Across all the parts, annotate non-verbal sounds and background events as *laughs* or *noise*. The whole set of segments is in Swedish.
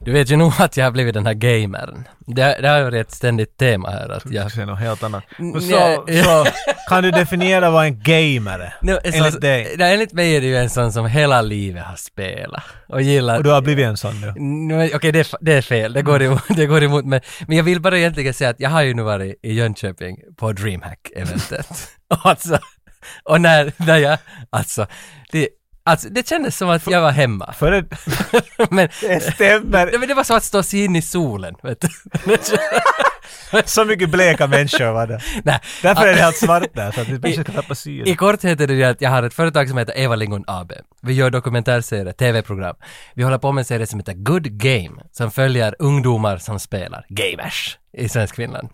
Du vet ju nog att jag har blivit den här gamern. Det, det har ju varit ett ständigt tema här att Jag jag... ska säga något helt annat. Och Mm, Nej. så, så kan du definiera vad en gamer är? No, Enligt dig? Nej, enligt mig är det ju en sån som hela livet har spelat och gillar... Och du har Mm. blivit en sån nu? Nu, Okej, det, är f- det är fel. Det går, emot, *laughs* det går emot mig. Men jag vill bara egentligen säga att jag har ju nu varit i Jönköping på *laughs* DreamHack-eventet. och alltså, och när, när jag, alltså det, alltså, det kändes som att jag var hemma. *laughs* För det, men, det stämmer. ja, men det var som att stå sig in i solen, vet du. *laughs* Så mycket bleka människor var det. Nej, Därför är ah, det helt svart där, så att vi kanske ska tappa I syre. korthet är det ju att jag har ett företag som heter Eva Lingon AB. Vi gör dokumentärserier, tv-program. Vi håller på med en serie som heter Good Game, som följer ungdomar som spelar gamers i svensk Finland.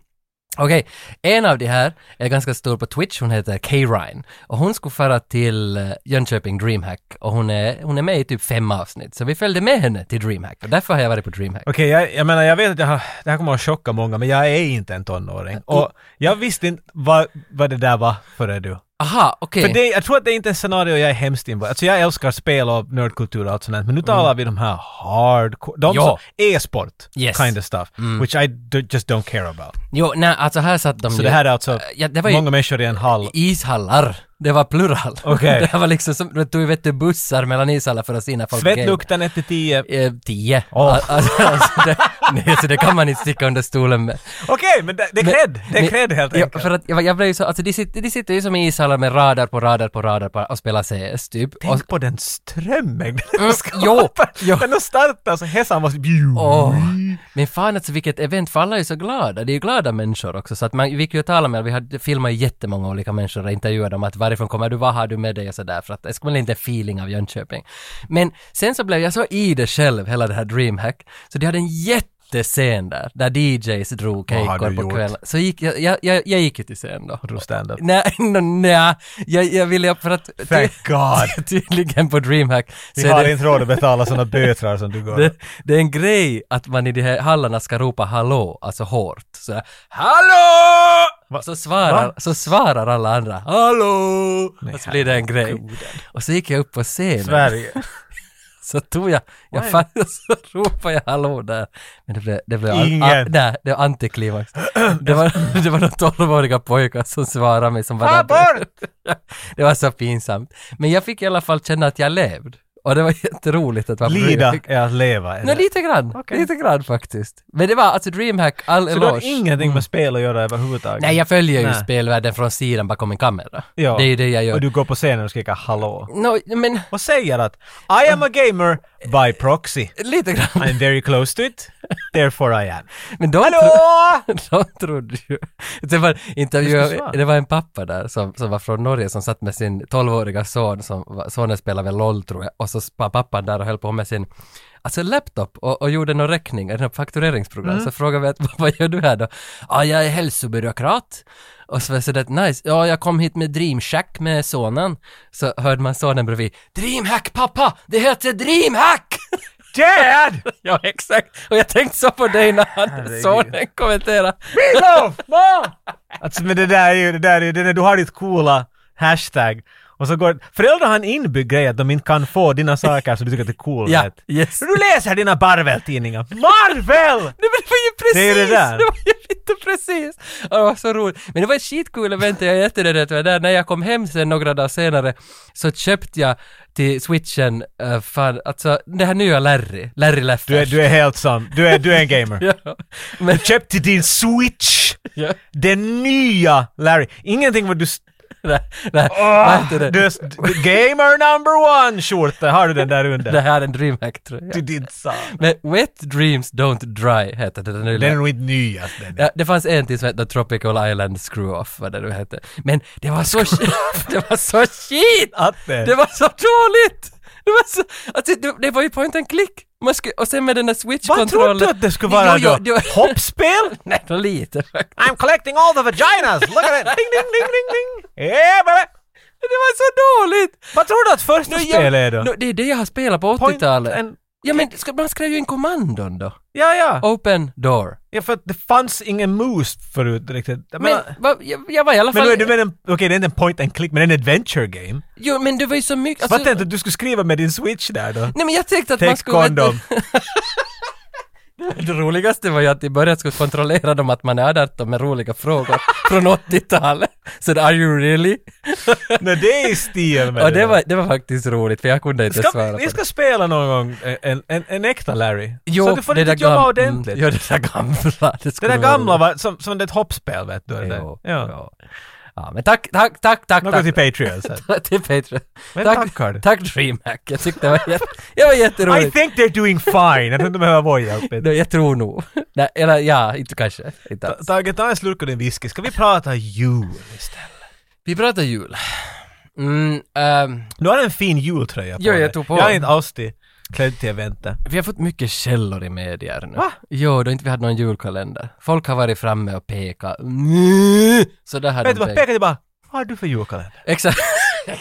Okej, en av de här är ganska stor på Twitch, hon heter Kay Ryan. Och hon skulle fara till eh, Jönköping Dreamhack och hon är, hon är med i typ fem avsnitt. Så vi följde med henne till Dreamhack och därför har jag varit på Dreamhack. Okej, jag, jag menar jag vet att jag har, det här kommer att chocka många men jag är inte en tonåring. Och jag visste inte vad, vad det där var före du. Aha, okej. För det, jag tror att det är inte är ett scenario jag är hemskt involverad Alltså jag älskar spel och nördkultur och allt sånt där, men nu talar vi de här hardcore, de Mm. Ja. som e-sport Yes. Mm. kind of stuff, which I do, just don't care about. Jo, nej, alltså här satt de Så ju- det här är alltså ja, Eh, det var ju- många människor i en hall. ishallar. Det var plural. Okej. *laughs* Det var liksom som, du tog vet du bussar mellan ishallar för att sina folk. Svettlukten 1 till 10. Okej, Eh, Tio. Åh. Al- Alltså, *laughs* alltså, det, nej, så det kan man inte sticka under stolen med. men det, det är cred! Det är Men- cred helt ja, enkelt. För att jag, jag blev ju så, alltså de sitter, de sitter ju som i ishallar med radar på radar på radar på, och spelar CS typ. Och, Tänk på den strömmen Mm, den skapar! *laughs* jo, jo. Den har startat så hässan måste... Åh, men fan alltså vilket event, för alla är ju så glada, det är ju glada människor också så att man, vi gick ju och talade med, vi hade filmat jättemånga olika människor och intervjuat dem att varifrån kommer du, vad har du med dig och sådär för att det skulle man lite feeling av Jönköping. Men sen så blev jag så i det själv, hela det här DreamHack, så de hade en jättescen där, där DJs drog Vad har cakor du på gjort? kvällen. Så gick jag, jag, jag, jag gick ju till scen då. Du stand-up. Nej, *laughs* no, nej, jag, jag ville, för att ty, Thank *laughs* God! tydligen på DreamHack Vi så är har det- inte råd att betala sådana bötrar som du går. *laughs* det, det är en grej att man i de här hallarna ska ropa hallå, alltså hårt. Så här, hallå! Va? Så svarar, Va? så svarar alla andra hallå! Nej, och så blir det en grej. Och så gick jag upp på scenen. *laughs* Sverige. Så tog jag, jag Why? fan, *laughs* så ropade jag hallå där. Men det blev, det blev an- Ingen. a- nej, det var *clears throat* antiklimax. Det var, det var några tolvåriga pojkar som svarade mig som Ta var bort! *laughs* Det var så pinsamt. Men jag fick i alla fall känna att jag levde. Och det var jätteroligt att vara på Lida Dreamhack. är att leva. Nej, lite grann. Okej. Lite grann faktiskt. Men det var alltså DreamHack, all så du har eloge. ingenting med spel att göra överhuvudtaget? Mm. Nej, jag följer ju Nej. spelvärlden från sidan bakom en kamera. Ja. Det är ju det jag Mm. Och gör. du går på scenen och skriker hallå. Nå, men Och säger att I am a gamer by proxy. lite grann. I'm very close to it, therefore *laughs* I am. Men då, Hallå! *laughs* de trodde ju... Det var, Vad ska intervju, du svara? det var en pappa där som, som var från Norge som satt med sin 12-åriga son, som, var- sonen spelade väl LOL tror jag, och så var pappan där och höll på med sin Alltså laptop och, och gjorde någon räkning, något faktureringsprogram, så frågade vi att *laughs* "Vad- vad gör du här då? Ja, jag är hälsobyråkrat. Och så var jag sådär nice, ja jag kom hit med DreamHack med sonen. Så hörde man sonen bredvid, DreamHack pappa, det heter DreamHack! *laughs* Dad! ja exakt, och jag tänkte så på dig när han, Herregud. sonen kommenterade. Meatloaf! Mom! *laughs* Alltså men det där är ju, det där är ju, det när du har ditt coola hashtag och så går, föräldrar har en inbyggd grej att de inte kan få dina saker som du tycker att det är *laughs* cool. Ja, vet. yes. Du läser dina Marvel-tidningar. Marvel! Nej men det var ju precis! Det är det där. var ju inte precis! Ja, det var så roligt. Men det var ett skitkul event jag är jätterädd att jag var där. När jag kom hem sen några dagar senare så köpte jag till switchen, uh, fan, alltså det här nya Larry, Larry Leffers. Du är, du är helt sann. Du är, du är en gamer. *laughs* Ja, men, Köp till din switch! ja, Den nya Larry. Ingenting vad du... s- nej, nej, vad Åh! heter det? du är s- gamer number one skjorta. Har du den där Det *laughs* under? här är en DreamHack-tröja. Till din sak. Men Wet Dreams Don't Dry heter det nu. Den är nog inte nyast den. Ja, det fanns en till som hette Tropical Island Screw-Off, vad det nu hette. Men det var så shit! *laughs* Det var så shit! Att den. Det var så dåligt! Det var så... Alltså, det, det var ju point and click. Man skulle, och sen med den där Vad trodde switch-kontrollen... du att det skulle vara jo, då? jo, jo, Hoppspel? *laughs* Nej, då lite faktiskt. I'm collecting all the vaginas! Look *laughs* at it! Ding, ding, ding, ding, ding! Yeah, baby. Det var så dåligt! Vad tror du att första Nu, jag- spelet är då? Nå, det är det jag har spelat på Point 80-talet. and- Ja men ska, man skrev ju in kommandon då. Ja, ja. Open door. Ja, för att det fanns ingen mus förut riktigt. Jag Men, menar- va, jag, jag var i alla fall... Men nu är du med en, okej det är inte en point and click men en adventure game. Jo men det var ju så mycket... alltså- Fattar inte att du skulle skriva med din switch där då? *laughs* nej men jag tänkte att man Take skulle... condom. Det roligaste var ju att i början skulle kontrollera dem att man är 18 med roliga frågor *laughs* från 80-talet. Så det, are you really? Nej, det är i stil med Och det var, det var faktiskt roligt för jag kunde inte svara Ska, på vi det. ska spela någon gång en, en, en äkta Larry. Jo, så att du får det riktigt där jobba gam- ordentligt. Mm, jo, det där gamla. Det, det skulle där vara gamla roligt. var som, som det är ett hoppspel vet du. det. Jo, ja. ja. ja, men tack, tack, tack, tack. Något tack. till *laughs* Patreon sen. till Patreon. Men Tack, tackar du. tack DreamHack. Jag tyckte det var, jätte, *laughs* det var I jätteroligt. think they're doing fine. Jag tror inte de behöver vår hjälp. No, jag tror nog. *laughs* Nej, eller ja, inte kanske. Inte alls. Tage, ta en slurk av din whisky. Ska vi prata jul istället? Vi pratar jul. Mm, ehm, Du har en fin jultröja på Jo, jag dig. tog på Jag är den. inte alls till- klädd till eventet. vi har fått mycket källor i medier nu. Va? Jo, då inte vi hade någon julkalender. Folk har varit framme och pekat. *laughs* Mm, Så där har Vet de du vad, pekat. peka till bara. Vad har du för julkalender? Exakt.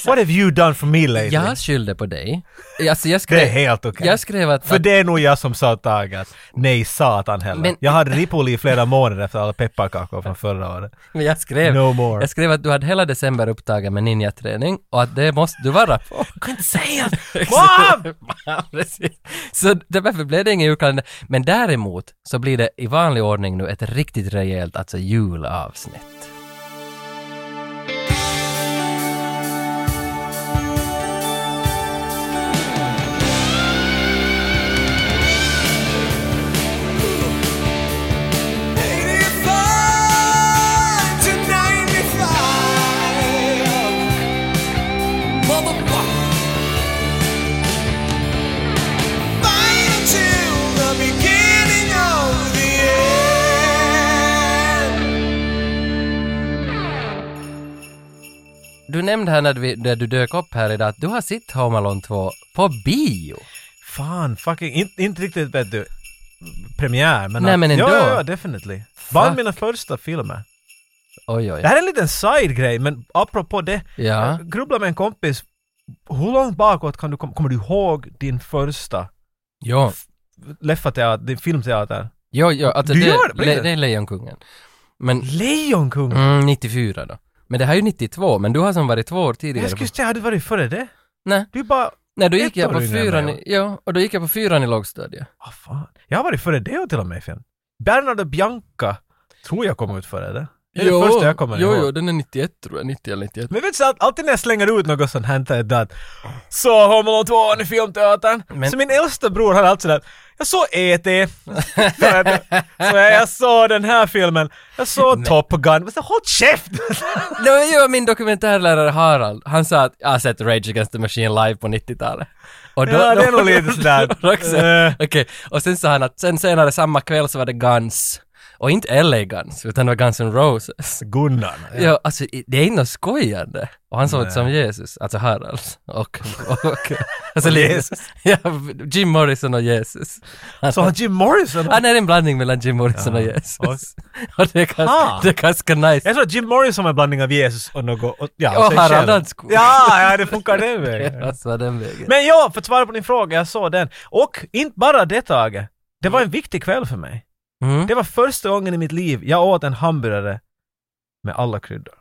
What have you done for me lately? Jag skyllde på dig. Alltså jag Det är skrev, helt okej. jag skrev att... För det är nog jag som sa Tage att nej satan heller. Men- jag hade Ripoli i flera månader efter alla pepparkakor från förra året. Men jag skrev, No more. jag skrev att du hade hela december upptagen med ninjaträning och att det måste du vara på. Du kan inte säga *laughs* Mom! Precis. så det- därför blev det ingen julkalender. Men däremot så blir det i vanlig ordning nu ett riktigt rejält alltså julavsnitt. Du nämnde här när, vi, när du dök upp här idag att du har sett Home Alone 2 på bio. Fan, fucking, inte, inte riktigt vet du, premiär men... Nej, att- men ändå. Ja, ja, ja, definitely. Bland mina första filmer. Oj, oj. Det här är en liten side-grej, men apropå det. Ja. Jag grubblade med en kompis. Hur långt bakåt kan du kom- kommer du ihåg din första Jo, leffateater, din filmteater? jo, jo alltså Du det, gör det på le, riktigt? det är Lejonkungen. Men Lejonkungen! mm, 94 då. Men det här är ju 92, men du har som varit två år tidigare. Jag skulle säga, hade du varit före det? Nej. Du är bara... Nej, då gick Ett jag år på yngre än fyran mig, i, ja, och då gick jag på fyran i lågstadiet. Ah, fan. Jag har varit före det och till och med i film. Bernard och Bianca tror jag kom ut före det. Det är det första jag kommer jo, ihåg. jo, den är 91 tror jag, 90 eller 91. Men vet du, allt- alltid när jag slänger ut något sånt här är det att så Home Alone 2 i filmteatern. Men- Så min äldsta bror han är alltid sådär, jag såg E.T. så jag, jag såg den här filmen, jag såg Top Gun. Men så, håll *laughs* käften! Det var ju min dokumentärlärare Harald, han sa att jag har sett Rage Against the Machine live på 90-talet. Och Ja, det är nog lite sådär. då- då också. Eh. *laughs* Okej, och sen sa han att sen senare samma kväll så var det Guns. Och inte LA Guns, utan det var Guns N' Roses. Gunnar. Ja, alltså i- det är inte något skojande. Och han såg ut som Jesus, alltså Harald. Och, och, och, *laughs* *laughs* alltså, Och lite- Jesus. Ja, Jim Morrison och Jesus. Så har Jim Morrison. Han är en blandning mellan Jim Morrison och Ja, Jesus. *laughs* och- Och det är Ah. ganska, det är ganska nice. Jag tror att Jim Morrison var en blandning av Jesus och något... Och, ja, Och sig Harald själv. Danskog. *laughs* Ja, ja, det funkar den *laughs* vägen. Alltså den vägen. *laughs* Men ja, för att svara på din fråga, jag såg den. Och inte bara det Tage, det var en viktig kväll för mig. Mm. Det var första gången i mitt liv jag åt en hamburgare med alla kryddor.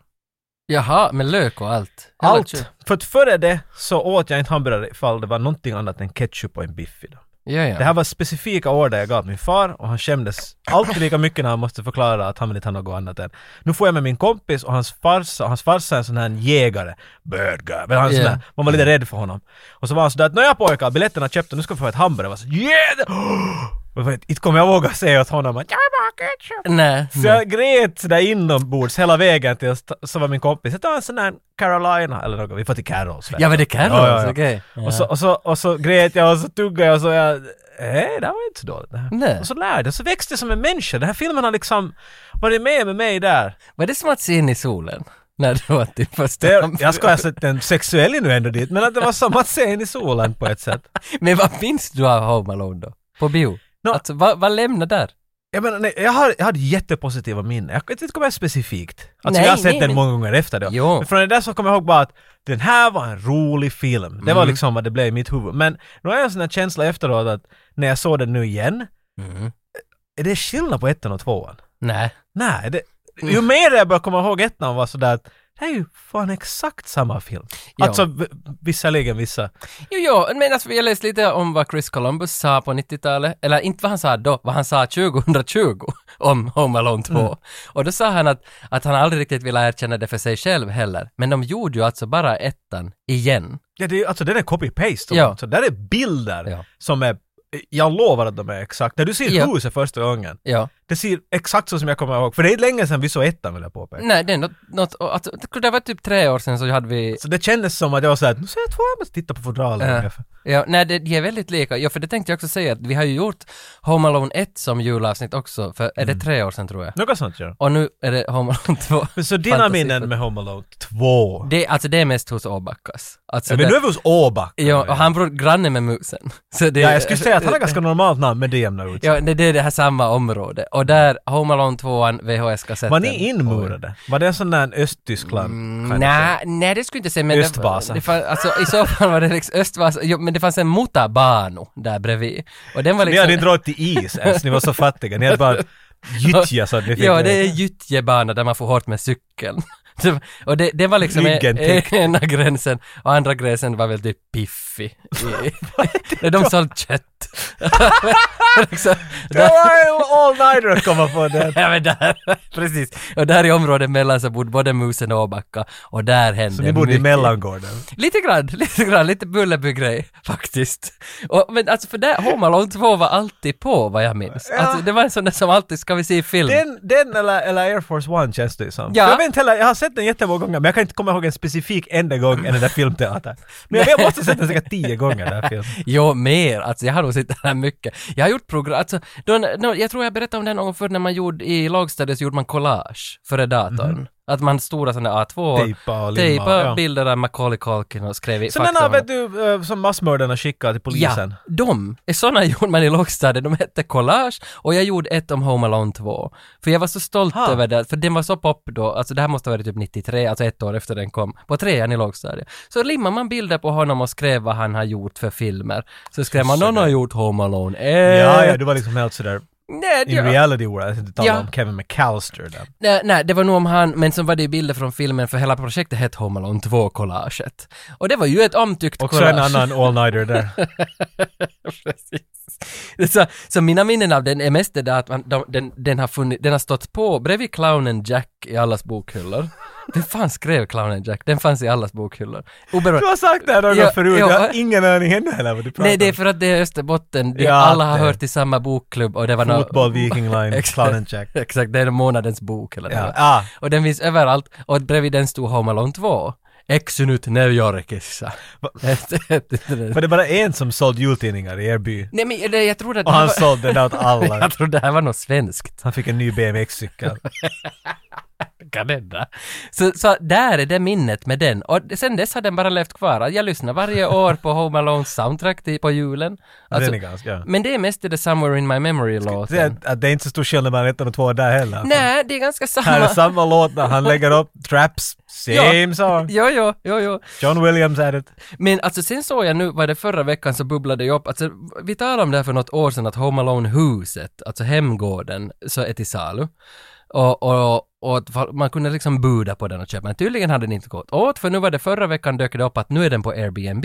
Jaha, med lök och allt. Eller kött. Allt! För att före det så åt jag inte hamburgare ifall det var någonting annat än ketchup och en biff i dem. Ja, ja. Det här var specifika order jag gav min far och han skämdes alltid lika mycket när han måste förklara att han inte har något annat än. Nu får jag med min kompis och hans farsa, och hans farsa är en sån här jägare. Bird guy. Men han är sån Yeah. här, man var lite rädd för honom. Och så var han sådär att nåja pojkar, biljetterna är köpta, nu ska vi få ett hamburgare. Jag var så yeah! *gasps* Och jag vet, Inte kommer jag våga säga åt honom att jag vill ha ketchup. Nej. Så nej. jag grät sådär inombords hela vägen tills så var min kompis, jag tar en sån här Carolina eller något, vi får till Carols. vet Ja, du. men det kan Ja, ja, vara ja. okej. Ja. Och, så, och, så, och så grät jag och så tuggade jag och så jag, nej det här var inte så dåligt det här. Nej. Och så lärde jag, så växte jag som en människa. Den här filmen har liksom varit med med mig där. Var det som att se in i solen? När du typ åt din första *laughs* Det, hamburgare? jag ska alltså, ha sett en sexuell innuendo dit, men att det var som att se in i solen på ett sätt. Men vad minns du av Home Alone då? På bio? Nå. Alltså, vad, vad lämnar där? Jag menar, nej, jag, har, jag hade jättepositiva minnen. Jag kan inte komma ihåg specifikt. Alltså Nej, jag har sett nej, den men- många gånger efter det. Jo. Men från det där så kommer jag ihåg bara att den här var en rolig film. Det Mm. var liksom vad det blev i mitt huvud. Men nu har jag en sån här känsla efteråt att när jag såg den nu igen, Mm. är det skillnad på ettan och tvåan? Nej. Mm. Nej, det, ju mer jag börjar komma ihåg ettan var sådär att det här är ju fan exakt samma film. Ja. Alltså v- visserligen vissa. Jo, jo, men alltså jag läste lite om vad Chris Columbus sa på 90-talet, eller inte vad han sa då, vad han sa 2020 *laughs* om Home Alone 2. Och då sa han att, att han aldrig riktigt ville erkänna det för sig själv heller, men de gjorde ju alltså bara ettan igen. Ja, det är, alltså den är copy-paste. Ja. Så där är bilder Ja. som är, jag lovar att de är exakt. När du ser Ja. huset första gången, Ja. det ser exakt så som jag kommer ihåg. För det är inte länge sedan vi såg ettan vill jag påpeka. Nej, det är något, något alltså, det var typ tre år sedan så hade vi Så det kändes som att jag var såhär, nu ser jag tvåan, jag måste titta på fodralen. Ja. ungefär. Ja, nej, det, de är väldigt lika. Ja, för det tänkte jag också säga att vi har ju gjort Home Alone 1 som julavsnitt också, för är det tre år sedan tror jag? Något sånt gör Och nu är det Home *laughs* Alone 2. Men så dina Fantasi- minnen med Home Alone 2? Det, alltså det är mest hos Åbackas. Alltså, Ja, men det- nu är vi hos Åback. ja, och han bor granne med musen. *laughs* Så det, ja, jag skulle säga att han har ganska normalt namn, men det jämnar ut sig. Ja, det, det är det här samma område. Och där, Home Alone 2, VHS-kassetten. Var ni inmurade? Var det en sån där Östtyskland? kind of thing? Mm, Nej, nej det skulle jag inte säga men det- Östvasa. Det, fann, alltså, I så fall var det liksom Östvasa, jo, men det fanns en Mutabano där bredvid. Och den var Ni liksom... hade inte råd till is ens, ni var så fattiga. Ni *laughs* hade bara gyttja så att ni fick... Ja, det är gyttjebana där man får hårt med cykeln. *laughs* Det- Och det, det var liksom Ryggen en- *laughs* ena gränsen och andra gränsen var väl typ *laughs* piffi. *laughs* I, de sålde kött. *laughs* liksom, Det där, var all-nighter att komma på det. ja, men där, *laughs* precis. Och där i området mellan så bodde både musen och Åbacka och där hände Så ni bodde i mycket. Mm. mellangården. Lite grann, *laughs* lite grann, lite Bullerby-grej faktiskt. Och, men alltså för där, Home Alone 2 var alltid på vad jag minns. Ja. Alltså det var en sån där som alltid, ska vi se film? Den, den eller, eller Air Force One känns det som. Ja. Jag vet inte heller, jag har sett den jättemånga gånger men jag kan inte komma ihåg en specifik enda gång i den där filmteatern. Men jag, vet, jag måste ha sett den säkert tio gånger den *laughs* där filmen. Jo, mer. Alltså jag har nog sett den här mycket. Jag har gjort program, alltså, då, nå- jag tror jag berättade om den någon gång förr när man gjorde, i lagstadiet så gjorde man collage före datorn. Att man stora sådana A2, Mhm. Tejpa och limma, tejpa ja. bilder av Macaulay Culkin och skrev i Så den fakta har om honom. vet du, eh, som massmördarna skickade till polisen. Ja, de. Sådana gjorde man i lågstadiet. De hette Collage och jag gjorde ett om Home Alone 2. För jag var så stolt Ha. över det, för den var så pop då, alltså det här måste ha varit typ 93, alltså ett år efter den kom, på trean i lågstadiet. Så limmar man bilder på honom och skrev vad han har gjort för filmer. Så skrev man, någon har gjort Home Alone 1. Ja, ja, du var liksom helt sådär Nej, det- in reality world. Jag tänkte tala Ja. om Kevin McAllister där. Nej, nej, det var nog om han, men sen var det ju bilder från filmen för hela projektet hette Home Alone 2-collaget. Och det var ju ett omtyckt Också en annan all-nighter där. Precis. *laughs* Så, så mina minnen av den är mest det där att man, de, den, den, har funnit, den har stått på bredvid clownen Jack i allas bokhyllor. Vem fan skrev clownen Jack? Den fanns i allas bokhyllor. *laughs* Du Oberoende. har sagt det här någon Ja, gång förut, jag har ja. ingen aning ännu heller vad du pratar Nej, det är om. för att det är Österbotten. De, Ja, alla har det. hört i samma bokklubb och det var nå- Fotboll, Viking Line, Exakt. Clown and Jack. *laughs* Exakt, det är månadens bok eller Ja. något. Ah, Och den finns överallt och bredvid den stod Home Alone 2. Exynyt Neujorkissa. *laughs* var det bara en som sålde jultidningar i er by? Nej men det- jag tror att det *laughs* Och han här sålde den där åt var, alla. *laughs* jag tror det här var något svenskt. Han fick en ny BMX-cykel. Alltså- kan hända. Så, så där är det minnet med den. Och sen dess har den bara levt kvar. Jag lyssnar varje år på Home Alones soundtrack till, på julen. Alltså, den är ganska... Ja. men det är mest det där Somewhere in my memory-låten. Det, är, att det är inte så stor skillnad mellan ettan och tvåan där heller. Alltså, Nej, det är ganska Här är samma. samma låt när han lägger upp traps, same song. Jo, jo, jo, jo. John Williams är det. Men alltså sen såg jag nu, var det förra veckan så bubblade jag upp, alltså vi talade om det här för något år sedan att Home Alone-huset, alltså hemgården, så är till salu. Och, och, och att fa- man kunde liksom buda på den och köpa, men tydligen hade den inte gått åt, för nu var det förra veckan dök det upp att nu är den på Airbnb.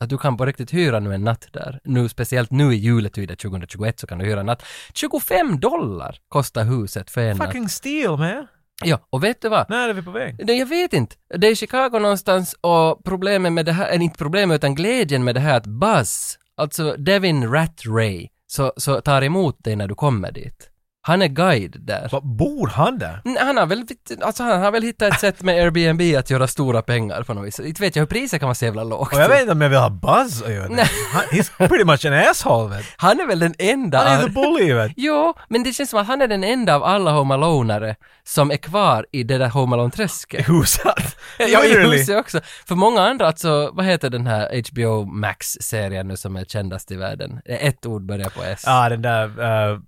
Att du kan på riktigt hyra nu en natt där. Nu, speciellt nu i juletider 2021 så kan du hyra en natt. 25 dollar kostar huset för en natt. Fucking steal man. Ja, och vet du vad? När är vi på väg? Nej, jag vet inte. Det är i Chicago någonstans och problemet med det här, eller inte problemet utan glädjen med det här att Buzz, alltså Devin Rat Ray, så, så tar emot dig när du kommer dit. Han är guide där. Va, bor han där? Mm, Han har, väl, alltså han har väl hittat ett sätt med Airbnb att göra stora pengar på något vis. Inte vet jag hur priset kan vara så jävla lågt. Och jag vet inte om jag vill ha Buzz att göra det. Nej. Han, he's pretty much an asshole vet du. Han är väl den enda Han är av- the bully vet du. Jo, men det känns som att han är den enda av alla Home Aloneare som är kvar i det där Home Alone-träsket. Husat. *laughs* Ja, i Literally. huset också. För många andra, alltså, vad heter den här HBO Max-serien nu som är kändast i världen? Ett ord börjar på S. Ja, ah, den där... eh,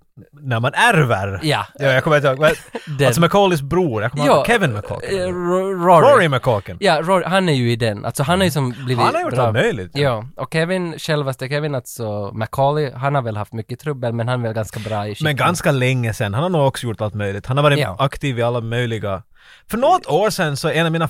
när man ärver. Ja. ja jag kommer inte ihåg. men- Den. Alltså McCaulys bror, jag kommer Ja, ihåg. Kevin Eh, McCaulley. Ro- Rory. Rory McCaulley. Ja, Rory, han är ju i den. Alltså han har ju som blivit... Han har gjort bra. allt möjligt. Ja, och Kevin, självaste Kevin, alltså Macaulay, han har väl haft mycket trubbel men han är väl ganska bra i Men skikten. ganska länge sedan. Han har nog också gjort allt möjligt. Han har varit Ja. aktiv i alla möjliga... För något år sedan så en av mina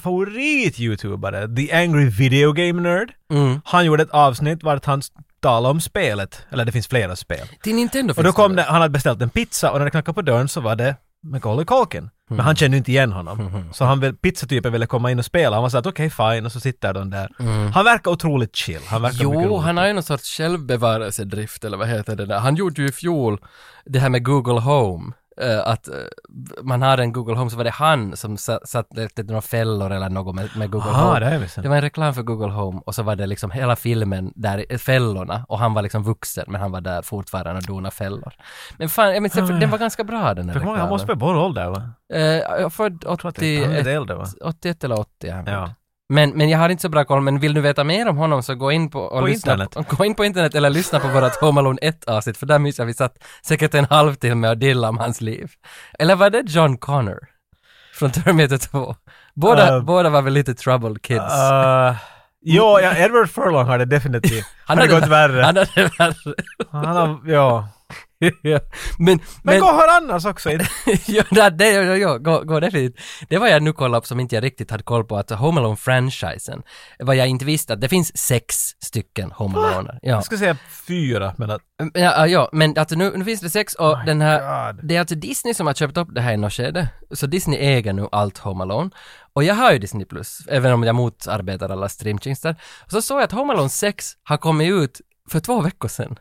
favorit-youtubare, The Angry Video Game Nerd, Mm. han gjorde ett avsnitt vart han s- talade om spelet. Eller det finns flera spel. Till Nintendo Och finns då kom det, väl? han hade beställt en pizza och när det knackade på dörren så var det Macaulay Culkin. Men Mm. han kände ju inte igen honom. Mm-hmm. Så han vill, pizzatypen ville komma in och spela. Han var såhär att okej fine och så sitter de där. Han verkar otroligt chill. Han verkar mycket Mm. Jo, rolig. han har ju någon sorts självbevarelsedrift eller vad heter det där. Han gjorde ju i fjol det här med Google Home. eh, att eh, man har en Google Home så var det han som sa- satt efter några fällor eller något med, med Google Aha, Home. det har jag missat. Det var en reklam för Google Home och så var det liksom hela filmen där, i fällorna och han var liksom vuxen men han var där fortfarande och donade fällor. Men fan, jag minns, för den var ganska bra den här För kommer ihåg, reklamen. han måste vara vår ålder va? Eh, jag född Jag tror att han är 81, lite äldre va? 81 eller 80 är han Ja. född. men, men jag har inte så bra koll, men vill du veta mer om honom så gå in på, och På lyssna, internet. gå in på internet eller lyssna på vårat Home Alone 1 avsnitt, för där minns jag vi satt säkert en halvtimme och dillade om hans liv. Eller var det John Connor? Från Terminator 2. Båda, Eh, båda var väl lite troubled kids. Uh, jo, ja, Edward Furlong har det definitivt. *laughs* Han har hade- gått värre. Han hade värre. *laughs* Han har, ja. Ja. men, Men, men, gå och hör annars också. i- *laughs* ja, det, det, ja, ja, gå, gå definitivt. Det var jag nu kollade upp som inte jag riktigt hade koll på, att Home Alone-franchisen, vad jag inte visste, att det finns sex stycken Home Alone. Ja. *laughs* Jag skulle säga fyra, men att... Ja, ja, ja, men alltså nu, nu finns det sex och den här, God. det är alltså Disney som har köpt upp det här i något skede, så Disney äger nu allt Home Alone. Och jag har ju Disney Plus, även om jag motarbetar alla streamtjänster. Och så såg jag att Home Alone 6 har kommit ut för två veckor sedan.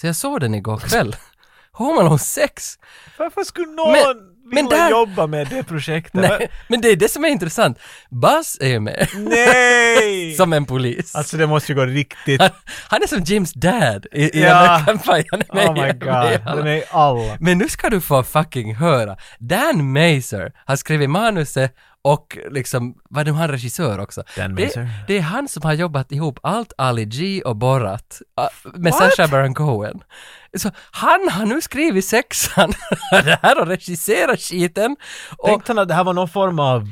Så jag såg den igår *laughs* kväll. Home Alone 6! Varför skulle någon Men- vilja men där- jobba med det projektet? Nej, men det är det som är intressant. Buzz är ju med, Nej! som en polis. Alltså det måste ju gå riktigt... han, han är som Jims dad i, i Ja. den här kampanjen. Han är med i- Oh my med i god, alla- den är i alla. Men nu ska du få fucking höra. Dan Mazer har skrivit manuset och liksom, vad nu han regissör också. Dan det, Mazer. det är han som har jobbat ihop allt Ali G och Borat äh, med What? Sacha Baron Cohen. Så han har nu skrivit sexan, *laughs* det här och regisserat skiten. Och Tänkte han att det här var någon form av...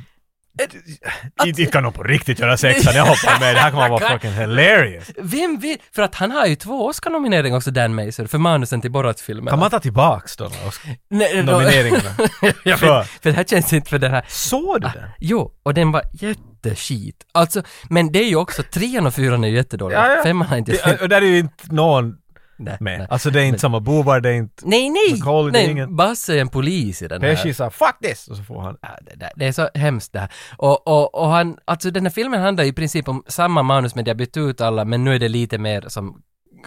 Inte kan nog på riktigt göra sexan, *laughs* jag hoppar med. Det här kommer att vara fucking hilarious. vem vet? För att han har ju två Oscar-nomineringar också, Dan Mazer, för manusen till Borat-filmen. Kan man ta tillbaks då? Oscar? Nej, då- Nomineringarna. *laughs* Jag För- vet, för det här känns inte för det här. Såg du den? Jo, och den var jätteskit. Alltså, men det är ju också, trean och fyran är ju jättedåliga. Ja, ja. Femman är inte Det, och där är ju inte någon *laughs* nej, med. nej. Alltså det är inte samma bovar, det är inte... Nej, nej! Macaulay, det är nej ingen- Basse är en polis i den här. Pesci sa 'fuck this' och så får han... Ja, det, där, det är så hemskt det här. Och, och, och han, alltså den här filmen handlar i princip om samma manus men de har bytt ut alla, men nu är det lite mer som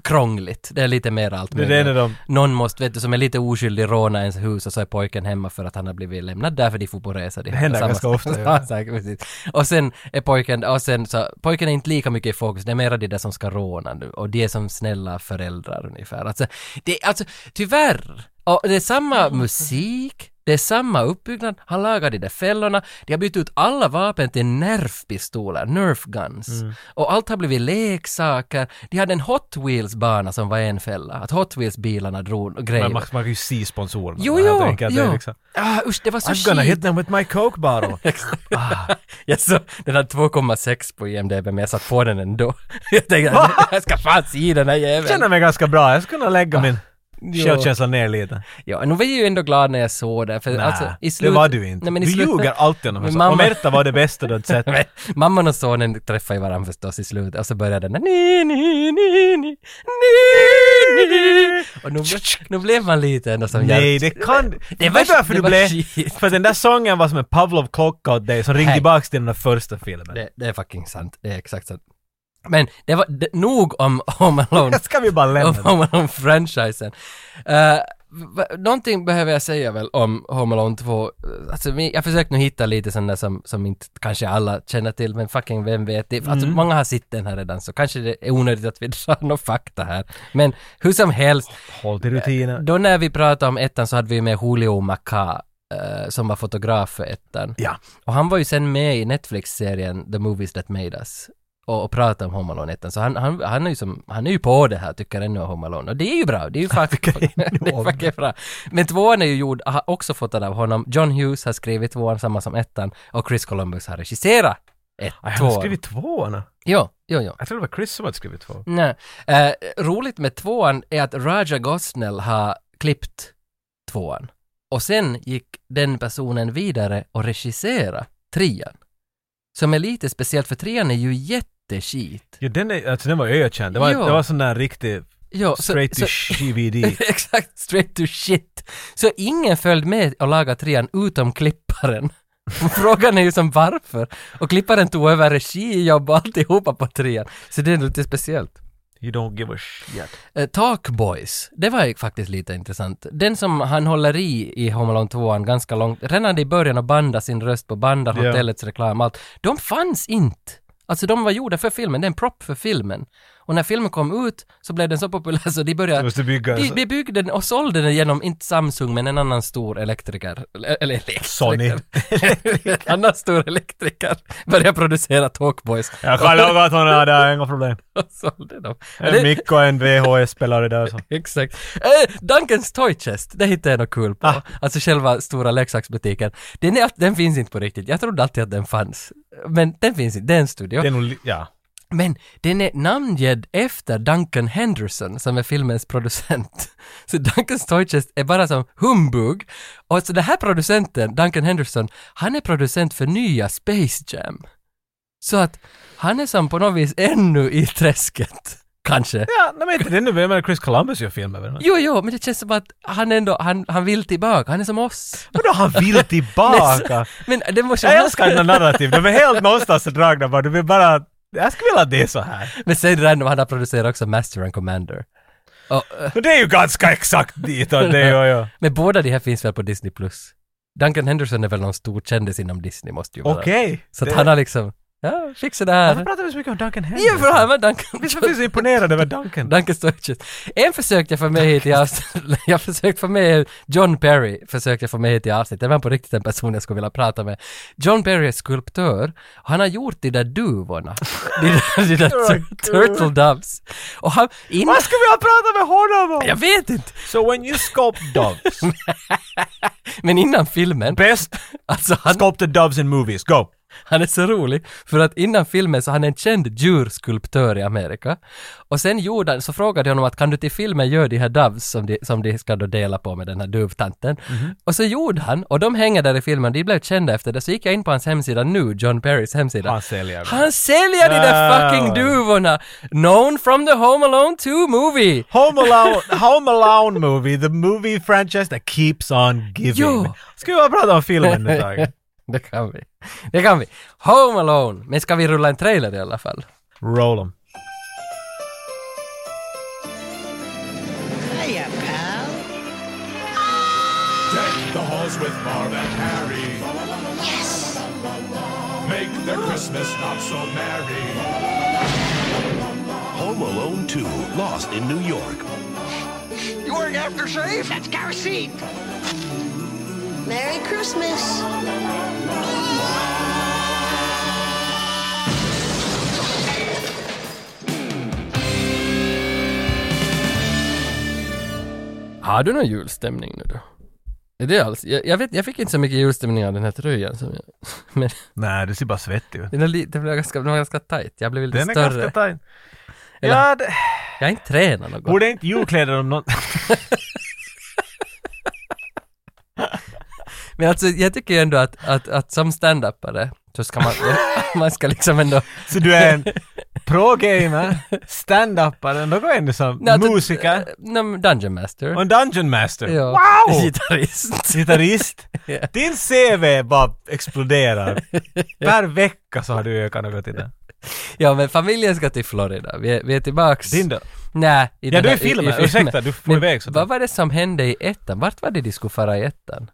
krångligt. Det är lite mer allt Det är möjligt. det enda de... Någon måste, vet du, som är lite oskyldig råna ens hus och så är pojken hemma för att han har blivit lämnad därför de får på resa. Det händer ganska ofta, ja. Ja, *laughs* säkert, precis. Och sen är pojken, och sen så, pojken är inte lika mycket i fokus, det är mera de där som ska råna nu och de är som snälla föräldrar ungefär. Alltså, det, alltså tyvärr, och det är samma Mm. musik, det är samma uppbyggnad, han lagar de där fällorna, de har bytt ut alla vapen till nerfpistoler, nerf guns. Mm. Och allt har blivit leksaker. De hade en Hot Wheels-bana som var en fälla, att Hot Wheels-bilarna drog och grejer. Men man, man kan ju se sponsorerna. Jo, Jag jo, tänker att det är jo. liksom, Ah, usch, det var så I'm gonna skit. hit them with my coke bottle. Ah. *laughs* jag såg, den hade 2,6 på IMDB men jag satt på den ändå. *laughs* jag tänkte att jag ska fan se den här Jag jäveln. känner mig ganska bra, jag skulle kunna lägga min Ah. Jo. självkänsla ner lite. Ja, nu var jag ju ändå glad när jag såg den. För Nej, alltså, i slut... det var du inte. Nej, men i du slut- ljuger alltid om Men mamma... Och mamma- *laughs* Märta var det bästa du hade sett. Men Mamman och sonen träffade ju varandra förstås i slutet och så började den där ni, ni, ni, ni, ni, ni. Och nu, ble- nu blev man lite ändå som Nej, hjälte. det kan Det Det var- var varför det du var blev... skit. För den där sången var som en Pavlov-klocka åt dig som ringde Nej. tillbaks till den där första *laughs* filmen. Det, det är fucking sant. Det är exakt sant. Men det var det, nog om Home Alone Det ska vi bara lämna. om *laughs* Home Alone-franchisen. Eh, va- någonting behöver jag säga väl om Home Alone 2. Alltså, vi- jag försöker nu hitta lite sådana som, som inte kanske alla känner till, men fucking vem vet. Det, alltså, Många har sett den här redan, så kanske det är onödigt att vi *laughs* drar någon fakta här. Men hur som helst, Håll till rutinen. då när vi pratade om ettan så hade vi med Julio Maca, eh, som var fotograf för ettan. Ja. Och han var ju sen med i Netflix-serien The Movies That Made Us. och, och prata om Home Alone 1. Så han, han, han, är ju som, han är ju på det här, tycker ännu om Home Alone. Och det är ju bra, det är ju faktiskt, *laughs* det är faktiskt bra. Men tvåan är ju gjord, har också fått av honom. John Hughes har skrivit tvåan, samma som ettan. Och Chris Columbus har regisserat ett, Ah, han har tvåan. skrivit tvåorna. Jo, jo, jo. Jag tror det var Chris som hade skrivit två. Nej. Eh, roligt med tvåan är att Raja Gosnell har klippt tvåan. Och sen gick den personen vidare och regissera trean. Som är lite speciellt, för trean är ju jätteskit. Ja, den, är, alltså, den var ökänd. Det var, Ja. det var sån där riktig Ja, så- straight to så- *laughs* CVD. Exakt, straight to shit. Så ingen följde med och lagade trean utom klipparen. Frågan är ju som varför. Och klipparen tog över regijobb och alltihopa på trean. Så det är lite speciellt. You don't give a shit. Eh, Talk Boys, det var ju faktiskt lite intressant. Den som han håller i i Home Alone 2 ganska långt, redan i början och bandar sin röst på bandar, Ja. hotellets reklam, allt. De fanns inte. Alltså de var gjorda för filmen, det är en prop för filmen. Och när filmen kom ut så blev den så populär så de Du började måste bygga de, de byggde den och sålde den genom, inte Samsung, men en annan stor elektriker. Eller eller elektriker. *laughs* Sony. en annan stor elektriker började producera Talkboys. Jag kan laga såna där, inga problem. Och sålde dem. En Det- mick och en VHS-spelare där så. Exakt. Eh, Dunkens Toy Chest, det hittade jag något kul på. Alltså själva stora leksaksbutiken. Den, är, den finns inte på riktigt. Jag trodde alltid att den fanns. Men den finns inte, det är en studio. Det är nog, li- ja. Men den är namngedd efter Duncan Henderson som är filmens producent. *laughs* Så Duncans Toy Chest är bara som humbug. Och så den här producenten, Duncan Henderson, han är producent för nya Space Jam. Så att han är som på något vis ännu i träsket. Kanske. Ja, nej, men inte det nu. Jag menar Chris Columbus gör filmer. väl? Jo, jo, men det känns som att han ändå, han, han vill tillbaka, han är som oss. Vadå han vill *laughs* tillbaka? Men det måste Jag älskar dina narrativ, de är helt någonstans dragna bara. Du vill bara... Jag skulle vilja att det är så här. Men sen random, han har producerat också Master and Commander. Och, eh, Men det är ju ganska exakt dit och det och ja. men båda de här finns väl på Disney+. Plus. Duncan Henderson är väl någon stor kändis inom Disney, måste ju vara. *laughs* Okej. Så att Det- han har liksom, ja, fixa det här. Varför pratar vi så mycket om Duncan Henry? Ja, för han var Duncan. Vi som blir så imponerade över Duncan. Duncan Sturges. En försökte jag få med hit i avsnittet, *laughs* jag försökte få med, John Perry försökte jag få med hit i avsnittet, det var på riktigt en person jag skulle vilja prata med. John Perry är skulptör, och han har gjort de där duvorna, de där, de där Oh my tur- turtle doves. Och han, innan, Vad ska vi ha pratat med honom om? jag vet inte, So when you sculpt doves, *laughs* men innan filmen, best alltså han, sculpted doves in movies, go! Han är så rolig, för att innan filmen så han är en känd djurskulptör i Amerika. Och sen gjorde han, så frågade jag honom att kan du till filmen göra de här doves som de, som de ska då dela på med den här duvtanten. Och så gjorde han, och de hänger där i filmen, de blev kända efter det. Så gick jag in på hans hemsida nu, John Perrys hemsida. Han säljer dem. Han säljer de där Wow. fucking duvorna! Known from the Home Alone 2 movie! Home Alone, Home Alone movie, the movie franchise that keeps on giving. Jo. Ska vi bara prata om filmen nu Tage? det kan vi. Det kan vi. Home Alone! Men ska vi rulla en trailer i alla fall? Roll 'em. Hiya, pal. Deck the halls with Marv and Harry. Yes. Make their Christmas not so merry. Home Alone 2, Lost in New York. You wearing aftershave? That's kerosene. Merry Christmas. Har du någon julstämning nu då? Är det alls? Jag, jag vet, jag fick inte så mycket julstämning av den här tröjan som jag... *laughs* Men Nej, du ser bara svettig ut. den, är li, den, blev ganska, den var ganska tight. Jag blev lite Den är större. ganska tajt. Eller- Ja, det... Jag har inte tränat något. Borde inte julkläder om någon... *laughs* Men alltså jag tycker ju ändå att, att, att som standupare så ska man, *laughs* man ska liksom *laughs* ändå... Så du är en pro-gamer, stand-upare, något ändå som Nej, alltså, musiker Nej, men Dungeon Master. och en dungeon *laughs* master. Ja. Wow! Gitarrist. Gitarrist. *laughs* Ja. Din CV bara exploderar. Per vecka så har du ökat något i det. Ja men familjen ska till Florida. Vi är, vi är tillbaks. Din då? Nej. i Ja, den du här- är i filmen. Ursäkta, du får Men iväg sådär. Vad var det som hände i ettan? Vart var det de skulle fara i ettan?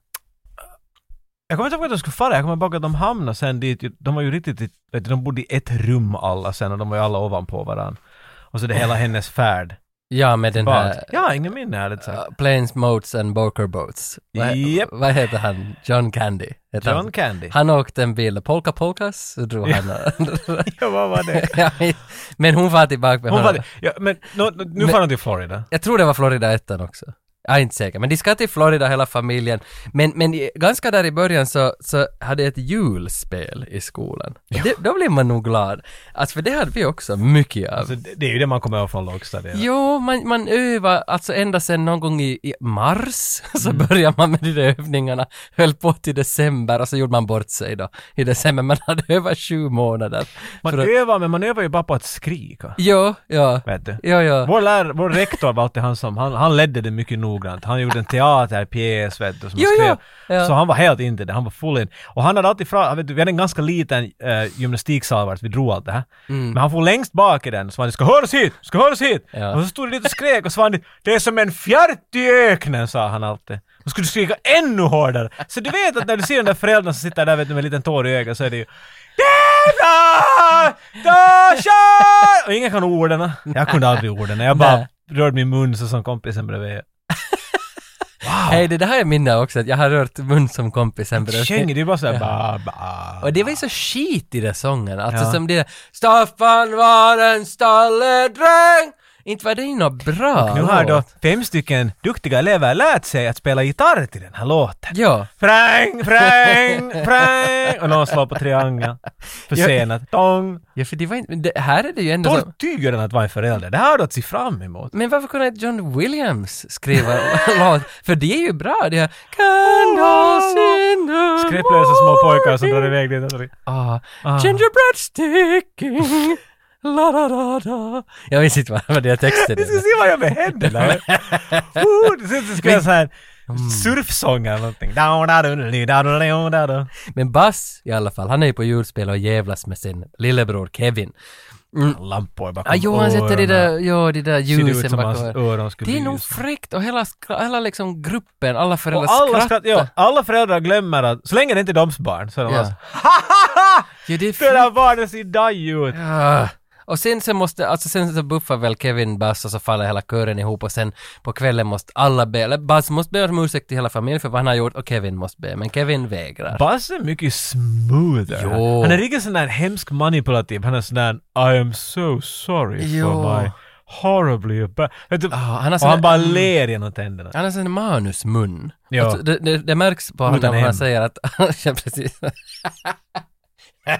Jag kommer inte ihåg att de skulle fara, jag kommer bara ihåg att de hamnade sen dit, de var ju riktigt, vet *laughs* du, de bodde i ett rum alla sen och de var ju alla ovanpå varandra. Och så det hela hennes färd. Ja, med den Bart. här... Ja, ingen minne ärligt sagt. Uh, Planes, Moats and Boker Boats. Vad, he- Japp. vad heter han? John Candy. Heter John han. Candy. han åkte en bil, Polka Polkas, så drog han. *laughs* Ja, vad var det? *laughs* Ja, men- men hon var tillbaka med Hon honom. var, ja, men nå- nå- nu far de till Florida. Jag tror det var Florida ettan också. Jag är inte säker, men de ska till Florida hela familjen. Men, men i- ganska där i början så, så hade jag ett julspel i skolan. Det, då blev man nog glad. Alltså för det hade vi också mycket av. Så det, det är ju det man kommer ihåg från lågstadiet. Jo, man, man övar, alltså ända sedan någon gång i, i mars *laughs* så Mm. började man med de där övningarna, höll på till december och så gjorde man bort sig då i december. Man hade övat sju månader. Man För att, övar, men man övar ju bara på att skrika. jo, ja, Vet du? jo, jo. Vår, lärare, vår rektor var alltid han som, han, han ledde det mycket noggrant. Han gjorde en teaterpjäs vet du, som Jo, han skrev. ja, ja. Så han var helt inte det, han var full in. Och han hade alltid fra, vet du, vi hade en ganska liten äh, gymnastiksal vart vi drog allt det här. Mm. Men han for längst bak i den, så han det ska höras hit, ska höras hit! Ja. Och så stod det dit och skrek och så var han dit, det är som en fjärt i öknen, sa han alltid. Då skulle du skrika ännu hårdare. Så du vet att när du ser den där föräldern som sitter där vet du, med en liten tår i ögat så är det ju Jävlar! Då kör! Och ingen kan orden. Jag kunde aldrig orden. Jag bara Nej. rörde min mun så som kompisen bredvid. Hej, det där har jag minne också, att jag har rört mun som kompisen Käng, det är bara såhär Ja. ba, ba. Och det var ju så skit i den sången, alltså Ja. som det Staffan var en stalledräng! Inte var det ju något bra Nu har då låt. fem stycken duktiga elever lärt sig att spela gitarr till den här låten. Ja. Fräng, fräng, fräng! Och någon slår på triangeln. Försenat. Dong! ja, för det var inte, det, här är det ju ändå som- Torrt tyger den att vara en förälder. Det här har du att se fram emot. Men varför kunde inte John Williams skriva låt? För det är ju bra, det här Kan ha sina Skräpplösa små pojkar som drar iväg dit. Ah, Gingerbread sticking La la la la Jag minns inte vad- vad det är texten Vi ska se vad jag med händerna. Oh, det ser ut som ska göra såhär surfsång eller någonting. Mm. Da, da, da, li, da, da, da, da, da. Men Bass i alla fall, han är ju på julspel och jävlas med sin lillebror Kevin. Lampor bakom Ja, jo, han sätter det öronen. där, ja, det där Ser det ut ljusen som hans bakom. öron skulle Det är nog lysa. fräckt och hela, skra- hela liksom gruppen, alla föräldrar Och alla, skrattar. skratt, ja, alla föräldrar glömmer att, så länge det inte är deras barn, så är de Ja. bara så, "Hahaha! Ja, det är Det där barnet ser daj ut! Ah. Och sen så måste, alltså sen så buffar väl Kevin Bass och så faller hela kören ihop och sen på kvällen måste alla be, eller Bass måste be om ursäkt till hela familjen för vad han har gjort och Kevin måste be, men Kevin vägrar. Basse är mycket smoother. Jo. Han är riktigt sån där hemsk manipulativ. Han är sån där I am so sorry Jo. for my horribly bad... Vet du, Ah, han har och sån han där- bara ler genom tänderna. han har sån manusmun. Ja. Alltså, det, det, det märks på honom Utan när han hem. säger att... *laughs* ja, precis. *laughs*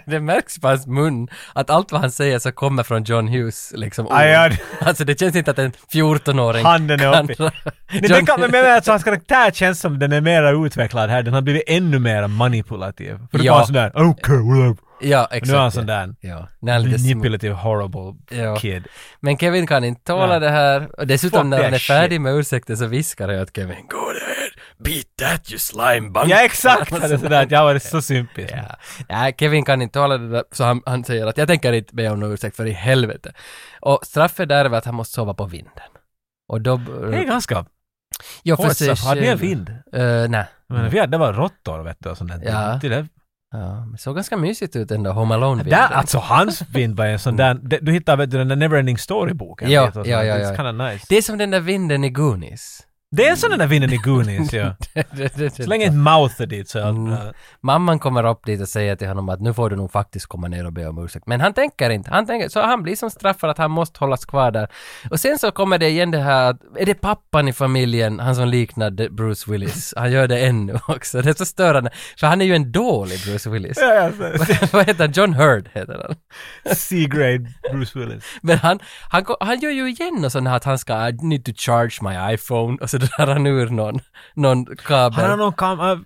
det märks på hans mun att allt vad han säger så kommer från John Hughes liksom ord. *laughs* Aj, ja. Alltså det känns inte att en 14-åring Handen är kan- uppe. Nej, *laughs* John- den kan, men jag menar att hans karaktär känns som den är mer utvecklad här. Den har blivit ännu mer manipulativ. För det Ja. var en sån där "Oh, okay, well, uh," Ja, exakt. Nu är han ja. sån där Ja, när han är lite små. manipulative horrible Ja. kid. Men Kevin kan inte tåla Nej. det här. Och dessutom Fuck när that han är shit. färdig med ursäkten så viskar jag att Kevin Go ahead, beat that you slime bunk. Alltså, *laughs* Ja exakt! Han är sån där att jag var så sympatisk. Ja. Nej, Kevin kan inte tåla det där, så han, han säger att jag tänker inte be om ursäkt för i helvete. Och straffet där var att han måste sova på vinden. Och då... Det är ganska jag Eh, hårt straff. Hade ni en vind? nej. Men vi hade bara råttor vet du och sånt där. Mm. Ja. Det där Ja, men såg ganska mysigt ut ändå, Home Alone-vinden. Där, alltså hans vind var en sån där, det- du hittar vet du den där Neverending Story-boken? Mm. Ja, vet du, och ja, sånt. ja, It's ja. kinda nice. Det är som den där vinden i Goonies. *laughs* Det är en sån där vinden i Goonies ja. Det- *laughs* det- det- Så länge inte Mouth är dit så är allt Mm. bra. Mamman kommer upp dit och säger till honom att nu får du nog faktiskt komma ner och be om ursäkt. Men han tänker inte. Han tänker, så han blir som straffad att han måste hållas kvar där. Och sen så kommer det igen det här att, är det pappan i familjen, han som liknade Bruce *laughs* Willis? Han gör det ännu också. Det är så störande. För han är ju en dålig Bruce Willis. Ja, ja, så- *laughs* *laughs* Vad heter han? John Hurd heter han. C-grade Bruce Willis. Men han, han, ko- han gör ju igen och sån här att han ska I need to charge my iPhone och så drar han ur någon, någon kabel. Han har någon kam- äh,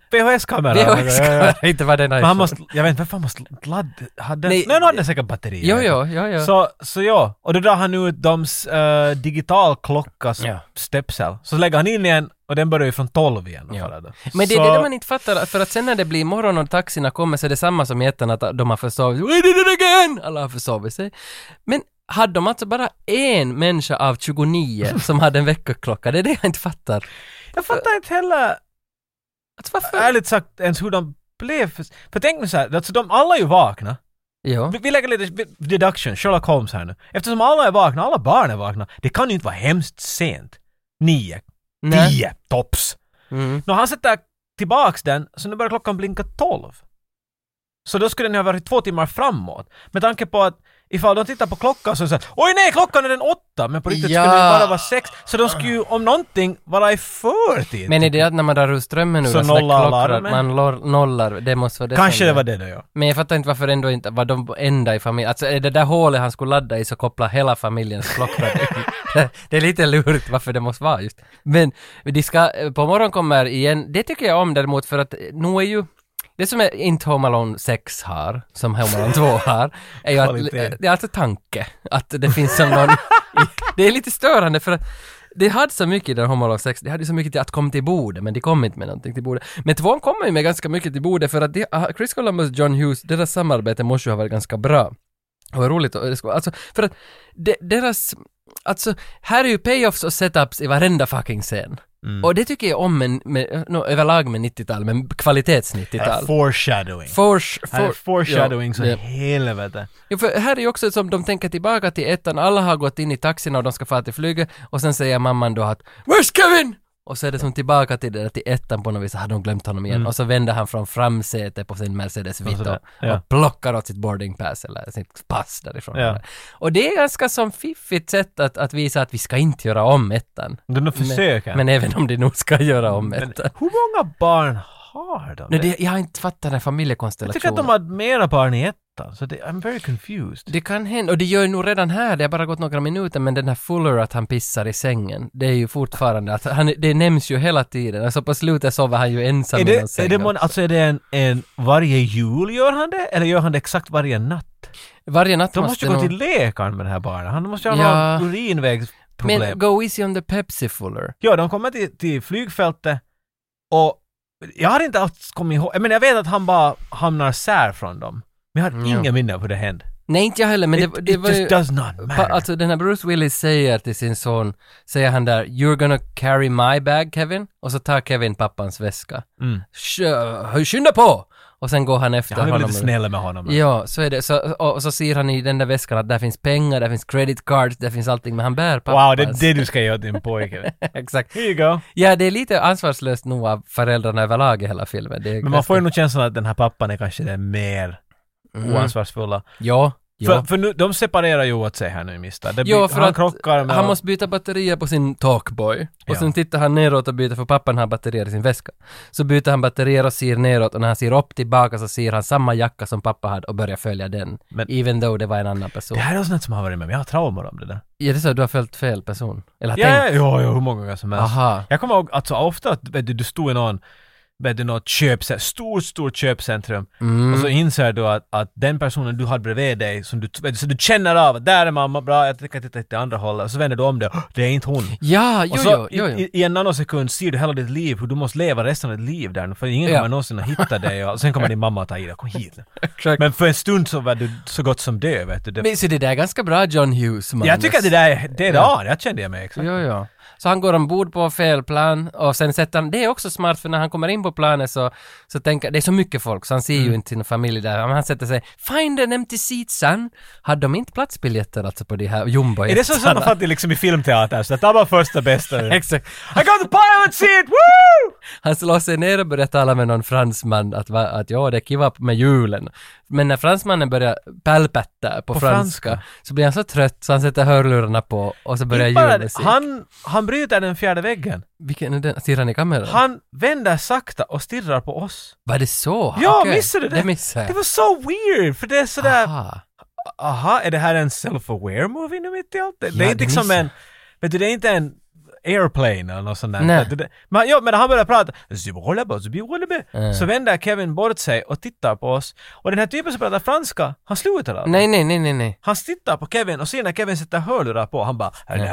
*laughs* VHS-kamera. Ja, ja, ja. VHS-kamera, inte vad den Men han iPhone. måste, jag vet inte, varför han måste ladda? Hade, Nej. nej, nej, nu hade han säkert batteri. Jo, jo, jo, jo. Så, så ja, och då drar han ut deras uh, digital klockas Ja. stepsel. Så lägger han in igen och den börjar ju från 12 igen. Ja. Bara då. Men det är så, det där man inte fattar, för att sen när det blir morgon och taxierna kommer så är det samma som i ettan att de har försovit We did it again! Alla har försovit sig. Men hade de alltså bara en människa av *laughs* 29 som hade en väckarklocka? Det är det jag inte fattar. Jag fattar inte heller. Alltså varför? Äh, ärligt sagt ens hur de blev. För, för tänk nu såhär, alltså de alla är ju vakna. Jo. Vi, vi lägger lite vi- deduction, Sherlock Holmes här nu. Eftersom alla är vakna, alla barn är vakna, det kan ju inte vara hemskt sent. Nio, Nej. tio, tops. Mm. Nå, han sätter tillbaks den, så nu börjar klockan blinka tolv. Så då skulle den ha varit två timmar framåt. Med tanke på att ifall de tittar på klockan så är det såhär Oj nej, klockan är den åtta! Men på riktigt Ja. skulle den bara vara sex. Så de skulle ju om någonting vara i förtid. Men är det att när man drar ur strömmen ur Så en sån där nollar klocka, alarmen? Man lor- nollar, det måste vara det Kanske som det var det då ja. Men jag fattar inte varför ändå inte var de enda i familjen. Alltså är det där hålet han skulle ladda i så kopplar hela familjens klocka in. Det är lite lurigt varför det måste vara just. Men de ska, eh, på morgon kommer igen, det tycker jag om däremot för att eh, nu är ju det som är inte Home Alone 6 har, som Home Alone 2 har, är ju Kvalitet. att det är alltså tanke. Att det finns som någon... det är lite störande för att det hade så mycket i den Home Alone 6, det hade ju så mycket till att komma till bordet, men de kom inte med någonting till bordet. Men tvåan kommer ju med ganska mycket till bordet för att de, ah, Chris Columbus och John Hughes, deras samarbete måste ju ha varit ganska bra. Och vad roligt, och det ska- alltså för att de, deras, alltså här är ju payoffs och setups i varenda fucking scen. Mm. Och det tycker jag om men med, no, överlag med 90-tal, men kvalitets-90-tal. Foreshadowing. Fors, Äh, Här är foreshadowing ja, så det- helvete. Jo, för här är ju också som de tänker tillbaka till ettan, alla har gått in i taxin och de ska fara till flyget och sen säger mamman då att ”Where's Kevin?” och så är det som tillbaka till det där till ettan på något vis, hade de glömt honom Mm. igen och så vänder han från framsätet på sin Mercedes Vito sådär, och, ja. plockar åt sitt boarding pass eller sitt pass därifrån. Ja. Och det är ganska som fiffigt sätt att, att visa att vi ska inte göra om ettan. De försöker. Men även om de nog ska göra om Men ettan. hur många barn har de? Nej, det, jag har inte fattat den här jag familjekonstellationen. tycker att de har mera barn i ettan, så det, I'm very confused. Det kan hända, och det gör ju nog redan här, det har bara gått några minuter, men den här Fuller att han pissar i sängen, det är ju fortfarande att han, det nämns ju hela tiden, alltså på slutet sover han ju ensam är i någon det, säng. är det mån, alltså är det en, en, varje jul gör han det? Eller gör han det exakt varje natt? Varje natt De måste, måste ju gå nog- till läkaren med det här barnet. Han måste ju Ja. ha någon urinvägsproblem. Men go easy on the Pepsi Fuller. Ja, de kommer till, till flygfältet och jag har inte alls kommit ihåg, men jag vet att han bara hamnar sär från dem. Men jag har Mm, ja. inga minnen på det hände. Nej, inte jag heller, men det, it, det it var just ju... does not Pa, matter. alltså den här Bruce Willis säger till sin son, säger han där “You're gonna carry my bag Kevin” och så tar Kevin pappans väska. Mm. Sh- “Skynda på!” och sen går han efter Ja, han är honom. lite snäll med honom. Ja, så är det. Så, och, och så ser han i den där väskan att där finns pengar, där finns credit cards, där finns allting, men han bär pappas. wow, det är det du ska göra till din pojke. *laughs* Exakt. Here you go. Ja, det är lite ansvarslöst nog av föräldrarna överlag i hela filmen. Det är Men man får ju nog känslan att den här pappan är kanske den mer Mm. oansvarsfulla. Ja, För, ja. för nu, de separerar ju åt sig här nu i Mista. Det blir, Ja, för han att krockar med... Han måste byta batterier på sin talkboy. Och Ja. sen tittar han neråt och byter, för pappan har batterier i sin väska. Så byter han batterier och ser neråt och när han ser upp tillbaka så ser han samma jacka som pappa hade och börjar följa den. Men- Even though det var en annan person. Det här är sånt som har varit med mig. Jag har traumor om det där. Ja, det är så att du har följt fel person. Eller Ja, ja, tänkt. ja, ja, hur många gånger som helst. Aha. Jag kommer ihåg, alltså ofta att vet du, du stod i någon, vet du, något köpcentrum, stort, stort köpcentrum. Mm. Och så inser du att, att den personen du hade bredvid dig, som du, vet du, så du känner av, att där är mamma, bra, jag tänker titta till andra hållet. Och så vänder du om det, det är inte hon. Ja, jo, Och jo, så jo, jo. I, i en nanosekund ser du hela ditt liv, hur du måste leva resten av ditt liv där nu, för ingen Ja. kommer någonsin att hitta dig och sen kommer din mamma att ta i dig, kom hit nu. Exakt. Men för en stund så var du så gott som död vet du. Det, Men så det där är ganska bra John Hughes, Magnus. jag tycker att det där, är- det är ja. där kände jag mig exakt. Jo, jo. Så han går ombord på fel plan och sen sätter han, det är också smart för när han kommer in på planet så, så tänker, det är så mycket folk så han ser Mm. ju inte sin familj där, men han sätter sig, find an empty seat son. Hade de inte platsbiljetter alltså på de här jumbo Är det så som man fattar liksom i filmteater, så att ta bara första *laughs* bästa. Exakt. I got the pilot seat! Woo! Han slår sig ner och börjar tala med någon fransman att, va, att ja, det är kiva med julen. Men när fransmannen börjar pälpätta på, På franska, franska. så blir han så trött så han sätter hörlurarna på och så börjar Inte bara det, julmusik. han, han bryter den fjärde väggen. Vilken är den? Stirrar han i kameran? Han vänder sakta och stirrar på oss. Var det så? Ja, Okej, missade du det? Det missade Det jag. var så weird, för det är sådär... Aha, Aha. är det här en self-aware movie nu mitt i allt? Det, Ja, det är det inte liksom missar. en... Vet du, det är inte en airplane eller något sånt där. Nej. Vet du, det- Men, ja, men han börjar prata. "Zibolabe, zibolabe." Mm. Så vänder Kevin bort sig och tittar på oss. Och den här typen som pratar franska, han slutar aldrig. Nej, nej, nej, nej, nej. Han tittar på Kevin och ser när Kevin sätter hörlurar på, han bara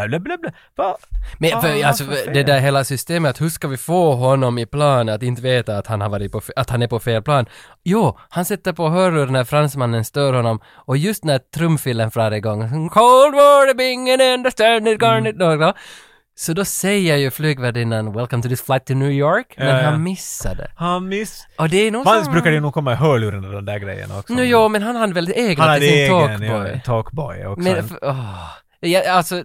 blablabla. Va? Men Ah, Vad har för, han alltså, för för fel? det där hela systemet, att hur ska vi få honom i plan att inte veta att han, har varit på, fe- att han är på fel plan? Jo, han sätter på hörlurar när fransmannen stör honom och just när trumfilen drar igång, Cold war, the bingen understand it, garnet, mm. Så då säger ju flygvärdinnan “Welcome to this flight to New York”, men Ja, ja. han missade. Han miss... Och det är nog Vanligtvis som- brukar det nog komma i hörlurarna de där grejerna också. Nu, ja, men han hade väl han egna hade till sin egen talkboy. talkboy. talkboy också. Men, för, åh. ja, alltså,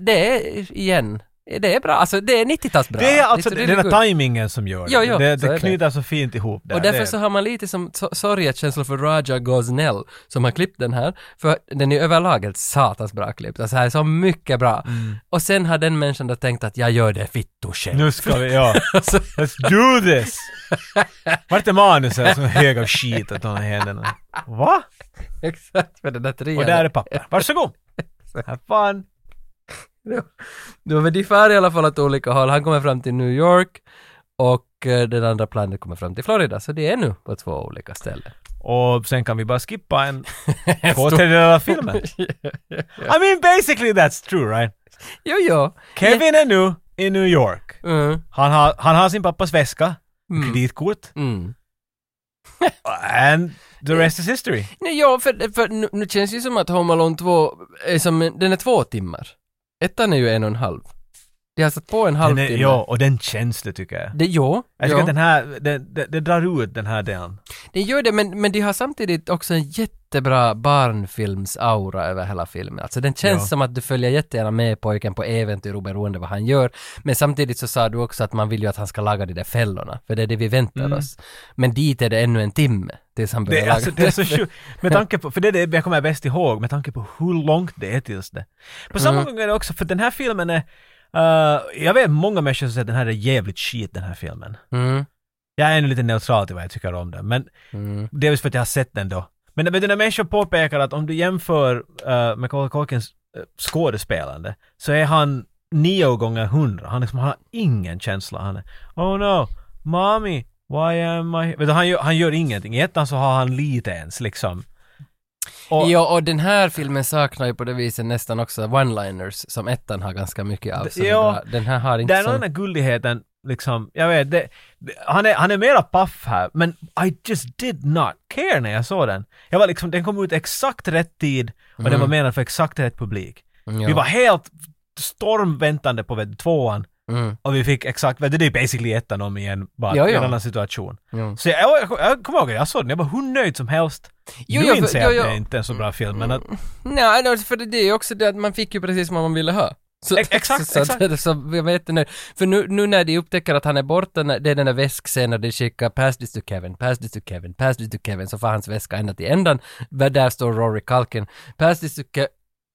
det är, igen, det är bra. Alltså, det är 90-talsbra. det är alltså It's den really där good. tajmingen som gör det. Ja, ja, det så är det det. knyter så fint ihop där. Och därför Det- så har man lite som so- sorgekänslor för Raja Gosnell som har klippt den här, för den är överlag helt satans bra klippt. Alltså här är så mycket bra. Och sen har den människan då tänkt att jag gör det fitto själv. Mm. Nu ska vi, ja. *laughs* Alltså, Let's do *laughs* this! Vart är manuset? Som en hög av skit att ta i händerna. Va? exakt för den där trean. Och där är papper. Varsågod! Have fun! Det var väl de far i alla fall åt olika håll. Han kommer fram till New York och eh, den andra planet kommer fram till Florida, så det är nu på två olika ställen. Och sen kan vi bara *laughs* skippa en två tredjedelar av filmen. I mean basically that's true right? Jo, jo. Kevin är nu i New York. Mm. Han har, han har sin pappas väska, kreditkort, Mm. and the rest is history. Nej, ja, för, för nu, nu känns det ju som att Home Alone 2 är som, en- den är två timmar. Ettan är ju en och en halv. De har satt på en halv Den är, timme. ja, och den känns det tycker jag. Det, ja, Jag tycker ja. att den här, den, den, den drar ut den här delen. det gör det, men, men de har samtidigt också en jättebra barnfilmsaura över hela filmen. Alltså den känns Ja. som att du följer jättegärna med pojken på äventyr oberoende vad han gör. Men samtidigt så sa du också att man vill ju att han ska laga de där fällorna, för det är det vi väntar oss. Men dit är det ännu en timme tills han börjar Mm. Det, är- laga. alltså, det är *laughs* så sjukt. Med tanke på, för det är det jag kommer bäst ihåg, med tanke på hur långt det är tills det. På samma gång är det också, för den här filmen är, eh, jag vet många människor som säger att den här är jävligt shit den här filmen. *laughs* Mm, Jag är ännu lite neutral till vad jag tycker om den, men mm, delvis för att jag har sett den då. Men, men när människor påpekar att om du jämför uh, Macaulay Culkins eh, skådespelande så är han nio gånger hundra. Han liksom har ingen känsla. Han är Oh no, mommy, why am I... Vet du, han, gör, han gör ingenting. I ettan så har han lite ens liksom. Och, Ja, och den här filmen saknar ju på det viset nästan också one-liners som ettan har ganska mycket av. Så Ja. den där- den här har inte Den sån... andra gulligheten, liksom, jag vet, det, det- han, är, han är mera paff här, men I just did not care när jag såg den. Jag var liksom, den kom ut exakt rätt tid och den var menad för exakt rätt publik. Mm, Ja. Vi var helt stormväntande på vet, du, tvåan Mm. och vi fick exakt, vet, du, det är basically ettan om igen, bara Ja, i en ja. annan situation. Ja. Så jag, jag, jag, jag kommer ihåg, jag såg den, jag var hur nöjd som helst. Jo, nu ja, för- inser jo, Mm. jag att ja. det är inte är en så bra film, men att, Nej, nej, för det är ju också det att man fick ju precis vad man ville ha. Så, Ex- *laughs* exakt, så, så, exakt. Så, jag vet inte. För nu, nu när de upptäcker att han är borta, när- det är den där väskscenen där de skickar “Pass this to Kevin, pass this to Kevin, pass this to Kevin” så får hans väska ända till ändan. Där där står Rory Culkin. “Pass this to Kevin”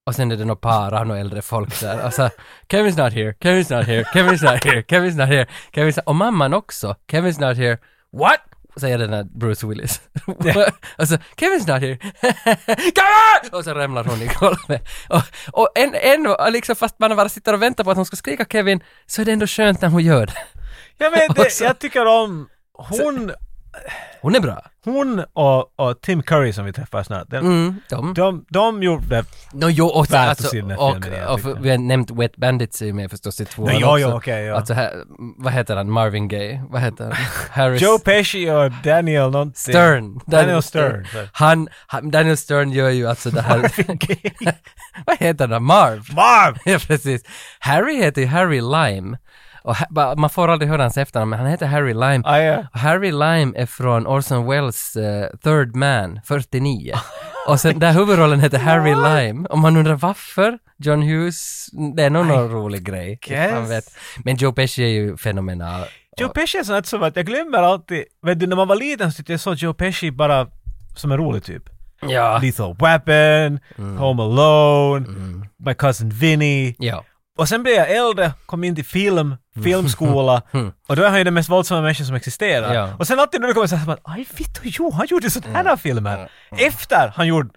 och sen är det några par av några äldre folk där. Alltså, “Kevin's not here, Kevin's not here, Kevin's not here, Kevin's not here, Kevin's not...” Och mamman också. “Kevin's not here, what?” säger den där Bruce Willis. *laughs* och så “Kevin's not here, *laughs* Kevin!” Och så ramlar hon i golvet. Och, och en, en, liksom fast man bara sitter och väntar på att hon ska skrika Kevin, så är det ändå skönt när hon gör det. jag vet, det, Och så- jag tycker om hon, Hon är bra. hon och, och Tim Curry som vi träffar snart, den, Mm, de. de, de gjorde No, jo, och, så, Värt att alltså, se den här och, filmen, jag och, tycker. vi har nämnt Wet Bandits är ju med förstås i tvåan Nej, ja, också. ja, okej, ja. Alltså, här, vad heter han, Marvin Gaye? Vad heter *laughs* han? Harris? Joe Pesci och Daniel någonting. Stern. Daniel Stern. Stern. Han, han, Daniel Stern gör ju alltså det här... *laughs* vad heter han? Marv? *laughs* Marv! ja, precis. Harry heter ju Harry Lime. Och ha, ba- man får aldrig höra hans efternamn, men han heter Harry Lime. Ah, ja. Och Harry Lime är från Orson Welles eh, Third Man, 49. Och sen där huvudrollen heter Harry Lime. Om man undrar varför, John Hughes, det är nog någon rolig grej. Man guess. vet. Men Joe Pesci är ju fenomenal. Joe Pesci är sånt som att jag glömmer alltid, vet du när man var liten så tyckte jag såg Joe Pesci bara som en rolig typ. Ja. Lethal Weapon, Mm. Home Alone, My Cousin Vinny. Ja. Och sen blev jag äldre, kom in till film, Mm. *laughs* filmskola och då är han ju den mest våldsamma människan som existerar. Ja. Mm. Och sen alltid när det kommer så här som att aj vittu jo, han gjorde sådana här filmer. Efter han gjorde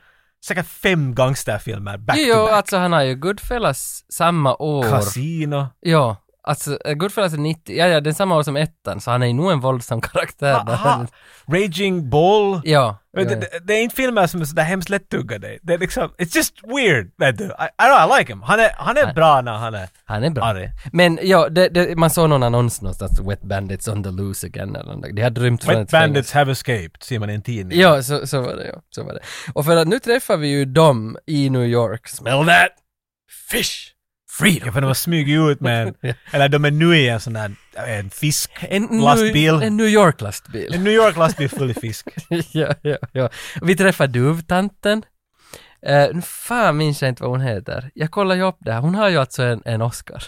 säkert fem gangsterfilmer back to Jo, back. alltså han har ju Goodfellas samma år. Casino. Ja. Alltså, eh, Goodfellas är 90, ja, ja, den samma år som ettan, så han är ju nog en våldsam karaktär. där. Aha, Raging Bull. Ja. Men ja, det, det, det är inte filmer som är sådär hemskt lättuggade. Det är liksom, it's just weird. Vet du. I, I, don't know, I like him. Han är, han är bra när han är Han är bra. arg. Men ja, det, det, man såg någon annons någonstans, Wet Bandits on the loose again eller något. De hade rymt från Wet ett fängelse. bandits have escaped, ser man i en tidning. Ja, så, så var det ja. Så var det. Och för att nu träffar vi ju dem i New York. Smell that! Fish! Freedom! Ja, för de har smugit *laughs* ut med en... Eller de är nu i en sån där... En fisk... En, New- lastbil. en New York-lastbil. En New York-lastbil full i fisk. *laughs* ja, ja, ja. Vi träffade duvtanten. Eh, nu fan minns jag inte vad hon heter. Jag kollar ju upp det här. Hon har ju alltså en, en Oscar.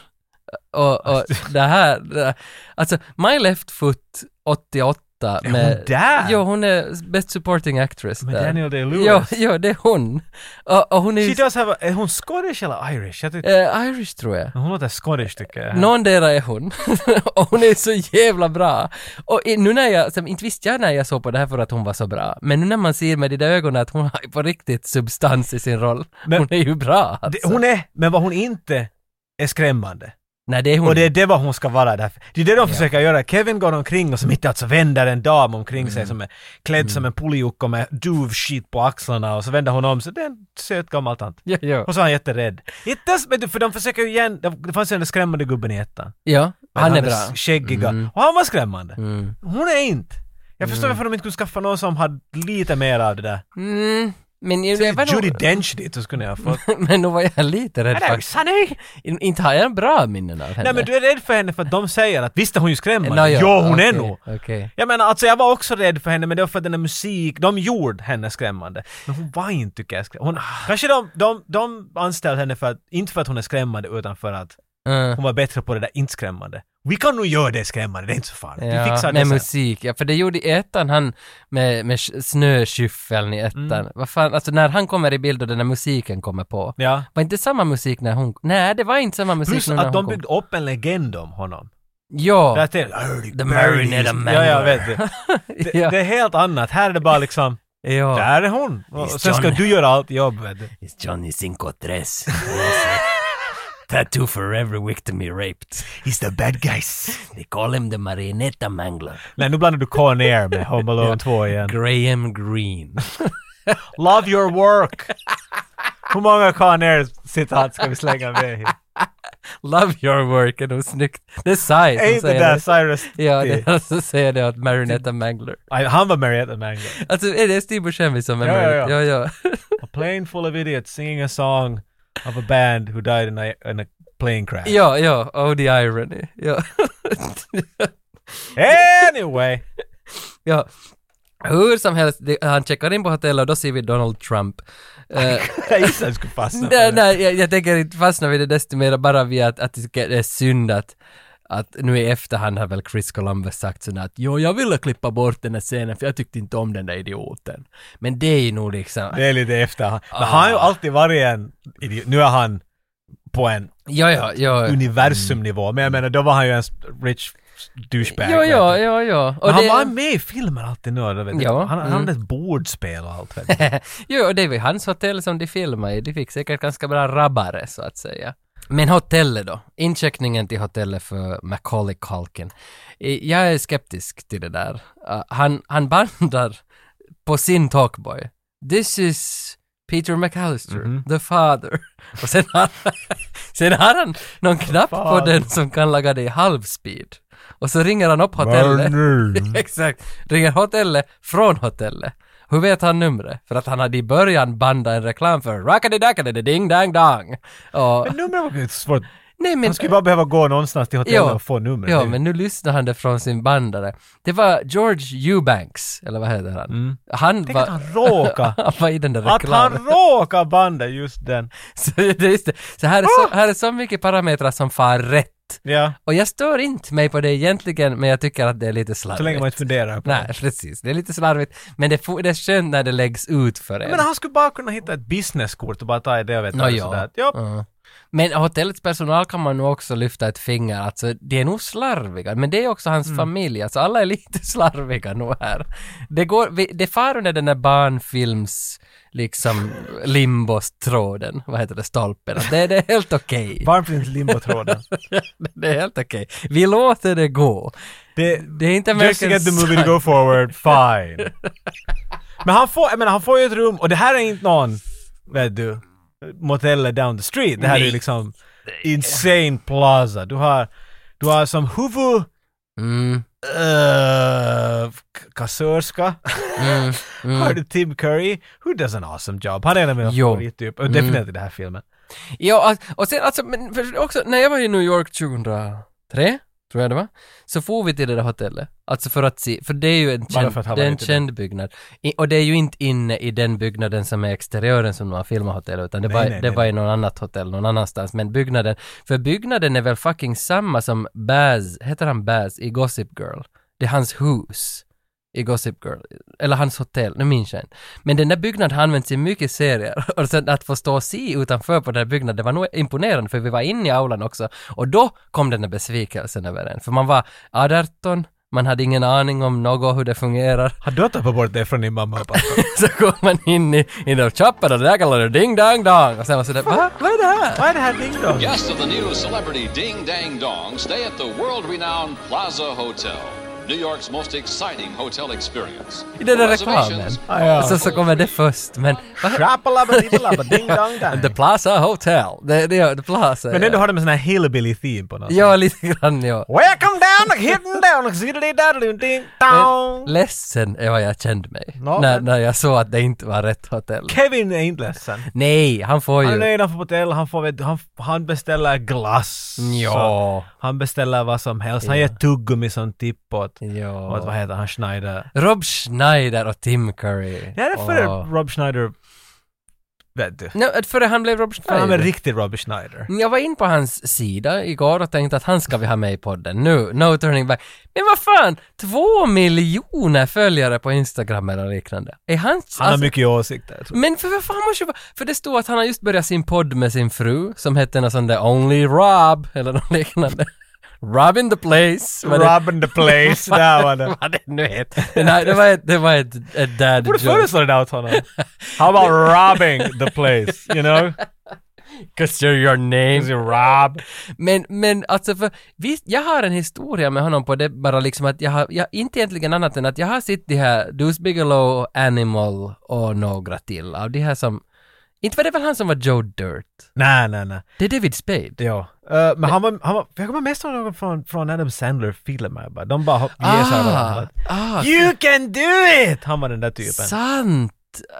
Och, och det här, det här- alltså My Left Foot 88 Är hon där? Jo, hon är Best Supporting Actress Med där. Daniel Day-Lewis. Jo, jo, det är hon. Och, och hon är ju She does have a, är hon Scottish eller Irish? Jag tyckte, eh, Irish tror jag. hon låter Scottish tycker jag. Någondera är hon. *laughs* och hon är så jävla bra. Och i- nu när jag, som, inte visste jag när jag såg på det här för att hon var så bra, men nu när man ser med de där ögonen att hon har ju på riktigt substans i sin roll. Men- hon är ju bra Det, alltså. hon är, men vad hon inte är skrämmande. Nej, det är hon. Och det är det vad hon ska vara där. Det är det de försöker göra. Kevin går omkring och så mitt i allt så vänder en dam omkring Mm. sig som är klädd som en puljocka med duvskit på axlarna och så vänder hon om så det är en söt gammal tant. Ja, ja. Och så är han jätterädd. Inte ens, men du, för de försöker ju igen, det det fanns ju den där skrämmande gubben i ettan. ja Men han är med bra. Mm. Skäggiga. Och han var skrämmande. Hon är inte. Jag förstår varför de inte kunde skaffa någon som hade lite mer av det där. Mm, men ju- det var Judi nog, Dench dit så skulle jag ha *laughs* fått. men nu var jag lite rädd Hello, faktiskt. Sonny! In- Inte har jag bra minnen av henne. Nej men du är rädd för henne för att de säger att visst är hon ju skrämmande. Nå, jo, ja, hon är okej, nog. Okej. Jag menar alltså jag var också rädd för henne men det var för att den där musik, de gjorde henne skrämmande. Men hon var inte tycker jag skrämmande. Hon, Ah. kanske de, de, de anställde henne för att, inte för att hon är skrämmande utan för att Mm. hon var bättre på det där inte skrämmande. Vi kan nog göra det skrämmande, det är inte så farligt. Ja, Vi fixar det med sen. musik, ja, för det gjorde i ettan han med, med sh- snöskyffeln i ettan. Mm. Vad fan, alltså när han kommer i bild och den där musiken kommer på. Ja. Var inte samma musik när hon Nej, det var inte samma musik Plus nu när att de hon byggde upp en legend om honom. Ja, *laughs* Där till, The Marinetta Man. Ja, jag vet det. Det, ja, det är helt annat. Här är det bara liksom, ja. där är hon. Och sen ska Johnny. du göra allt jobb vet du. It's Johnny Cinco Tres. *laughs* Tattoo for every victim he raped. He's the bad guys. They call him the Marinetta Mangler. Nej, nu blandar du Con Air med Home Alone 2 igen. Graham Green. Love your work! Hur många Con Air-citat ska vi slänga med *laughs* hit? *laughs* Love your work, är nog snyggt. Det är Sai Är som inte säger det det. Cyrus Ja, T? det, alltså säger det att Marinetta Mangler. Nej, Han var Marietta Mango. Alltså är det Steve Buscemi som är Ja, ja, med? ja. Ja, ja. *laughs* A plane full of idiots singing a song of a band who died in a, in a plane crash. ja, ja. Oh the irony. Ja. *laughs* Anyway! ja. Hur som helst, det- han checkar in på hotellet och då ser vi Donald Trump. Eh, Jag gissade att du er skulle fastna på nej, det. er nej, jag, jag tänker inte fastna vid det desto mer bara vid att, att det är synd att att nu i efterhand har väl Chris Columbus sagt sådär att jo, jag ville klippa bort den här scenen för jag tyckte inte om den där idioten. Men det är ju nog liksom... Det Ah. är lite efter. Men han har ju alltid varit en idiot. Nu är han på en Ja, ja, ja. universumnivå. Men jag menar, då var han ju en rich douchebag. Ja, vet du. ja, ja, ja. Och Men han det- var med i filmer alltid nu, då, vet du. Ja, Han, han er mm. hade ett bordspel och allt. Vet du. *laughs* Jo, och det var ju hans hotell som de filmade i. De fick säkert ganska bra rabbare, så att säga. Men hotellet då? Incheckningen till hotellet för Macaulay Culkin. Eh, Jag är skeptisk till det där. Eh, han, han bandar på sin talkboy. This is Peter McAllister, the father. Och sen har, *laughs* sen har han någon knapp på father. den som kan laga det i halvspeed. Och så ringer han upp hotellet. *laughs* Exakt. Ringer hotellet från hotellet. Hur vet han numret? För att han hade i början bandat en reklam för Rockadidakadidi ding dang dang. Och, Men numret var ju inte svårt. nej men... Han skulle bara behöva gå någonstans till hotellet och få numret. ja, Det är ju- men nu lyssnar han det från sin bandare. Det var George Eubanks, eller vad heter han? Han Tänk var... att Mm. han råkade. *laughs* han var i den där Att han reklamen. *laughs* råkar banda just den. Så, det är just det. så här är så, här är så mycket parametrar som far rätt. Ja, Och jag stör inte mig på det egentligen, men jag tycker att det är lite slarvigt. så länge man inte funderar på det. Nej, precis. Det är lite slarvigt, men det, får- det är skönt när det läggs ut för en. Men han skulle bara kunna hitta ett businesskort och bara ta i det och vet Nå, du, ja. sådär att, ja. Ja. Men hotellets personal kan man nog också lyfta ett finger, alltså det är nog slarviga, men det är också Mm. hans familj, alltså alla är lite *laughs* slarviga nog här. Det, går, vi- det far under den där barnfilms, liksom limbostråden, vad heter det, stolpen, Att det, det är helt okej. Barnprins limbotråden. *laughs* Det är helt okej. Vi låter det gå. Det, *laughs* Det är inte Just to get the movie to go forward, fine. Men han får, jag menar, han får ju ett rum och det här är inte någon, vet du, motellet down the street. Det här är ju Nej. liksom insane plaza. Du har, du har som huvud... Mm, eh, k- kassörska. mm, Har mm. du Tim Curry, who does an awesome job. Han är en av mina Jo. favorittyper, och definitivt i den här filmen. Ja, och- och sen alltså, men för- också, när jag var i New York 2003, tror jag det var, så får vi till det där hotellet. Alltså för att se, för det är ju en Bara känd, för att han det är var en inte känd byggnad. I, och det är ju inte inne i den byggnaden som är exteriören som man filmar hotellet, utan det, Nej, var, nej, det nej, var i någon annat hotell någon annanstans. Men byggnaden, för byggnaden är väl fucking samma som Baz, heter han Baz i Gossip Girl? Det är hans hus i Gossip Girl, eller hans hotell, nu minns jag inte. Men den där byggnaden har använts i mycket serier *laughs* och sen att få stå och se utanför på den där byggnaden, det var nog imponerande för vi var inne i aulan också och då kom den där besvikelsen över en. För man var 18, man hade ingen aning om något, hur det fungerar. Har du tappat bort det från din mamma och pappa? Så går man in i, i den shoppen och det där kallar det ding dang dang och sen var sådär, *laughs* va? Vad är det här? Vad är det här ding dong? Guests of the new celebrity Ding Dang Dong stay at the world renowned Plaza Hotel, New York's most exciting hotel experience. I den där reklamen. Reservations- Ah, Och sen så kommer det först, men vad- *laughs* Shrapalabba ding dong dang. The Plaza Hotel. Det, det, är The Plaza. Men ja. ändå har de en sån här hillbilly theme på något Ja, lite grann ja. Welcome down, hidden down, zidididaddling, ding Eh, dong. Ledsen är vad jag kände mig. Nå, när, men- när jag såg att det inte var rätt hotell. Kevin är inte ledsen. Nej, han får Han är ju... nöjd, han får hotell, han, får, vet, du, han, han beställer glass. Ja. Han beställer vad som helst. Han ger tuggummi som tipp åt, åt vad Ja. heter han, Schneider. Rob Schneider och Tim Curry. Det är därför Åh. Rob Schneider, vet du. Nej, att före han blev Rob För Schneider. han är riktig Rob Schneider. Mm, jag var in på hans sida igår och tänkte att han ska vi ha med i podden nu, no turning back. Men vad fan, två miljoner följare på Instagram eller liknande. Är han... alltså, Han har mycket åsikter. jag tror. Men för vad fan måste jag vara- För det stod att han har just börjat sin podd med sin fru som hette något sånt där Only Rob eller något liknande. Rob in the place. Mm. vad det- Rob in the place, där *laughs* var det. Vad det nu heter. Det, nej, det var ett, det var ett, ett dad Borde joke. föreslå det där åt honom. *laughs* How about robbing the place, you *laughs* know? 'Cause you're your name. Is it rob? Men, men alltså för, visst, jag har en historia med honom på det bara liksom att jag har, jag, inte egentligen annat än att jag har sett de här Deuce Bigelow, Animal och några till av de här som, inte var det väl han som var Joe Dirt? Nej, nej, nej. Det är David Spade. Ja. Eh, men han var, han var, jag kommer mest ihåg någon från, från Adam Sandler-filmer bara. De bara hopp, ger sig varandra. ah, You can do it! Han var den där typen. sant!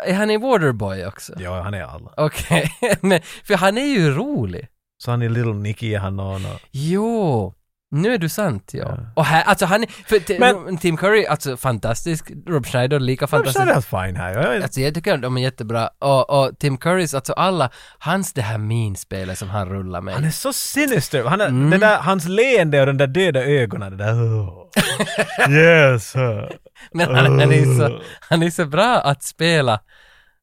Är han i Waterboy också? Ja, han är alla. Okej, *laughs* men för han är ju rolig. Så han är Little Nicky, han och... och Jo, nu är du sant ja. Och här, alltså han är, för t- Men- Tim Curry, alltså fantastisk, Rob Schneider lika Robert fantastisk. Schneider är fine här. Jag, *laughs* jag, Alltså jag tycker de är jättebra. Och, och Tim Currys, alltså alla, hans det här minspelet som han rullar med. han är så sinister. Han är, Mm. det där, hans leende och den där döda ögonen, det där... "Oh, yes! uh." Men han, han, är Oh. så, han är så bra att spela,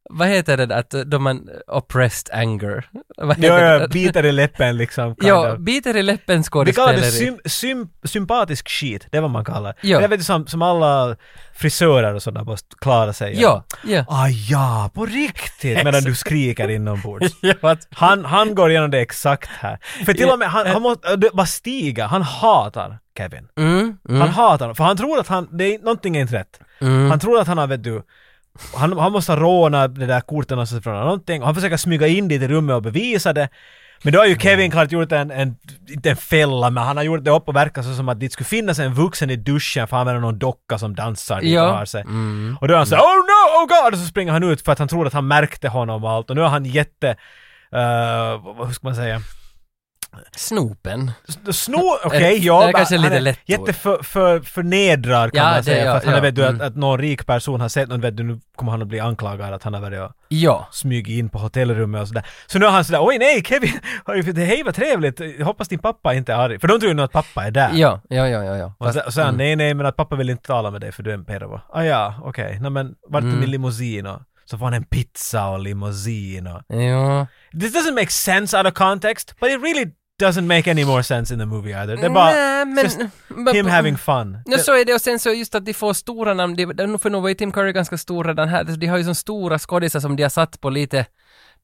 vad heter det där, att då man, oppressed anger. *laughs* Vad heter Ja, det? jag biter i läppen liksom. kind Ja, of. biter i läppen Vi kallar det skådespeleri. sym, sym, sympatisk shit, det är vad man kallar det. Ja. Det är väl som, som alla frisörer och sådana måste klara sig. Ja, ja. Ah ja, på riktigt! Medan du skriker inombords. *laughs* Ja, att- Han, han går igenom det exakt här. För till och med, han, han måste, det- bara stiga, han hatar Kevin. Mm, mm. Han hatar honom, för han tror att han, det är, någonting är inte rätt. Han tror att han har, vet du, han, han måste ha rånat det där kortet någonstans från någonting. Och han försöker smyga in dit i rummet och bevisa det. Men då har ju Mm. Kevin klart gjort en, en, inte en fälla, men han har gjort det upp och verkar så som att det skulle finnas en vuxen i duschen för han använder någon docka som dansar dit Ja. Mm. och har sig. Och då är han såhär ”Oh no, oh god” och så springer han ut för att han trodde att han märkte honom och allt. Och nu är han jätte... eh, vad- hur ska man säga? Snopen. Sno, okej, Eh, ja. det är men kanske han lite är lätt ord. Jätteförnedrad för, förnedrad kan Ja, det- man säga. ja, för att han ja, är, vet du, att, mm. att någon rik person har sett någon, vet du, nu kommer han att bli anklagad att han har varit och Ja. smugit in på hotellrummet och sådär. Så nu är han sådär, oj nej Kevin, *laughs* hej vad trevligt, jag hoppas din pappa inte är arg. För de tror ju nog att pappa är där. Ja, Mm. ja, ja, ja. ja. Och Fast, så, så är han, nej nej men att pappa vill inte tala med dig för du är en pedo. Ah ja, okej, nej men vart är Mm. min limousin och så får han en pizza och limousin och... Mm. ja. This doesn't make sense out of context, but it really doesn't make any more sense in the movie either. Det är bara Nej, men- just men- him having fun. Nu så är det och sen så just att de får stora namn, de, de, för nog var ju Tim Curry ganska stor redan här, alltså de har ju så stora skådisar som de har satt på lite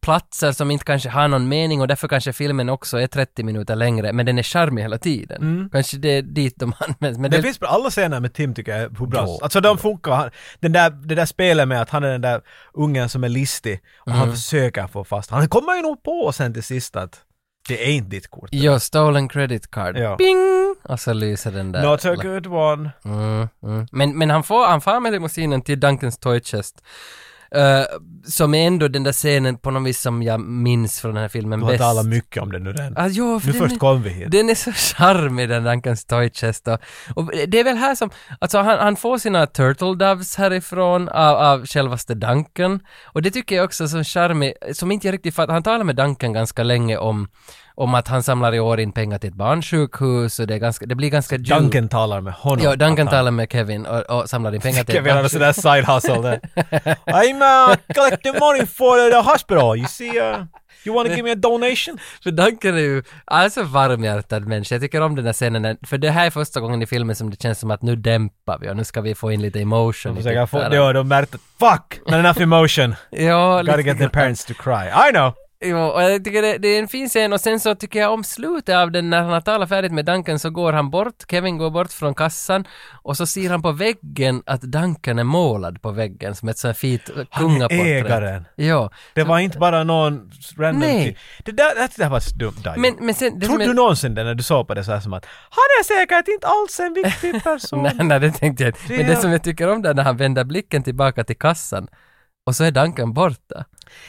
platser som inte kanske har någon mening och därför kanske filmen också är 30 minuter längre, men den är charmig hela tiden. Kanske det är dit de *laughs* används, men Mm. Det, det, finns bra, alla scener med Tim tycker jag är hur bra. Ja. Alltså de funkar. Han, den där, det där spelet med att han är den där ungen som är listig och han Mm. försöker få fast. Han kommer ju nog på sen till sist att det är inte ditt kort. Ja, stolen credit card. Ja. Bing! Och så lyser den där. Not a good one. Mm, mm. Men, men han får, han far med limousinen till Dunkens Toy Chest. Eh, som är ändå den där scenen på något vis som jag minns från den här filmen Du har bäst. talat mycket om det nu redan. Ah, jo, för Nu den först är- kom vi hit. Den är så charmig den Duncan Stoichest och, och det är väl här som, alltså han, han får sina turtle doves härifrån av, av självaste Duncan och det tycker jag också är så charmig, som inte jag riktigt fattar, han talar med Duncan ganska länge om, om att han samlar i år in pengar till ett barnsjukhus och det, är ganska, det blir ganska djupt. Duncan talar med honom. Ja, Duncan Att han- talar med Kevin och, och samlar in *laughs* pengar till ett Kevin hade barnsjukhus. sån där side hustle *laughs* där. I'm uh, collecting money for the hospital. You see, uh, you wanna give me *laughs* a donation? För Duncan är ju, han är så varmhjärtad människa. Jag tycker om den här scenen, för det här är första gången i filmen som det känns som att nu dämpar vi och nu ska vi få in lite emotion i Försöka få, tittaren. det har de märkt att fuck! Not *laughs* enough emotion. Ja, Gotta get their parents to cry. I know! ja, och jag tycker det, det är en fin scen och sen så tycker jag om slutet av den när han har talat färdigt med Duncan så går han bort, Kevin går bort från kassan och så ser han på väggen att Duncan är målad på väggen som ett sånt här fint kungaporträtt. ägaren. Ja. Det var inte bara någon random Nej. kid. Det där, det där var så dumt Dajo. Men, men sen... det som Trodde är- du någonsin det när du såg på det så här som att han är säkert inte alls *laughs* en viktig person? Nej, alltså nej, det tänkte jag inte. Men det är- som jag tycker om det är när han vänder blicken tillbaka till kassan och så är Duncan borta.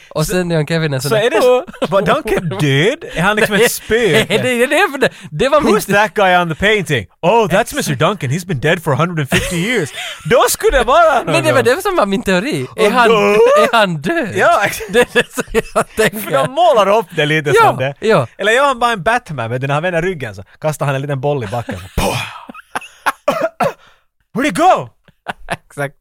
Och sen gör Kevin en sån så där- är *laughs* det så... Var Duncan död? Är han liksom ett Nej, *laughs* det, spöke? det, det, det, det var Who's min... that guy on the painting? Oh, that's Mr Duncan. He's been dead for 150 years. Då skulle det vara någon. Men det var det som var min teori. Är Och han, då- är han död? Ja, *laughs* exakt. Det är det som jag För tänker. de målar upp det lite Ja, som det. ja. Eller gör han bara en Batman, vet du, när han vänder ryggen så kastar han en liten boll i *laughs* backen. Så, pow! Where'd it go? Exakt.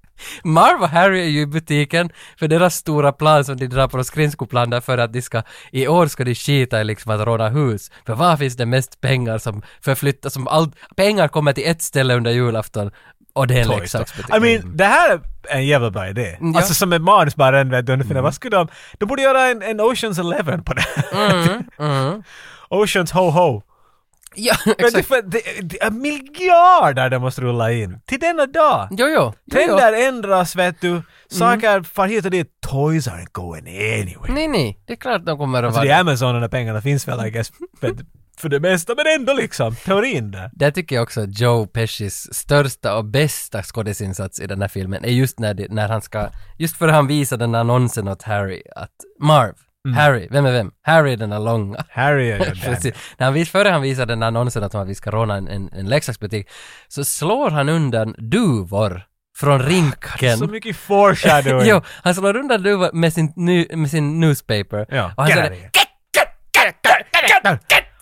Marv och Harry är ju i butiken för deras stora plan som de drar på skridskoplan där för att de ska, i år ska de skita i liksom att råna hus. För var finns det mest pengar som förflyttas, som allt, pengar kommer till ett ställe under julafton och det är liksom- en leksaksbutik. I mean, det här är en jävla bra idé. Ja. Mm. Alltså som en manus bara en vet du, ungefär. Vad skulle de... De borde göra en, en Oceans Eleven på det Mm, *laughs* Oceans Ho Ho. Ja, Men det, är exakt. för, det, det är miljarder de måste rulla in. Till denna dag. Jo, jo. jo, jo. Trender ändras vet Mm. du. Saker far hit och dit. Toys aren't going anywhere. Nej, nej, det är klart de kommer att Alltså vara... det är Amazon och de pengarna finns väl I guess. För, för det mesta men ändå liksom. Teorin där. Där tycker jag också att Joe Pescis största och bästa skådisinsats i den här filmen är just när, det, när han ska, just för han visar den här annonsen åt Harry att Marv, Harry, vem är vem? Harry är den där långa. Harry Mm. är *laughs* ju där. Precis. När han vis, före han visar den här annonsen att vi ska råna en, en, en leksaksbutik så slår han undan duvor från rinken. Ah, Så mycket *laughs* foreshadowing. Jo, han slår undan duvor med sin, ny, med sin newspaper. Ja. Och han Get säger, out of here.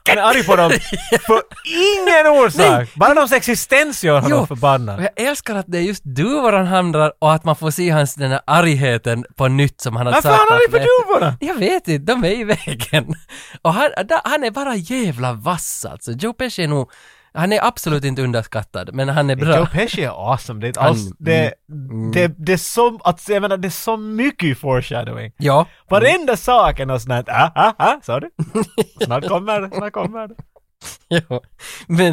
Han är arg *laughs* på dem för ingen Nej. orsak. Bara deras existens gör honom och förbannad. jag älskar att det är just duvor han hamnar och att man får se hans den här argheten på nytt som han har Varför är han arg på med- duvorna? Jag vet inte, de är i vägen. Och han, där- han är bara jävla vass alltså. Joe Pesci är nog, han är absolut inte underskattad, men han är Joe bra. Pesci är awesome. Det är, inte Han- alls, det, det, det är så, alltså, jag menar, det är så mycket foreshadowing. Ja. *laughs* Varenda sak är något sånt här, ah, ah, ah, sa du? Snart kommer det, snart kommer det. ja. Men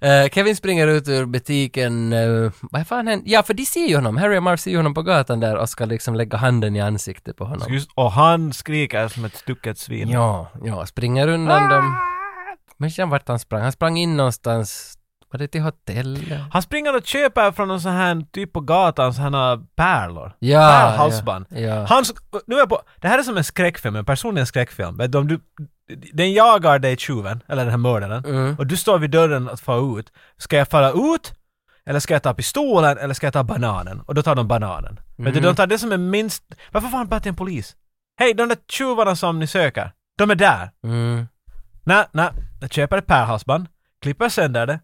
eh, Kevin springer ut ur butiken, eh, vad fan händer? Ja, för de ser ju honom, Harry och Marv ser ju honom på gatan där och ska liksom lägga handen i ansiktet på honom. Just, och han skriker som ett stucket svin. Ja, ja, springer undan dem. Men sen vart han sprang, han sprang in någonstans, var det till hotellet? Han springer och köper från någon sån här typ på gatan, så han har pärlor. Ja, Pärlhalsband. ja, ja. Hans, nu är jag på, det här är som en skräckfilm, en personlig skräckfilm. Vet du, om du, den jagar dig tjuven, eller den här mördaren, Mm. och du står vid dörren att fara ut. Ska jag fara ut? Eller ska jag ta pistolen? Eller ska jag ta bananen? Och då tar de bananen. Vet du, de tar det som är minst... Varför fan bara till en polis? Hej, de där tjuvarna som ni söker, de är där. Mm. Nej, nej. Jag köper ett pärlhalsband, klipper sönder det,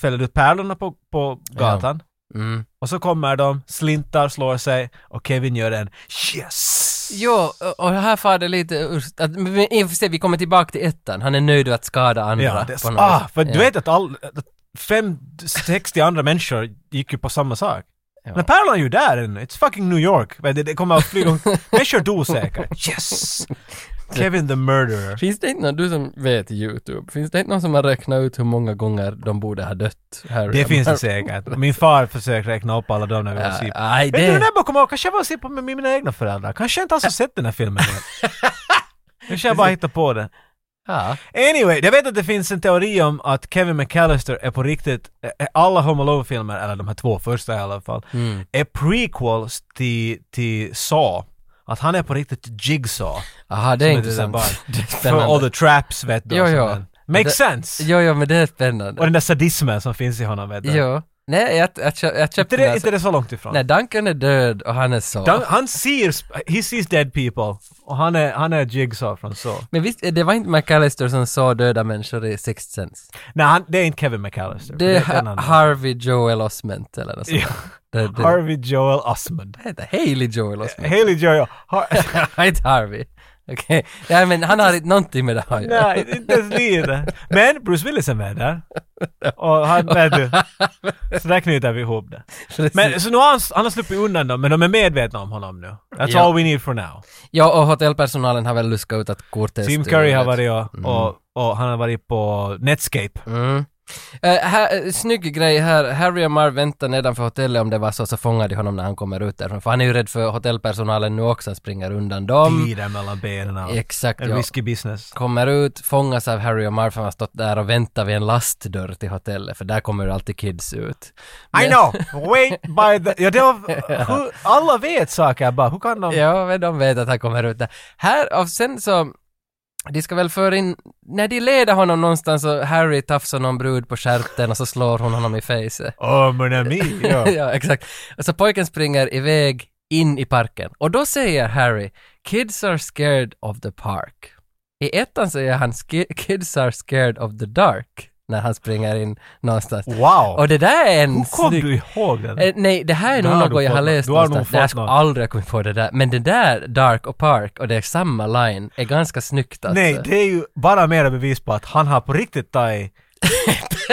fäller ut pärlorna på, på gatan. Mm. Och så kommer de, slintar, slår sig och Kevin gör en yes! Jo, och här far det lite ur... Att, men i och för sig, vi kommer tillbaka till ettan. Han är nöjd att skada andra. Ja, det är på så, något ah, vis. för du Ja. vet att all, att 5, 60 andra människor gick ju på samma sak. Men pärlan är ju där ännu, it's fucking New York. Men Det, det kommer att *laughs* flyga om- människor dog säkert. Yes! Kevin the murderer. Finns det inte någon, du som vet YouTube, finns det inte någon som har räknat ut hur många gånger de borde ha dött? Harry Det och finns det Marv? säkert. Min far försöker räkna upp alla dem när vi var Ja, sip. nej, Vet du, det- den där bakom mig, kanske jag var och se på med mina egna föräldrar. Kanske jag inte alls har sett den här filmen *laughs* än. Kanske jag bara hittar på den. Ja. Anyway, jag vet att det finns en teori om att Kevin McAllister är på riktigt, eh, alla Home Mm. Alone-filmer, eller de här två första i alla fall, är prequels till, till Saw. Att han är på riktigt jigsaw. Aha, det är Som intressant. där *laughs* Det är barn. För spännande. all the traps vet du. Jo, och sånt jo. där. Men det- Makes sense! Jo, jo, men det är Och spännande. den där sadismen som finns i honom vet du. Jo. Nej, jag, jag, jag, jag köpte Inte den det, här inte det så långt ifrån. Nej, Duncan är död och han är så. Dan, han ser, sp- he sees dead people. Och han är, han är jigsaw från så. men visst, det var inte McAllister som sa döda människor i Sixth Sense? Nej, han, det är inte Kevin McAllister. för Det är en annan. Ha- Harvey Joel Osment eller något sånt Ja. där. Det, det, Harvey Joel Osmond. vad heter Haley Joel Osment. Haley Joel... *laughs* Har, inte Harvey. Okej. Nej, men han har inte någonting med det här att göra. Nej, inte ens lite. Men Bruce Willis är med där. Och han med du. Så där knyter vi ihop det. *laughs* Precis. Men så nu har han, han har sluppit undan dem, men de är medvetna om honom nu. That's Ja. all we need for now. Ja, och hotellpersonalen har väl luskat ut att kortet... Tim Curry har varit och, och, och han har varit på Netscape. Mm. Eh, här, eh, snygg grej här, Harry och Marv väntar nedanför hotellet om det var så, så fångar de honom när han kommer ut därifrån. För han är ju rädd för hotellpersonalen nu också, han springer undan dem. Glider mellan benen och Exakt, en ja. risky business. Kommer ut, fångas av Harry och Marv, han har stått där och väntat vid en lastdörr till hotellet, för där kommer ju alltid kids ut. I know! Wait by the... Ja, det var, *laughs* hur, alla vet saker bara, hur kan de... Ja, men de vet att han kommer ut där. Här, och sen så, de ska väl föra in, när de leder honom någonstans så Harry tafsar någon brud på stjärten och så slår hon honom i facet. Oh, mon ami! Ja. *laughs* ja, exakt. Så pojken springer iväg in i parken. Och då säger Harry, kids are scared of the park. I ettan säger han, "Ski- *laughs* kids are scared of the dark, när han springer in någonstans. Wow! Och det där är en Hur kom snygg- du ihåg den? Eh, nej, det här är Det nog har du något jag fått har nå- läst du har nog någonstans. Nej, jag fått skulle något. aldrig komma på det där. Men det där, Dark och Park, och det är samma line, är ganska snyggt alltså. Nej, det är ju bara mera bevis på att han har på *laughs* riktigt tagit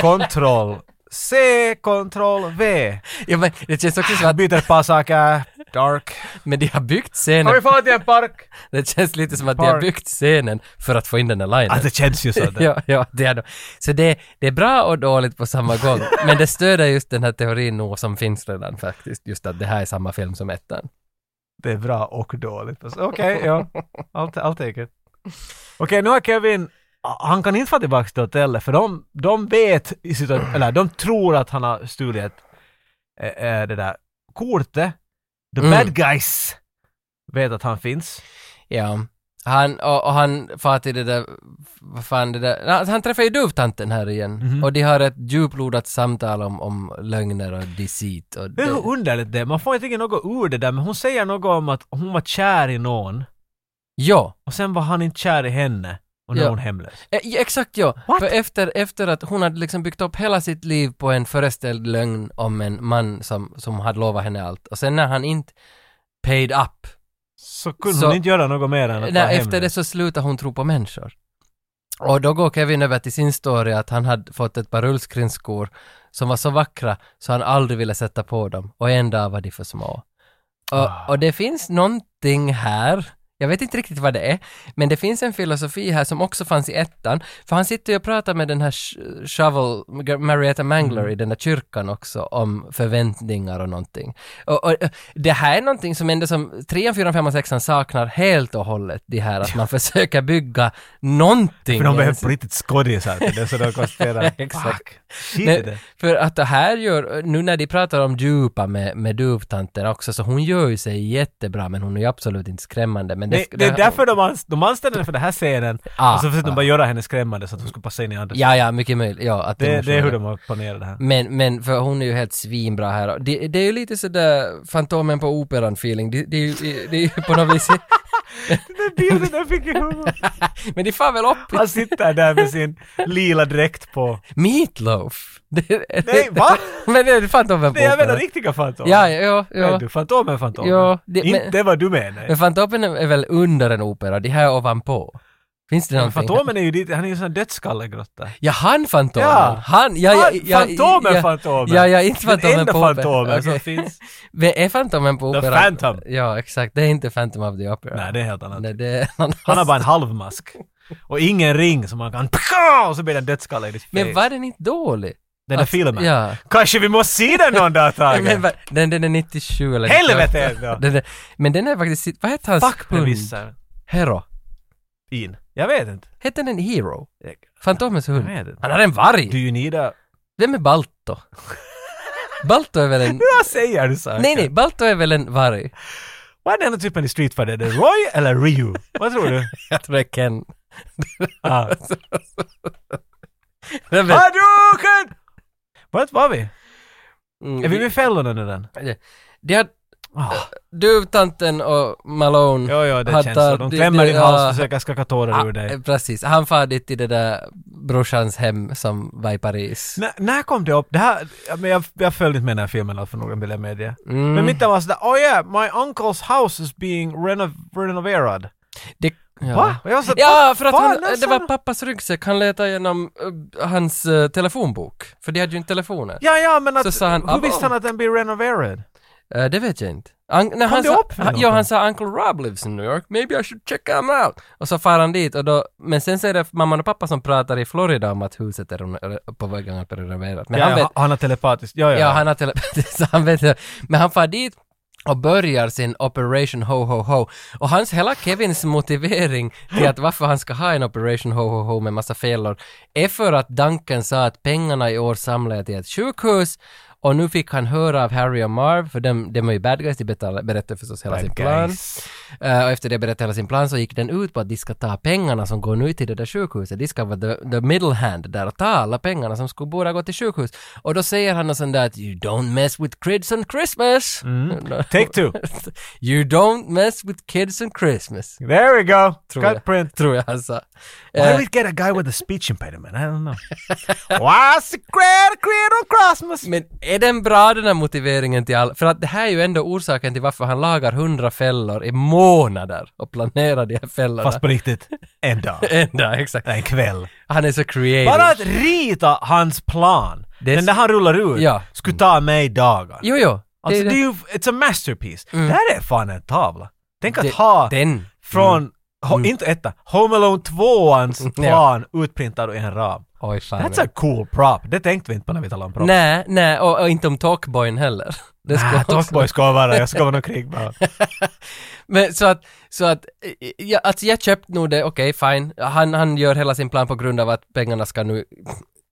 kontroll C, kontroll V. ja, men, det känns också som att, Byter ett par saker, dark. men de har byggt Har vi scenen, fått i *laughs* en park? det känns lite som att de har Park. byggt scenen för att få in den där linen. Ah, det känns ju så. *laughs* där. ja, ja, det är det. Så det, det är bra och dåligt på samma *laughs* gång. Men det stöder just den här teorin nog som finns redan faktiskt. Just att det här är samma film som ettan. Det är bra och dåligt. Alltså, Okej, ja. I'll, ta- I'll take it. Okej, nu har Kevin... Han kan inte få tillbaka till hotellet för de, de vet i sitt... *clears throat* Eller de tror att han har stulit eh, eh, det där kortet. The Mm. bad guys vet att han finns. Ja. Han, och, och han far till det där, vad fan det där, han, han träffar ju duvtanten här igen. Mhm. Och de har ett djuplodat samtal om, om lögner och deceit och Det är det. hur underligt det är. Man får inte riktigt något ur det där, men hon säger något om att hon var kär i någon Ja, och sen var han inte kär i henne och nu Ja. är hon hemlös. Eh, ja, exakt ja. What? För efter, efter att hon hade liksom byggt upp hela sitt liv på en föreställd lögn om en man som, som hade lovat henne allt. Och sen när han inte paid up Så kunde Så- hon inte göra något mer än att vara Nej, efter det hemlös. så slutar hon tro på människor. Och då går Kevin över till sin story att han hade fått ett par rullskridskor som var så vackra så han aldrig ville sätta på dem och en dag var de för små. Och, och det finns någonting här, jag vet inte riktigt vad det är, men det finns en filosofi här som också fanns i ettan, för han sitter ju och pratar med den här Sh- Shovel, Marietta Mangler Mm. i den där kyrkan också om förväntningar och någonting. Och, och, och det här är någonting som ändå som trean, fyran, femman, sexan saknar helt och hållet, det här att man försöker bygga någonting. För de i behöver ens- på riktigt skådisar till det, så de *laughs* konstaterar Exakt. fuck, shit i Nej, det. för att det här gör, nu när de pratar om djupa med, med duvtanten också, så hon gör ju sig jättebra men hon är ju absolut inte skrämmande. Men det, Det, det är därför de, ans- de anställde henne för den här scenen Ah, och så försökte ah. de bara göra henne skrämmande så att hon skulle passa in i andra. Ja, ja, mycket möjligt. Ja, att det, det är emotionella. hur de har planerat det här. Men, men för hon är ju helt svinbra här. Och Det, det är ju lite sådär Fantomen på Operan-feeling. Det, det, är ju- det är ju på något vis... *laughs* Den bilden jag fick i huvudet. Men de far väl upp i Han sitter där med sin lila dräkt på. Meatloaf. *laughs* Det, det- Nej, va? *laughs* Men det är Fantomen på Det är Operan. väl den riktiga Fantomen? Ja, ja, Ja. ja. Du, Fantomen, Fantomen. Ja, det- Inte men- vad du menar. Men Fantomen är väl under en opera, de här är ovanpå. Finns det Men någonting? Fantomen är ju dit, han är ju en sån dödskallegrotta. Ja, han Fantomen. Ja. Han, ja, ja, Han- ja, Fantomen, ja, Fantomen. Ja, ja, inte Fantomen Den enda på Operan. Fantomen som Okej. *laughs* finns. Men är Fantomen på The Operan? Phantom. Ja, exakt. Det är inte Phantom of the Opera. Nej, det är helt annat. Nej, det är *laughs* någon Han har annan. bara en halvmask. Och ingen ring som man kan... Pka! Och så blir det en dödskalle i ditt face. Men var den inte dålig? Den där Alltså, filmen. Ja. Kanske vi måste se den *laughs* någon dag Tage? Men vad- den, den är 97 eller Helvete 98. ändå! Den är, men den är faktiskt, vad heter hans Fuck hund? premisser. Hero. In. Jag vet inte. Heter den Hero? Fantomens hund? Jag vet inte. Mm. Han har en varg! Do you need a... Vem är Balto? Balto är väl en... *laughs* Vad säger du Saga? Nej, nej, Balto är väl en varg? Vad är den enda typen i Street Fighter? Är det Roy eller Ryu? Vad *laughs* tror du? Jag tror det är Ken. Ah. Jag vet- Hadouken! Vart var vi? Mm, Är vi vid fällorna nu den? vi- de har, Ah. du, tanten och Malone Jo, jo, det har känns så. tagit- De klämmer din ja, hals och försöker skaka tårar ur ah, dig. Precis, han far dit till det där brorsans hem som var i Paris. N- när kom det upp? Det här, ja, men jag, jag följde inte med den här filmen alls för noga vill jag medge. Mm. Men mitt där var sådär oh yeah, my uncle's house is being renov- renoverad. Det, Mm, ja. Va? Och jag var så, Ja, "Vad för att fan, alltså?" han, när det sa var du?" pappas ryggsäck, han letade igenom eh, hans eh, telefonbok. För de hade ju inte telefoner. Ja, ja, men att, Så sa han, "Ah, oh." hur visste "Abba." han att den blir renoverad? Eh, det vet jag inte. An- när han det sa, upp med han, något jo, då? han sa Uncle Rob lives in New York, maybe I should check him out. Och så far han dit och då, men sen så är det mamman och pappa som pratar i Florida om att huset är reno- på vägen att bli renoverat. Men Ja, han ja, vet, han har telepatiskt, ja, ja. Ja, han har *laughs* telepatiskt, så han vet det. Men han far dit och börjar sin Operation Ho Ho Ho. Och hans, hela Kevins motivering till att varför han ska ha en Operation Ho Ho Ho med massa fällor är för att Duncan sa att pengarna i år samlar jag till ett sjukhus och nu fick han höra av Harry och Marv, för de, de är ju bad guys, de betal- berättar förstås hela Bad sin plan. guys. Eh, och efter det berättade hela sin plan så gick den ut på att de ska ta pengarna som går nu till det där sjukhuset. De ska vara the, the middle hand där och ta alla pengarna som skulle borde gå till sjukhus. Och då säger han något sånt där att “You don't mess with kids on Christmas”. Mm. Take two. *laughs* “You don't mess with kids on Christmas”. There we go. Tror Cut jag. print. Tror jag han sa. Why Eh, did we get a guy with a speech impediment? I don't know. *laughs* Why's the great creed on Christmas? men är den bra den här motiveringen till all... För att det här är ju ändå orsaken till varför han lagar hundra fällor i månader och planerar de här fällorna. *laughs* Fast på riktigt, en dag. Ända, exakt. En *laughs* kväll. Han är så creative. Bara att rita hans plan, Det är den s- där han rullar ut, Ja. skulle ta mig dagar. Jo, jo. Alltså det- det Mm. är ju, it's a masterpiece. Det här är fan en tavla. Tänk att ha Den. från, ho, inte etta, Home Alone *laughs* 2-ans Ja. plan utprintad ur en ram. Oj, fan. That's a cool prop. Det tänkte vi inte på när vi talade om prop. Nej, nej, och, och inte om Talkboyn heller. *laughs* Det ska Ah, också- Talkboy ska vara, jag ska vara någon krigman. Men så att, så att, eh, ja, alltså jag köpte nog det, okej fine. Han, han gör hela sin plan på grund av att pengarna ska nu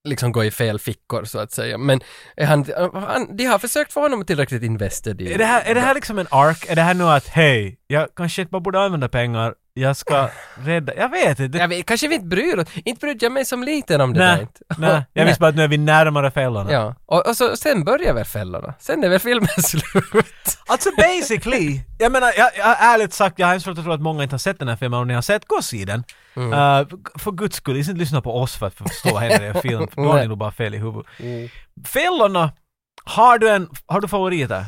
liksom gå i fel fickor så att säga. Men är han, han, de har försökt få honom tillräckligt invested i... Är det, här, är det här liksom en ark? Är det här nu att hej, jag kanske inte bara borde använda pengar, jag *laughs* ska rädda... Jag vet inte. Jag vet, kanske vi inte bryr oss. Inte brydde jag mig som liten om det där nej, inte. nej. Jag visste bara att nu är vi närmare fällorna. Ja, och, och så, sen börjar väl fällorna. Sen är väl filmen *laughs* slut. Alltså basically, *laughs* jag menar, jag, jag, ärligt sagt, jag har hemskt svårt att tro att många inte har sett den här filmen. Om ni har sett, gå och se den. Mm. Eh, för guds skull, inte lyssna på oss för att förstå vad händer i en film, för då har ni Nej. Mm. nog bara fel i huvudet. Fällorna, har du en, har du favoriter?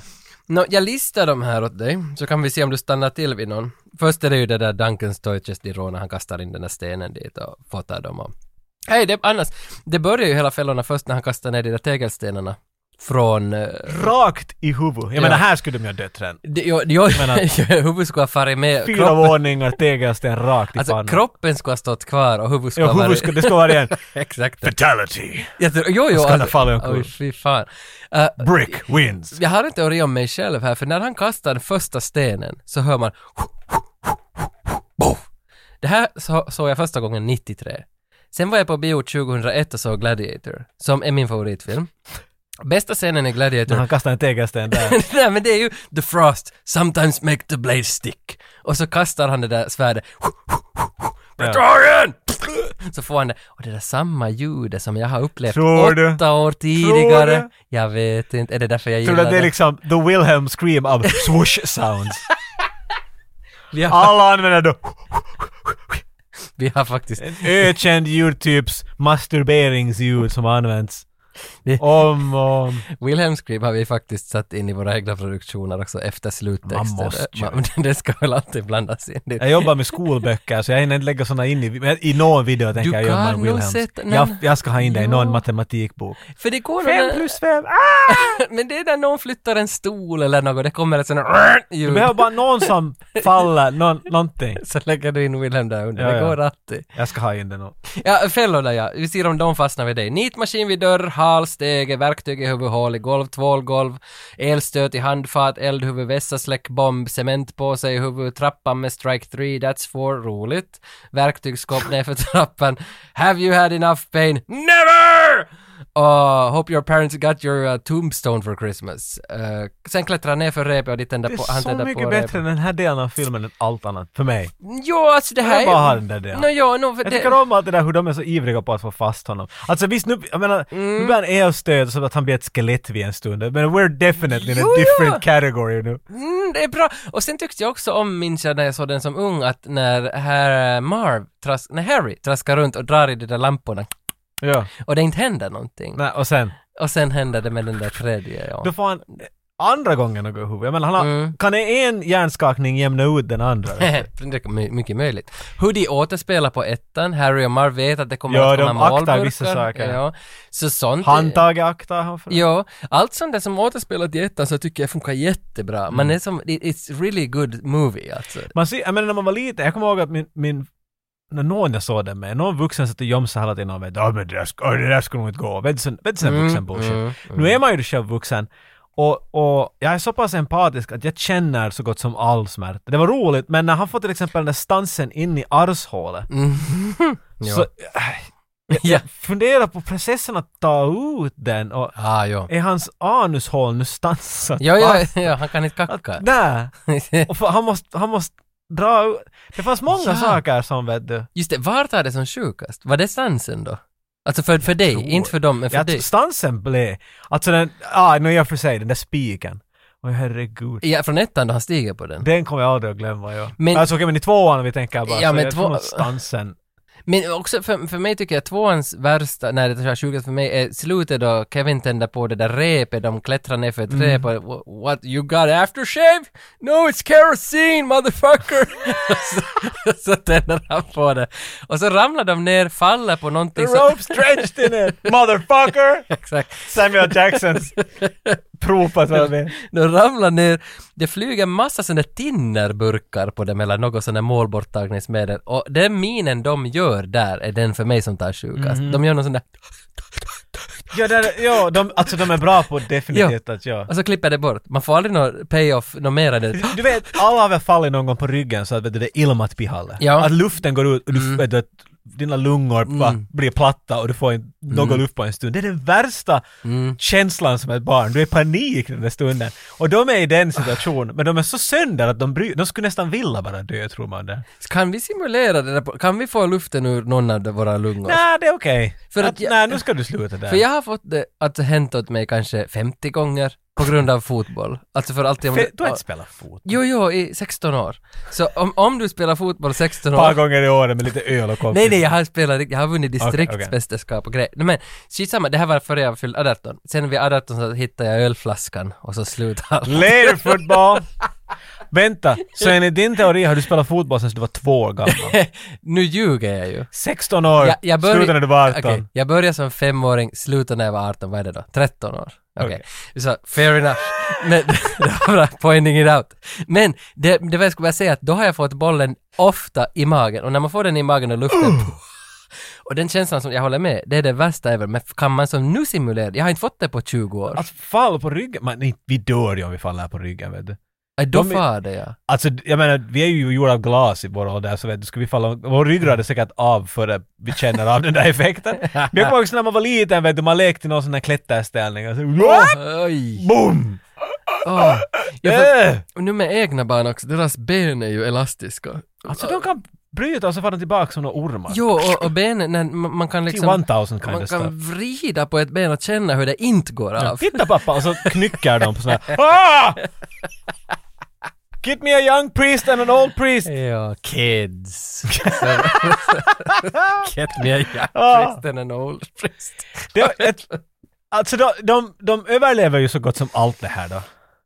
Nå, jag listar de här åt dig, så kan vi se om du stannar till vid någon. Först är det ju det där Duncan Stoiches Diro när han kastar in den där stenen dit och fotar dem och... Hej, det, annars, det börjar ju hela fällorna först när han kastar ner de där tegelstenarna från... eh, Rakt i huvudet. Jag menar, här skulle de ju ha dött redan. det- Jo, *laughs* jo, menar- huvudet skulle ha farit med. Fyra kroppen- våningar, tegelsten rakt i alltså, pannan. kroppen skulle ha stått kvar och huvudet skulle ha Ja, huvudet varit... skulle, det ska vara igen. *laughs* Exakt. Fatality! Jag tror- Jo, jo. Skulle ha fallit omkull. Oj, fy fan. Eh, Brick wins! jag har en teori om mig själv här, för när han kastar den första stenen så hör man Boff! Det här så- såg jag första gången 93. Sen var jag på bio 2001 och såg Gladiator, som är min favoritfilm. Bästa scenen i När Gladiator han kastar en tegelsten där. *laughs* Nej men det är ju the frost, sometimes make the blade stick. Och så kastar han det där svärdet. Pretorien! Så får han det. Och det där samma ljudet som jag har upplevt Tror du? åtta år tidigare. du? Jag vet inte, är det därför jag Tror gillar du att det är det? liksom the Wilhelm *laughs* scream av swoosh sounds? Vi har, Alla använder då vi har faktiskt... ökänd ljudtyps masturberingsljud som används. Det- Om och om. Wilhelm Scream har vi faktiskt satt in i våra egna produktioner också efter sluttexten. Man måste ju. *laughs* Man- Det ska väl alltid blandas in. Det- Jag jobbar med skolböcker så jag hinner inte lägga såna in i, men i någon video tänker Du jag gömma kan en nog Wilhelms. sätta- nej, jag, men- jag ska ha in det i någon Ja. matematikbok. För det går Fem någon- plus fem, ah! *laughs* Men det är när någon flyttar en stol eller något, det kommer ett sånt här Du ljud. behöver bara någon som faller, någon, någonting. *laughs* Så lägger du in Wilhelm där under, Ja, det ja. går alltid. Jag ska ha in det nog. Ja, fällorna ja. Vi ser om de fastnar vid dig. Nitmaskin vid dörr, hal, stege, verktyg i huvudhål, i golv, tvålgolv, elstöt i handfat, eldhuvud, vässa, släckbomb, cementpåse i huvud, trappan med strike 3, that's for roligt. *laughs* Verktygsskåp nerför trappan. Have you had enough pain? Never! Oh, hope your parents got your uh, tombstone for Christmas. Eh, sen klättrar han ner för repet och de tänder Det på... är så tänder mycket på bättre än repet. den här delen av filmen än allt annat, för mig. Jo, alltså det här Jag bara har den där delen. Nå, ja, nå, för Jag det- tycker om allt det där hur de är så ivriga på att få fast honom. Alltså visst nu, jag menar, Mm. nu blir han elstöd så att han blir ett skelett vid en stund. Men we're definitely in a Jo, ja. different category nu. Mm, det är bra. Och sen tyckte jag också om, minns jag när jag såg den som ung, att när herr Marv, tras, när Harry traskar runt och drar i de där lamporna Ja. och det inte händer någonting. Nej, och sen, Och sen händer det med den där tredje, ja. då får han andra gången att gå i huvudet. Jag menar, han har, Mm. kan en hjärnskakning jämna ut *laughs* den andra? *laughs* det är my- mycket möjligt. Hur de återspelar på ettan, Harry och Marv vet att det kommer Ja, att komma de aktar målburkar. vissa saker. Ja, så sånt. Handtaget aktar han för. Ja, allt sånt där som återspelat i ettan så tycker jag funkar jättebra. Mm. Man är som, it- it's really good movie alltså. Man ser, jag menar när man var liten, jag kommer ihåg att min, min när någon jag såg det med, någon vuxen satt och jomsade hela tiden och vet ja men det där, ska, det där skulle nog inte gå. Vet du sån vet du sån här Mm, vuxen bullshit. mm, Nu är man ju själv vuxen. Och, och jag är så pass empatisk att jag känner så gott som all smärta. Det var roligt, men när han får till exempel den där stansen in i arshålet, så Mm. *laughs* Ja, äh, ja. fundera på processen att ta ut den och Ah, ja. är hans anushål nu stansat? Ja, ja, fast? ja, han kan inte kacka. Nej! Och för, han måste, han måste dra ut. Det fanns många Ja. saker som vet du. *laughs* Just det, vart var det som sjukast? Var det stansen då? Alltså för, för dig, tror- inte för dem, men för Ja, dig. stansen blev... Alltså den... Ah, nu jag för sig, den där spiken. Åh herregud. Ja, från ettan då han stiger på den. Den kommer jag aldrig att glömma, ja. Men- Men, alltså okej, men i tvåan om vi tänker bara Ja, ja, men men så, två... två- jag stansen... Men också för, för mig tycker jag tvåans värsta, när det är sjukast för mig, är slutet då Kevin tänder på det där repet, de klättrar ner för ett Mm. rep och "Wha- what, you got aftershave? No it's kerosene motherfucker! *laughs* så, så tänder han på det. Och så ramlar de ner, faller på någonting så- stretched in *laughs* it, motherfucker! *laughs* Exakt. Samuel *laughs* Jacksons prov på att vara med. De ramlar ner, det flyger massa sådana tinnerburkar på dem eller något sådant målborttagningsmedel och den minen de gör där är den för mig som tar sjukast. Mhm. De gör någon sån där Ja, där, ja de, alltså de är bra på definitivt att ja. och så klipper det bort. Man får aldrig någon pay-off, någon mer än det. Du vet, alla har väl fallit någon gång på ryggen så att vet du, det är ilmat bihalle. Ja. Mm. Att luften går ut och du, vet du, att dina lungor bara blir platta och du får en, Mm. någon luft på en stund. Det är den värsta känslan som ett barn. Du är i panik den där stunden. Och de är i den situationen, men de är så sönder att de bryr De skulle nästan vilja bara dö, tror man det. Kan vi simulera det där? på- Kan vi få luften ur någon av våra lungor? Nej, det är okej. För Att, att jag- Nej, nu ska du sluta där. För jag har fått det att det hänt åt mig kanske 50 gånger på grund av fotboll. Alltså för alltid om Fe- det... du har inte spelat fot. Jo, jo, i 16 år. Så om, om du spelar fotboll 16 Ett par år gånger i året med lite öl och kompis. Nej, nej, jag har spelat, riktigt- jag har vunnit okej. distriktsmästerskap och grejer. Nej, men skitsamma, det här var före jag fyllde 18. Sen vid 18 så hittade jag ölflaskan och så slutade allt. Later football! *laughs* Vänta, så enligt din teori har du spelat fotboll sedan du var två år gammal? *laughs* nu ljuger jag ju. 16 år, Jag, jag börj- slutade när du var 18. Okej, jag började som femåring, slutade när jag var 18, vad är det då? 13 år? Okej, så fair enough. Men, *laughs* det var bra, pointing it out. Men det, det var jag skulle bara säga att då har jag fått bollen ofta i magen och när man får den i magen och luften Oh. Och den känslan som jag håller med, det är det värsta ever. Men kan man som nu simulera, jag har inte fått det på 20 år. Att falla på ryggen, man, nej, vi dör ju om vi faller på ryggen vet du. Nej, då De är- far det ja. Alltså jag menar, vi är ju gjorda av glas i vår ålder så vet du, ska vi falla, vår ryggrad är säkert av före vi känner av den där effekten. Men jag kommer ihåg så när man var liten vet du, man lekte i någon sån där klätterställning alltså, och så Oj! BOOM! Åh. Jag får, Äh! nu med egna barn också, deras ben är ju elastiska. Alltså de kan bryta och så far de tillbaka som några ormar. Jo, och, och benen, när man, man kan liksom... 1000 kind Man of stuff. kan vrida på ett ben och känna hur det inte går av. Titta pappa! Och så knyckar de på sån *laughs* här ah! Get me a young priest and an old priest! Ja, *laughs* kids. Get me a young Ah. priest and an old priest. Det var ett, alltså de, de, de överlever ju så gott som allt det här då.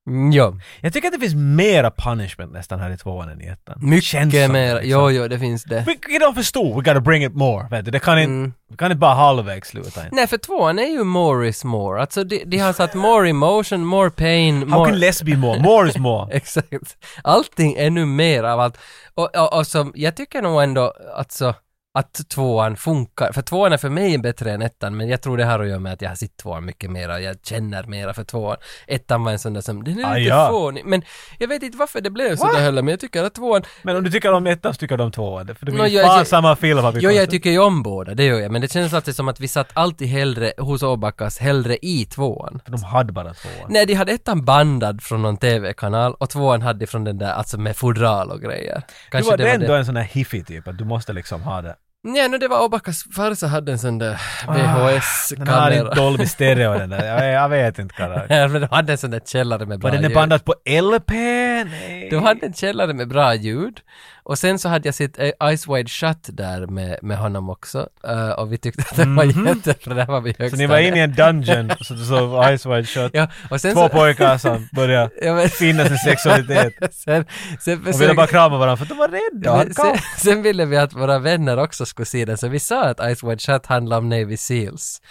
Mm, Ja, Jag tycker att det finns mera punishment nästan här i tvåan än i ettan. mycket Känslan, mer. liksom. Jo, jo, det finns det. Vilket de förstod, we gotta bring it more. Vet du? Det kan inte, Mm. vi kan inte bara halvvägs sluta. Nej, för tvåan är ju more is more. Alltså, de, de har satt more emotion, more pain, How more... can less be more? More *laughs* is more. Exakt. Allting är nu mer av allt. Och, och, och som, jag tycker nog ändå, alltså, att tvåan funkar. För tvåan är för mig bättre än ettan, men jag tror det har att göra med att jag har sett tvåan mycket mera, jag känner mera för tvåan. Ettan var en sån där som, den är lite Ah, ja. fånig. Men jag vet inte varför det blev så där heller, men jag tycker att tvåan, Men om du tycker om ettan så tycker du om tvåan. För det blir Nå, ju jag- fan jag- samma film. har vi Jo, jag konstigt. tycker ju om båda, det gör jag, men det känns alltid som att vi satt alltid hellre hos Åbackas, hellre i tvåan. För de hade bara tvåan. Nej, de hade ettan bandad från någon TV-kanal och tvåan hade de från den där, alltså med fodral och grejer. Du Kanske var, det det var är ändå det. en sån här hiffy typ, att du måste liksom ha det. Nej, no, det var Åbackas farsa hade en sån där Ah, Den *laughs* har inte VHS-kamera. Dolby stereo den där. Jag, jag vet inte *laughs* Karla. Nej, men de hade en sån där källare med bra Var den är ljud. bandad på LP? Nej. Du hade en källare med bra ljud och sen så hade jag sett eh, Ice Wide Shut där med, med honom också Eh, och vi tyckte att det var jättebra, där var vi Mhm. Så ni var högstadiet. inne i en *laughs* dungeon, så du såg Ice Wide Shut. Ja, och sen Två så... pojkar som *laughs* började Ja, men- finna sin sexualitet. *laughs* sen, sen, Och ville försökte- bara krama varandra för att de var rädda. men sen, sen ville vi att våra vänner också skulle se den, så vi sa att Ice Wide Shut handlar om Navy *laughs* Seals.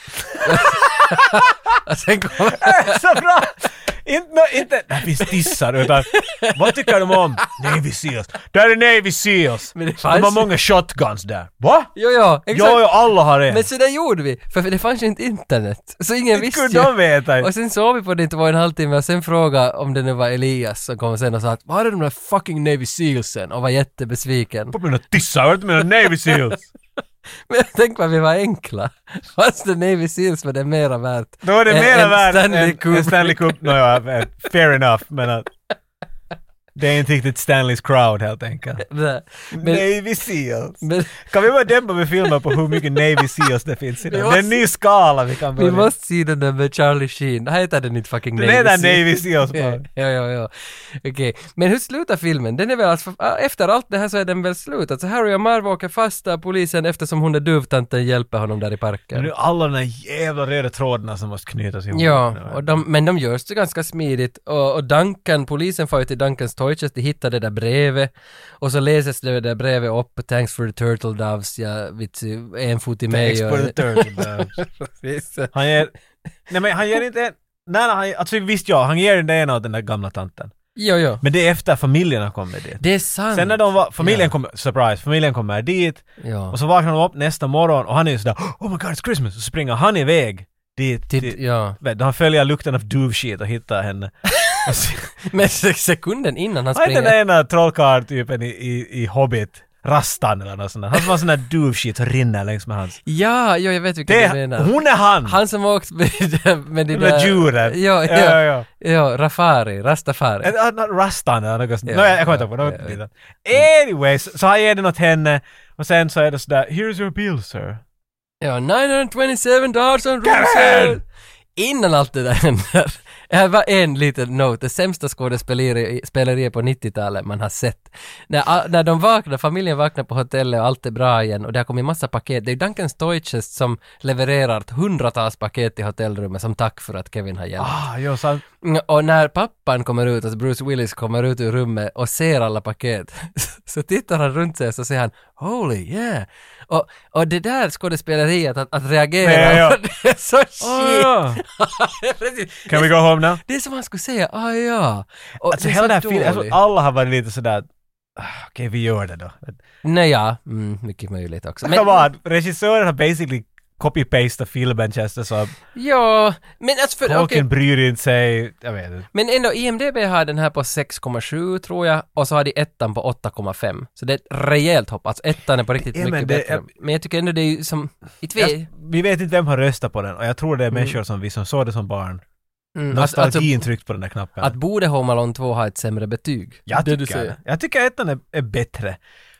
*laughs* och sen kom... *laughs* Så bra! Inte, nå- inte, det finns dissar utan vad tycker de om? Navy Seals. Där är Navy Seals. Men det de fanns har ju- många shotguns där. Va? Jo, jo, Ja, exakt. ja, alla har en. Men så där gjorde vi, för det fanns ju inte internet. Så ingen Inte visste kunde de veta. Och sen såg vi på det i två och en halv timme och sen frågade om det nu var Elias som kom sen och sa att var är de där fucking Navy Sealsen? Och var jättebesviken. På mina tissar, hörde du mina Navy Seals? Men tänk vad vi var enkla. *laughs* Fast det Navy Seals var det mera värt. Då är det än- mera än värt Stanley än- än Kubrick. Stanley Kubrick. Nåja, eh, fair enough, men att... Det är inte riktigt Stanleys crowd helt enkelt. *laughs* Nej, Men, Navy Seals. men Kan vi bara dämpa med filmer på hur mycket Navy Seals det finns i Vi den? Det måste- är en ny skala vi kan vi börja med. måste se den där med Charlie Sheen. Han heter den inte fucking Den Navy heter Seals. Navy Seals bara. Ja, ja, ja. Okej. Men hur slutar filmen? Den är väl alltså, efter allt det här så är den väl slut? Alltså Harry och Marv åker fast av polisen eftersom hon är duvtanten hjälper honom där i Men parken. Nu alla de där jävla röda trådarna som måste knytas ihop. Ja, och de, men de görs det ganska smidigt och, och Duncan, polisen far ju till Duncans toy chest, de hittar det där brevet och så läses det där brevet upp, Thanks for the turtle doves, jag vet inte, en fot i mig och... Exportör. Precis. Han ger... Nej men han ger inte en... Nej, nej, han, alltså visst ja, han ger den ena åt den där gamla tanten. Jo, jo. Men det är efter familjen har kommit dit. Det är sant. Sen när de var, familjen Ja. kommer, surprise, familjen kommer dit Ja. och så vaknar de upp nästa morgon och han är ju sådär Oh my god it's Christmas! Och så springer han iväg dit, Titt- till, Typ, ja. vet, han följer lukten av duvskit och *laughs* hittar henne. Och så- Men *laughs* se- sekunden innan han Har inte springer... den ena trollkarltypen i, i, i Hobbit, Rastan eller något sånt där. Han som har sån där duvskit som rinner längs med hans. Ja, ja, jag vet vilken du Det är, menar. hon är han! Mm. Han som åkt med, *laughs* med de De där där... djuren. Ja, ja, ja, ja. ja. Rafari, Rastafari. Eller, ah, nå, Rastan eller något sånt. Ja, Nå, jag jag kommer inte ja, ihåg. något ja, sånt där. Anyway, så, så han ger den åt henne och sen så är det sådär “Here's your bill sir”. Ja, 927 dollars on room sale! Innan allt det där händer. *laughs* Här var en liten note, det sämsta skådespeleriet speleriet på 90-talet man har sett. När, ah, när de vaknar, familjen vaknar på hotellet och allt är bra igen och det har kommit massa paket. Det är Duncan Stoichest som levererar ett hundratals paket till hotellrummet som tack för att Kevin har hjälpt. Ah, jo, så han, Mm, Och när pappan kommer ut, alltså Bruce Willis kommer ut ur rummet och ser alla paket, *laughs* så tittar han runt sig och så säger han ”Holy yeah”. Och, och det där skådespeleriet, att, att reagera, Ja, ja, ja. det är så shit! Ah, ja. Det är *laughs* precis- Can we go home now? det är som han skulle säga ”Ah ja”. Och Alltså det är hela så den här filmen, jag dåligt. tror alla har varit lite sådär "Ah, Okej, vi gör det då. Nej, ja, mm, mycket möjligt också. Come on, regissören har basically copy-pastat filmen känns det som. ja, men alltså för, Tolkien okej. bryr inte sig, jag vet inte. Men ändå, IMDB har den här på 6,7 tror jag och så har de ettan på 8,5. Så det är ett rejält hopp. Alltså ettan är på riktigt Ja, men mycket det- bättre. Men jag tycker ändå det är ju som... Inte Jag, vi... vi vet inte vem har röstat på den och jag tror det är människor som vi som såg det som barn. Mm, att, alltså, Nostalgin tryckt på den där knappen. att borde Home Alone 2 ha ett sämre betyg? det jag, tycker, du säger. jag tycker ettan är, är bättre.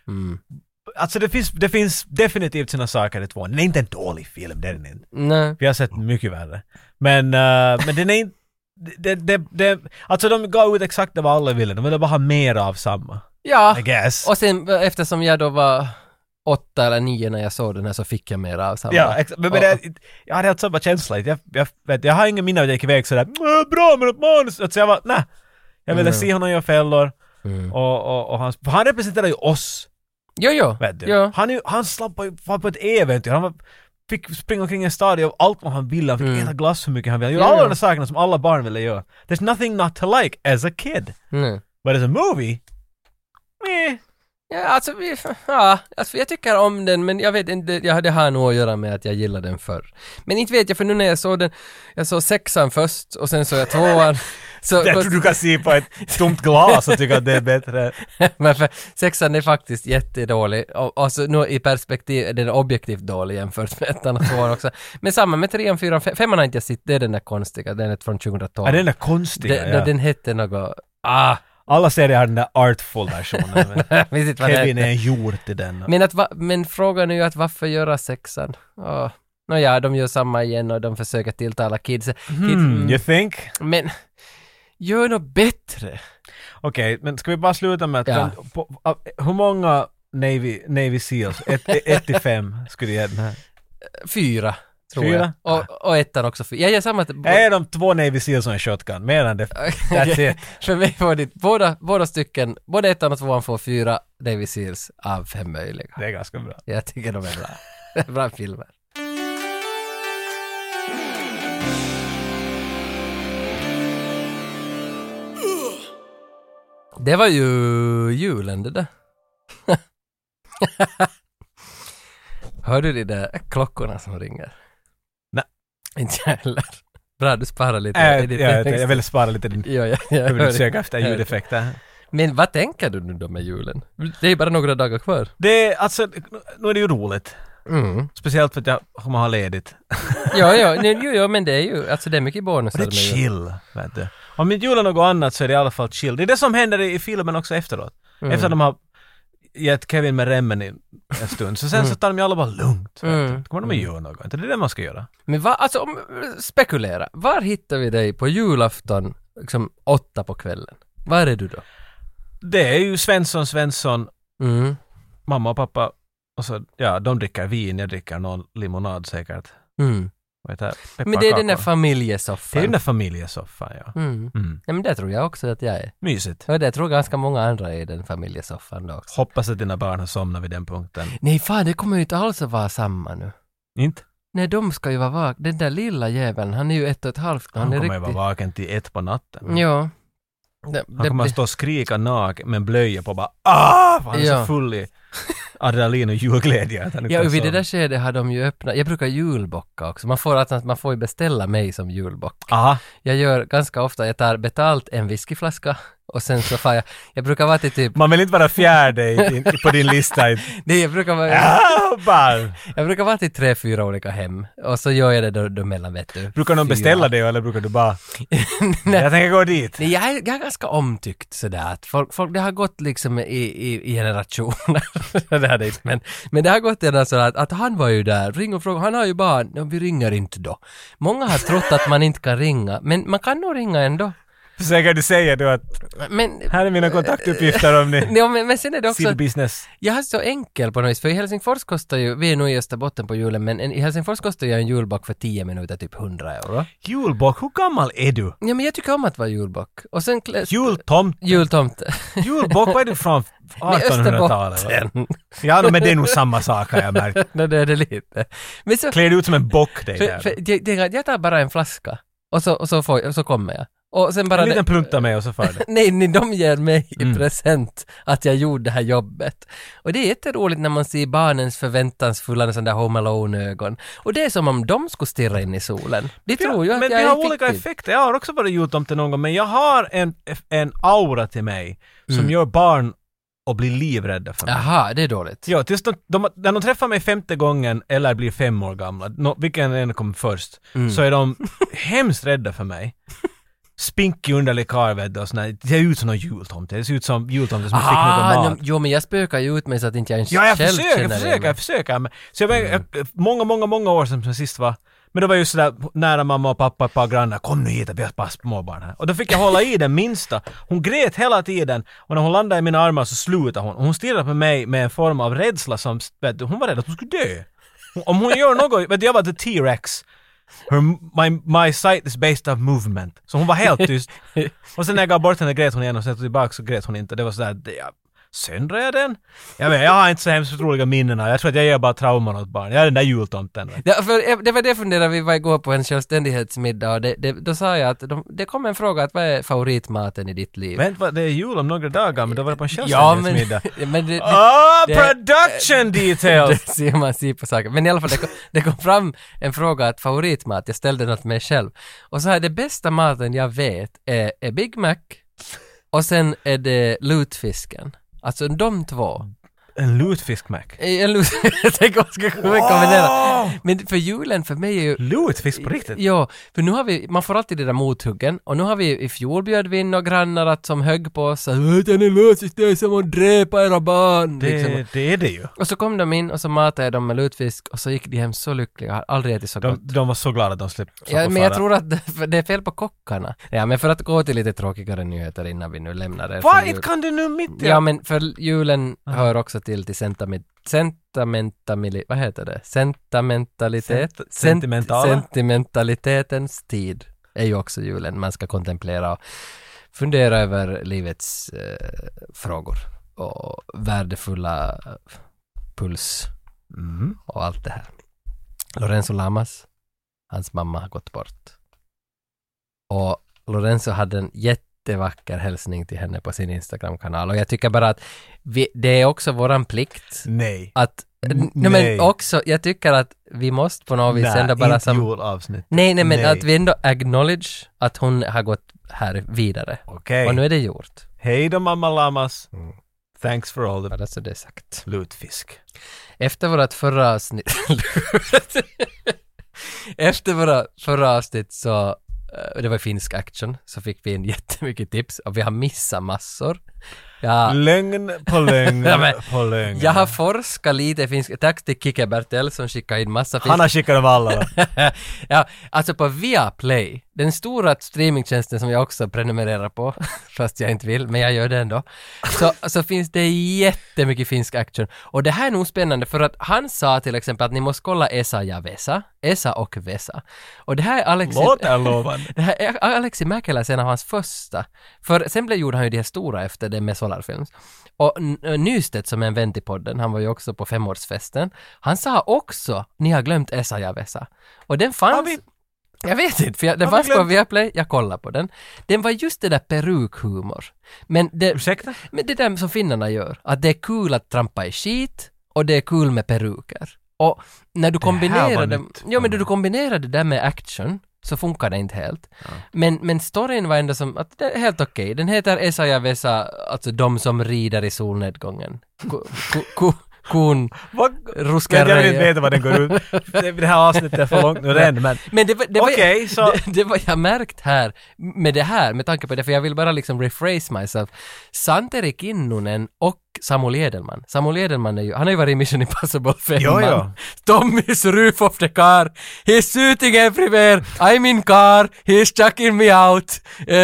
Mm. Alltså det finns, det finns definitivt sina saker i tvåan. Den är inte en dålig film, det är den inte. Nej. Vi har sett mycket värre. Men, eh, men den är inte... Det, det, det, alltså de gav ut exakt det vad alla ville, de ville bara ha mer av samma. Ja, I guess. och sen eh, eftersom jag då var åtta eller nio när jag såg den här så fick jag mer av samma. Ja, exakt. Men, men Och- det, jag hade helt samma känsla. Jag, jag, vet, jag har ingen minne av att jag gick iväg sådär "Mö, ”Bra med ett manus”. Alltså jag var nej. Jag ville Mm. se honom göra fällor. Mm. Och, och, och han, för han representerar ju oss, Jo, jo. vet du. Ja. Han, är ju- han slappade ju var på ett äventyr. Han var, fick springa omkring i en stad och göra allt vad han ville. Han fick Mm. äta glass hur mycket han ville. Han gjorde Ja, alla ja. de där sakerna som alla barn ville göra. There's nothing not to like as a kid. Mm. But as a movie, meh. Ja, alltså, vi, ja, alltså jag tycker om den men jag vet inte, ja, det har nog att göra med att jag gillade den förr. Men inte vet jag för nu när jag såg den, jag såg sexan först och sen såg jag *laughs* tvåan. Så, Jag tror du kan se på ett tomt glas och tycka att det är bättre. *laughs* men för sexan är faktiskt jättedålig och, och så nu i perspektiv är den objektivt dålig jämfört med ettan och tvåan också. Men samma med trean, fyran, fe- femman har inte jag sett, det är den där konstiga, den är från 2012. Ja, den är konstig. den, den, Ja. den hette något, *laughs* ah, Alla serier har den där artful versionen. men jag minns inte *laughs* vad den Kevin hette. är en hjort i den. Men, att va, men frågan är ju att varför göra sexan? Oh. Nåja, de gör samma igen och de försöker tilltala kids. Hmm, you kids. think? Men gör något bättre. Okej, men ska vi bara sluta med att... Ja. på, av- hur många Navy, Navy Seals? 1 till 5 skulle du ge den här. Fyra, tror Fyra? jag. Och, och ettan också. Fyra. Jag gör samma. att- Är de två Navy Seals som en shotgun? Mer *laughs* än det. That's it. För mig var det båda, båda stycken, både ettan och tvåan får fyra Navy Seals av fem möjliga. Det är ganska bra. Jag tycker de är bra. bra *laughs* filmer. Det var ju julen det *laughs* där. Hör du de där klockorna som ringer? Nej. Inte jag heller. Bra, du sparar lite. Äh, i ditt jag, jag text. vill spara lite din... Ja, ja, *laughs* jag Jag hör vill det. söka efter Jag hör det. ljudeffekter. Men vad tänker du nu då med julen? Det är bara några dagar kvar. Det är alltså... Nu är det ju roligt. Mm. Speciellt för att jag kommer ha ledigt. Ja, ja, nej, jo, jo, men det är ju, alltså det är mycket bonusar Och det är med jul. chill, vet du. Om inte julen något annat så är det i alla fall chill. Det är det som händer i i filmen också efteråt. Mm. Efter att de har gett Kevin med remmen i en stund. Så sen så tar de ju alla bara lugnt. vet du. Mm. Då kommer de att göra något. Inte Det är det man ska göra. Men vad, alltså om, spekulera, var hittar vi dig på julafton, liksom åtta på kvällen? Var är du då? Det är ju Svensson, Svensson, Mm. mamma och pappa. Och så, ja, de dricker vin, jag dricker någon limonad säkert. Mm. Vad heter Men det är den där Pepparkakor. Det är den familjesoffan. där familjesoffan, ja. Mm. Mm. Ja, men det tror jag också att jag är. Mysigt. Och det tror ganska många andra är i den familjesoffan då också. Hoppas att dina barn har somnat vid den punkten. Nej fan, det kommer ju inte alls att vara samma nu. Inte? Nej, de ska ju vara vakna. Den där lilla jäveln, han är ju ett och ett halvt. nu. Han är kommer ju vara vaken till ett på natten. Ja. Det, Han kommer blir- att stå och skrika naken med en blöja på bara ah! för Han är Ja. så full i adrenalin och julglädje. att han inte Ja, kan och vid det sova. där skedet har de ju öppnat, jag brukar julbocka också, man får, alltså, man får ju beställa mig som julbock. Aha, Jag gör ganska ofta, jag tar betalt en whiskyflaska och sen så far jag, jag brukar vara till typ, man vill inte vara fjärde i din, på *laughs* din lista. i- nej jag brukar vara, Ah, barn. jag brukar vara till tre, fyra olika hem och så gör jag det då, då mellan vet du. Brukar någon fyra. beställa det eller brukar du bara *laughs* Nej. jag tänker gå dit? Nej, jag är, jag är ganska omtyckt sådär att folk, folk, det har gått liksom i, i, i generationer. *laughs* det har det inte, men, men det har gått redan så att, att han var ju där, ring och fråga, han har ju barn, ja, vi ringer inte då. Många har trott att man inte kan ringa, men man kan nog ringa ändå. Försöker du säga då att Men, här är mina *laughs* kontaktuppgifter om ni ja, men, men sen är det också, Sid business. jag är så enkel på något vis, för i Helsingfors kostar ju, vi är nog i Österbotten på julen, men en, i Helsingfors kostar ju en julbak för 10 minuter typ 100 euro. Julbock, hur gammal är du? Ja, men jag tycker om att vara julbak. Och sen klä, Jultomt, jultomte. julbock, vad är *laughs* du från Men 1800-talet? va? Österbotten. Ja, no, men det är nog samma sak har jag märkt. *laughs* Nej, det är det lite. Men så, Klär du ut som en bock dig för, där? för, jag, jag, jag tar bara en flaska och så, och så, får, jag- och så kommer jag. Och sen bara... En liten det- plunta med och så för det. Nej, nej, de ger mig i Mm. present att jag gjorde det här jobbet. Och det är jätteroligt när man ser barnens förväntansfulla sån där Home Alone-ögon. Och det är som om de skulle stirra in i solen. De tror ju att men jag det är har en olika fiktiv. effekter. Jag har också varit jultomte någon gång, men jag har en, en aura till mig som Mm. gör barn att bli livrädda för mig. Jaha, det är dåligt. Ja, tills de, de, när de träffar mig femte gången eller blir fem år gamla, no, vilken en kom först, Mm. så är de hemskt rädda för mig. Spinkig underlig karl vet du, och sån där. Det ser ut som någon jultomte. Det ser ut som jultomte som fick någon Ah, mat. no, jo men jag spökar ju ut mig så att inte jag ens Ja, jag själv försöker, känner jag det, försöker, men- jag försöker. Men, så jag, var- jag, många, många, många år sedan som sist var. Men det var ju sådär nära mamma och pappa, ett par grannar. Kom nu hit, vi har ett par småbarn här. Och då fick jag hålla i den minsta. Hon grät hela tiden. Och när hon landade i mina armar så slutade hon. Och hon stirrade på mig med en form av rädsla som, vet du, hon var rädd att hon skulle dö. Hon- Om hon gör något, vet du, jag var the T-Rex. Her, my, my sight is based of movement. *laughs* Så hon var helt tyst. Och sen när jag gav bort henne grät hon igen och sen tillbaka så grät hon inte. Det var sådär, det, jag Söndrar jag den? Jag, vet, jag har inte så hemskt roliga minnen. av- Jag tror att jag ger bara trauman åt barn. Jag är den där jultomten. vet du. Ja, för det var det funderade vi var igår på en självständighetsmiddag och det, det, då sa jag att de, det kom en fråga att vad är favoritmaten i ditt liv? Vänta, vad, det är jul om några dagar, men då var det på en ja, men, *laughs* självständighetsmiddag. men det, det, Ah, Det- production det details! ser man sig på saker. Men i alla fall, det kom, det kom fram en fråga att favoritmat, jag ställde den åt mig själv. Och så här, det bästa maten jag vet är, är Big Mac och sen är det lutfisken. Alltså de två. Mm. En lutfiskmack. En lut... *laughs* jag tänker att jag ska kombinera. Men för julen för mig är ju Lutfisk på riktigt? Ja, för nu har vi, man får alltid det där mothuggen och nu har vi, i fjol bjöd vi in några grannar att som högg på oss att ”Utan ni löser det är som att dräpa era barn”. Liksom. Det, det är det ju. Och så kom de in och så matade jag dem med lutfisk och så gick de hem så lyckliga, jag har aldrig ätit så gott. De, de var så glada att de släpp- slapp Ja, få men jag fara. tror att *laughs* det- för det är fel på kockarna. Ja, men för att gå till lite tråkigare nyheter innan vi nu lämnar det. Vad? för jul. Inte kan du nu mitt i? Ja, men för julen hör också till till sentament, sentamentamili, vad heter det? Sentimentalitet? Sent- sentimentala? Sentimentalitetens tid är ju också julen. Man ska kontemplera och fundera över livets eh, frågor och värdefulla eh, puls Mm. och allt det här. Lorenzo Lamas, hans mamma har gått bort. Och Lorenzo hade en jättevacker hälsning till henne på sin Instagram-kanal och jag tycker bara att vi, det är också våran plikt Nej. att n- Nej. Nej. men också, jag tycker att vi måste på något vis Nej, ändå bara inte som... julavsnitt. Nej, nej, men Nej. att vi ändå acknowledge att hon har gått här vidare. Okej. Mm. Och nu är det gjort. Hej då mamma lamas. Thanks for all the Bara så det är sagt. lutfisk. Efter vårat förra avsnitt... *laughs* Efter våra förra avsnitt så, eh, det var finsk action, så fick vi in *laughs* jättemycket tips och vi har missat massor. Ah. Jag, Lögn på *laughs* lögn Ja, men- på lögn. jag har forskat lite i finsk, tack till Kike Bertel som skickade in massa finsk... Han har skickat dem *laughs* alla. va? *laughs* ja, alltså på Viaplay, den stora streamingtjänsten som jag också prenumererar på, *laughs* fast jag inte vill, men jag gör det ändå, så, så finns det jättemycket finsk action. Och det här är nog spännande för att han sa till exempel att ni måste kolla Esa ja Vesa, Esa och Vesa. Och det här är Alexi... Låter lovande. Det här är Alexi Mäkeläs en av hans första. För sen blev, gjorde han ju de här stora efter det med Solarfilms. Och N- Nystedt som är en vän till podden, han var ju också på femårsfesten, han sa också ni har glömt Esa ja Vesa. Och den Har fanns... vi- Jag vet inte, för jag, den Har vi fanns på glömt- Viaplay, jag kollade på den. Den var just det där perukhumor. Men det, Ursäkta? men det där som finnarna gör, att det är kul att trampa i skit och det är kul med peruker. Och när du kombinerar var det, nytt ja, men för när du kombinerar det där med action så funkar det inte helt. Men, men storyn var ändå som att det är helt okej. Den heter Esa ja Vesa, alltså de som rider i solnedgången. Ko, ko, ko, kon, Vad? ruskar Men jag vill inte röja. veta vad den går *laughs* ut. Det det här avsnittet är för långt nu redan men... Men det var, det var, Okej, så... *laughs* det, det var jag märkt här med det här, med tanke på det, för jag vill bara liksom rephrase myself. Santeri Kinnunen och Samuel Edelman. Samuel Edelman är ju, han har ju varit i Mission Impossible 5 Jo, jo. man. Tommy's roof of the car. He's shooting everywhere. I'm in car. He's chucking me out. Eh,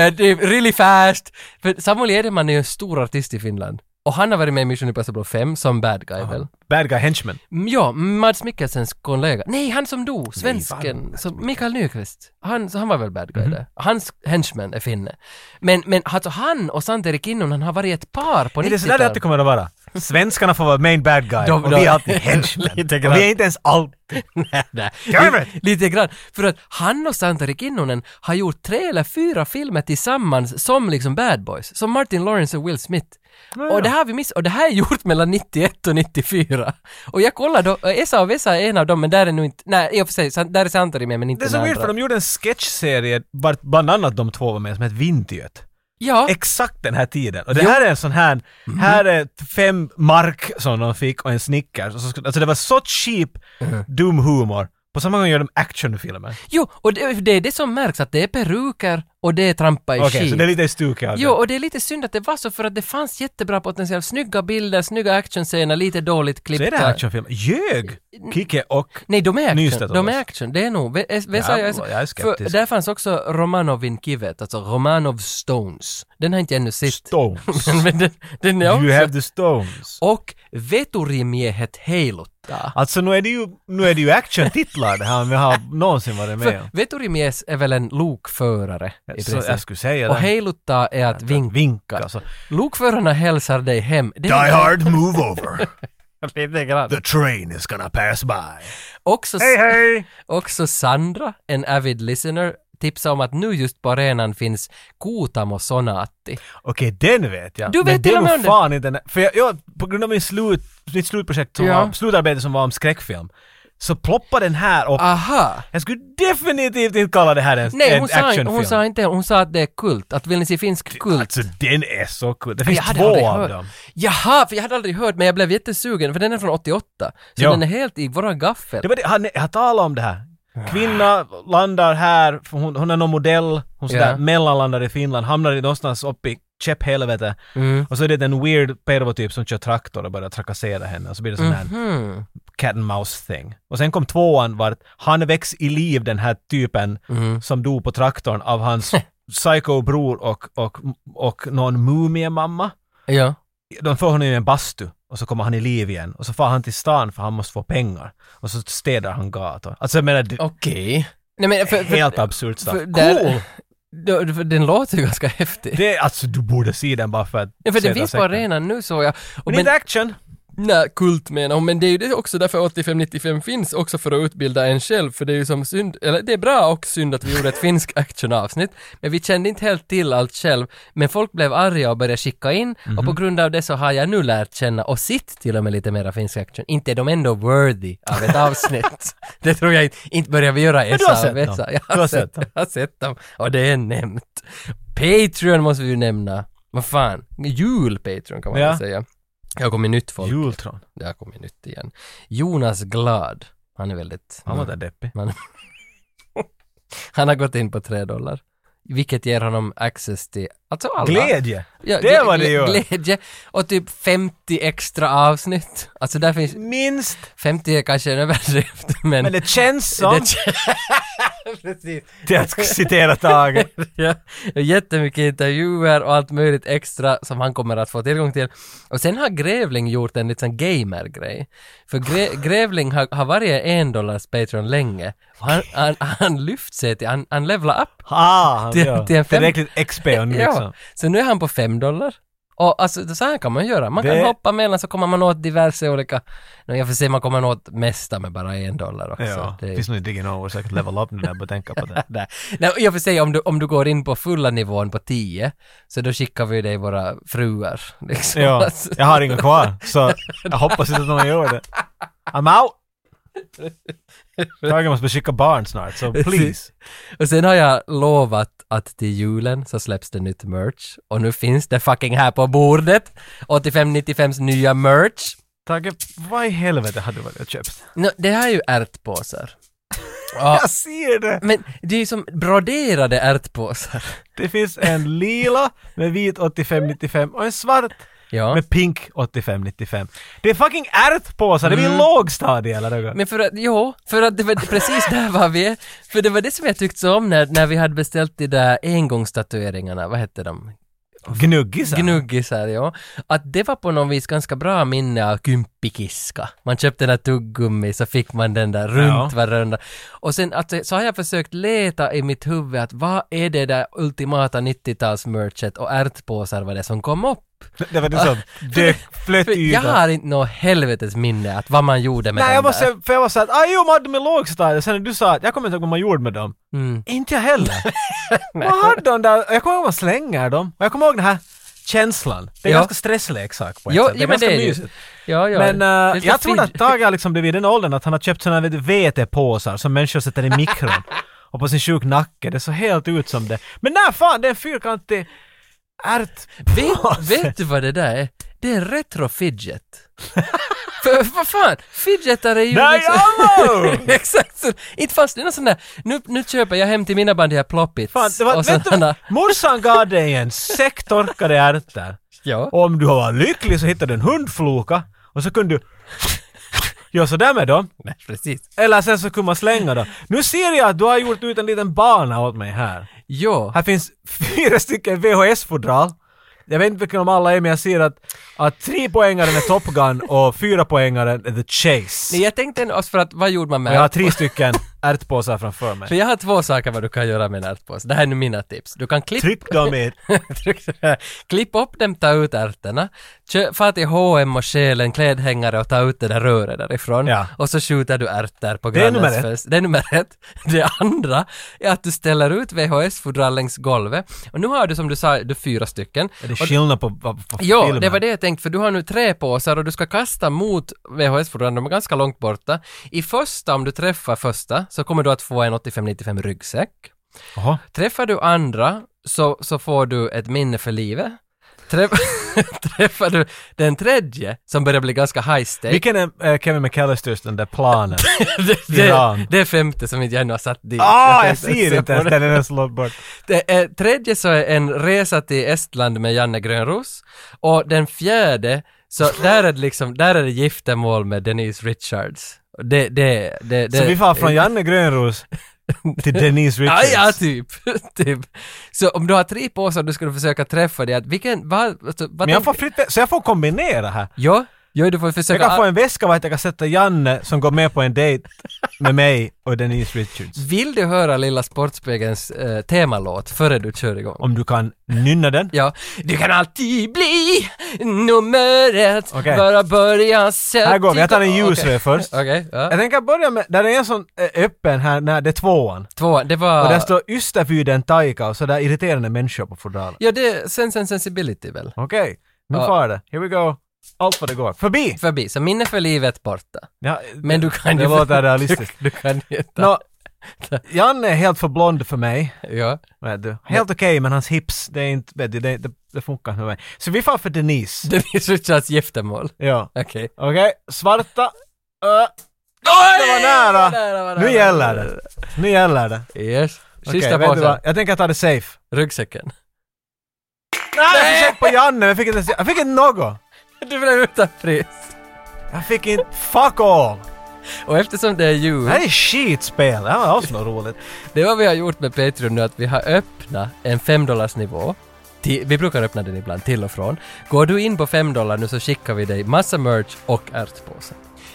eh, det är really fast. För Samuel Edelman är ju en stor artist i Finland. Och han har varit med i Mission Impossible 5 som bad guy väl? Bad guy henchman. Mm, Ja, Mads Mikkelsens kollega. Nej, han som dog, svensken. Mads som Mikael Nyqvist. Han, så han var väl bad Mhm. guy där. Hans henchman är finne. Men, men alltså han och Santeri Kinnunen har varit ett par på Är det sådär det 90-talet. alltid kommer att vara? Svenskarna får vara main bad guy De- och de- vi är alltid henchmen. Lite och grann. *laughs* vi är inte ens alltid... Nej, Damn li- Lite grann. För att han och Santeri Kinnunen har gjort tre eller fyra filmer tillsammans som liksom bad boys. Som Martin Lawrence och Will Smith. Och det här har vi miss och det här är gjort mellan 91 och 94. Och jag kollade då, eh, Esa och Vesa är en av dem, men där är nog inte, nej i och för sig, San- där är Santeri med men inte Det är så den weird andra. för de gjorde en sketchserie, vart bland annat de två var med, som hette Vintiöt. Ja. Mhm. Exakt den här tiden. Och det här är en sån här, här är fem mark som de fick och en Snickers. Och så skulle- Alltså det var så cheap, Mhm. dum humor. På samma gång gör de actionfilmer. Jo, och det, det är det som märks att det är peruker och det är trampa i Okej, skit. så det är lite stukigt av det. Jo, och det är lite synd att det var så för att det fanns jättebra potential. Snygga bilder, snygga actionscener, lite dåligt Så klippta. är det actionfilmer. Ljög Kike och... Nej, de är action. Nystedt de åt är oss. action. Det är nog... Ve- es- Vesa, Jävlar, så- jag är skeptisk. för där fanns också Romanovin Kivet, alltså Romanov Stones. Den har inte jag ännu sett. *laughs* Stones. Men den, den är också... You have the stones. Och Veturimiehet Heilutta. Alltså nu är det ju, nu är det ju actiontitlar det här vi har någonsin varit med För om. Veturimies är väl en lokförare? i Så jag princip. skulle säga Och den. heilutta är att vinka. Vinka. Så. Lokförarna hälsar dig hem. Det är Die hard, move over. *laughs* lite grann. The train is gonna pass by. Också, Hej hej! också Sandra, en avid listener, tipsar om att nu just på arenan finns Kotamo Sonatti. Okej, den vet jag. Du vet Men det till och med var om den. fan inte den. För jag, jag, på grund av min slut, mitt slutprojekt, som Ja. var, slutarbete som var om skräckfilm, så ploppade den här upp. Aha! Jag skulle definitivt inte kalla det här en, Ah. Nej, en hon sa, actionfilm. hon sa inte Hon sa att det är kult. Att vill ni se finsk kult? Alltså den är så kul. Det Men finns jag hade aldrig två av hört. dem. Jaha, för jag hade aldrig hört, men jag blev jättesugen, för den är från 88. Så Ja. den är helt i våra gaffel. Det var det, han, han talade om det här. Ah. Kvinna landar här, för hon, hon är någon modell, hon sådär Ja. mellanlandar i Finland, hamnar i någonstans uppe i käpphelvete. Mm. Och så är det en weird pervotyp som kör traktor och börjar trakassera henne. Och så blir det sån här Mhm. cat and mouse thing. Och sen kom tvåan vart han väcks i liv den här typen Mm. som dog på traktorn *laughs* av hans psykobror och, och, och någon mumiemamma. Ja. De får honom i en bastu och så kommer han i liv igen och så far han till stan för han måste få pengar. Och så städar han gator. Alltså jag menar, det Okej. Nej men för... för, helt absurt stuff. för Cool! där- *laughs* då- för den låter ju ganska häftig. Det, alltså du borde se den bara för att... ja, för se den den finns på säkert. arenan nu såg jag. Och Men men, inte action! nej, kult menar hon, men det är ju det också därför 85-95 finns, också för att utbilda en själv, för det är ju som synd, eller det är bra och synd att vi gjorde ett *laughs* finsk actionavsnitt, men vi kände inte helt till allt själv, men folk blev arga och började skicka in, och på Mhm. grund av det så har jag nu lärt känna, och sitt till och med lite mera finsk action, inte är de ändå worthy av *laughs* ett avsnitt. *laughs* det tror jag inte, inte börjar vi göra du har Esa sett och Vesa. dem. Jag har, Du har sett, sett dem. Jag har sett dem, och det är nämnt. Patreon måste vi ju nämna. Vad fan, jul-Patreon kan man Ja. väl säga. Jag har kommit nytt folk. Jultron. Det har kommit nytt igen. Jonas Glad. Han är väldigt... Han var där deppig. Man- han har gått in på 3 dollar. Vilket ger honom access till, alltså alla. Glädje! Ja, det gle- var det gle- ju. Glädje. Och typ 50 extra avsnitt. Alltså där finns, Minst! 50 är kanske en *laughs* överdrift men... Men det känns som... *laughs* det *laughs* Precis. Det jag ska citera Tage. Ja, jättemycket intervjuer och allt möjligt extra som han kommer att få tillgång till. Och sen har Grävling gjort en liten gamer-grej. För Grä- Grävling har, har varit en dollars Patreon länge. Och han, han, han lyft sig till, han, han levlar upp. Ah, han, Till- ja. till en fem- Tillräckligt XP och nu liksom. Ja, så nu är han på fem dollar. Och alltså så här kan man göra. Man Det- kan hoppa mellan så kommer man åt diverse olika... Nå, Jag får se, man kommer åt mesta med bara en dollar också. Ja, Det är- det finns nog inte digging over så jag kan level up nu när jag börjar tänka *laughs* på det. Nej. Nej, och jag får säga om du, om du går in på fulla nivån på 10 så då skickar vi dig våra fruar. *laughs* Liksom. Ja, Alltså, jag har inga kvar, så jag hoppas inte att någon gör det. I'm out! Tage måste skicka barn snart, så please. Och sen har jag lovat att till julen så släpps det nytt merch och nu finns det fucking här på bordet. 85-95s nya merch. Tage, vad i helvete hade du varit *laughs* och köpt? Nå, det här är ju ärtpåsar. Ja, Jag ser det! men det är ju som broderade ärtpåsar. Det finns en lila med vit 8595 och en svart Ja. med pink 8595. Det är fucking ärtpåsar, det är Mm. min lågstadie eller något. Men för att, jo, för att det var precis där var vi är. För det var det som jag tyckte så om när, när vi hade beställt de där engångstatueringarna, vad hette de? Gnuggisar. Gnuggisar, ja. Att det var på något vis ganska bra minne av Kymppikiska. Man köpte den där tuggummi så fick man den där runt Ja. varandra. Och sen alltså, så har jag försökt leta i mitt huvud att vad är det där ultimata 90-talsmerchet och ärtpåsar var det som kom upp? det var det som *laughs* dök, flöt För i jag ytan. har inte något helvetes minne att vad man gjorde med Nej, den jag där. var, så, för jag var såhär, ah, jo, man hade med lågstadiet, sen när du sa att jag kommer inte ihåg vad man gjorde med dem. Mm. Inte *laughs* jag heller. man hade de där, jag kommer ihåg att man slänger dem. Och jag kommer ihåg den här känslan. Det är Ja. ganska stressleksak på ett Jo, sätt. Det jo, är men ganska det är det ju. mysigt. Ja, ja. Men Det är eh, lite jag tror fidget- att Tage har liksom blivit i den åldern att han har köpt såna här vet du, vetepåsar som människor sätter i mikron. *laughs* och på sin sjuk nacke, det såg helt ut som det. Men nej fan, det är en fyrkantig ärtpåse. *laughs* Vet, vet du vad det där är? Det är retro fidget. *laughs* För vad fan, fidgetar är ju liksom- Nej, jallå! *laughs* Exakt så. Inte fast det är någon sån där, nu, nu köper jag hem till mina band de här ploppits. Fan, det var, och vet du, sådana- vad? morsan gav dig en säck torkade ärtor. Ja. Och om du var lycklig så hittade du en hundfloka och så kunde du göra sådär med dem. Nej, precis. Eller sen så kunde man slänga dem. Nu ser jag att du har gjort ut en liten bana åt mig här. Jo. Här finns fyra stycken VHS-fodral. Jag vet inte vilken de alla är men jag ser att att tre poängaren är Top Gun och fyra poängaren är The Chase. Nej, jag tänkte en- alltså för att vad gjorde man med Och jag har tre stycken ärtpåsar framför För mig. jag har två saker vad du kan göra med en ärtpåse. Det här är nu mina tips. Du kan klippa... Tryck dem i... *laughs* Tryck så här. Klipp upp dem, ta ut ärtorna. Kö- Far till H&M och stjäl en klädhängare och ta ut det där röret därifrån. Ja. Och så skjuter du ärtor på Det är grannens nummer ett. fest. Det är nummer ett. Det andra är att du ställer ut VHS-fodral längs golvet. Och nu har du som du sa, du fyra stycken. Är det skillnad på, på, på Ja, filmen? det var det jag tänkte, för du har nu tre påsar och du ska kasta mot VHS-fodralen, de är ganska långt borta. I första, om du träffar första, så kommer du att få en 85-95 ryggsäck. Jaha. Träffar du andra, så, så får du ett minne för livet. Träff, *laughs* träffar du den tredje, som börjar bli ganska high stake, Vilken är eh, Kevin McAllisters den där *laughs* planen? det, Iran? det, det är femte som inte jag ännu har satt dit. Ah, jag tänkte- ser inte ens den, den är så långt bort. Det är, tredje så är en resa till Estland med Janne Grönros och den fjärde så där är det liksom, där är det giftermål med Denise Richards. Det, det, det, det Så vi far från Janne Grönros *laughs* till Denise Ja, Richards. ja, typ. typ. Så om du har tre påsar du skulle försöka träffa det, att vilken, vad, alltså, vad Men tänk- jag får fritt, så jag får kombinera här. Ja, ja, du får Jag försöka. kan få en väska vart jag kan sätta Janne som går med på en dejt med mig och Denise Richards. Ah, Vill du höra Lilla Sportspegelns eh, temalåt före du kör igång? Om du kan nynna den. Ja, du kan alltid bli nummer ett, Okej. bara börja sätt Här går vi, jag tar en igång. ljusröd Okej. först. Okej, ja. Jag tänker börja med, där är en sån eh, öppen här, när det är tvåan. Två, det var... Och där står Ystafyden Taika och sådär irriterande människor på fodralen. Ja, det är Sense and Sensibility väl? Okej, nu Ja. far det. Here we go. Allt vad det går. Förbi! Förbi, så minne för livet borta. Ja, Men *laughs* du kan det ju... låter realistiskt. Du, du kan ju ta... Nå, Janne är helt för blond för mig. Ja. Vet du. Helt okej, men hans hips, det är inte, vet du, det, det, det funkar för mig. Så vi far för Denise. Det blir Richards giftermål. Ja. Okej. Okej, svarta. Ö, det var Vad nära! nära, vad nära. Nu gäller det. Nu gäller det. Yes. Okej, Sista vet du påsen. vad? Jag tänker ta det safe. Ryggsäcken. *laughs* Nej! Jag försökte på Janne, men jag fick inte, ens- jag fick inte något. Du blev utan pris. Jag fick inte... Fuck all! Och eftersom det är jul, Det här är skitspel. Det här var också något roligt. det är vad vi har gjort med Patreon nu, att vi har öppnat en 5 nivå. Ti- Vi brukar öppna den ibland, till och från. Går du in på 5 dollar nu så skickar vi dig massa merch och ärtpåse.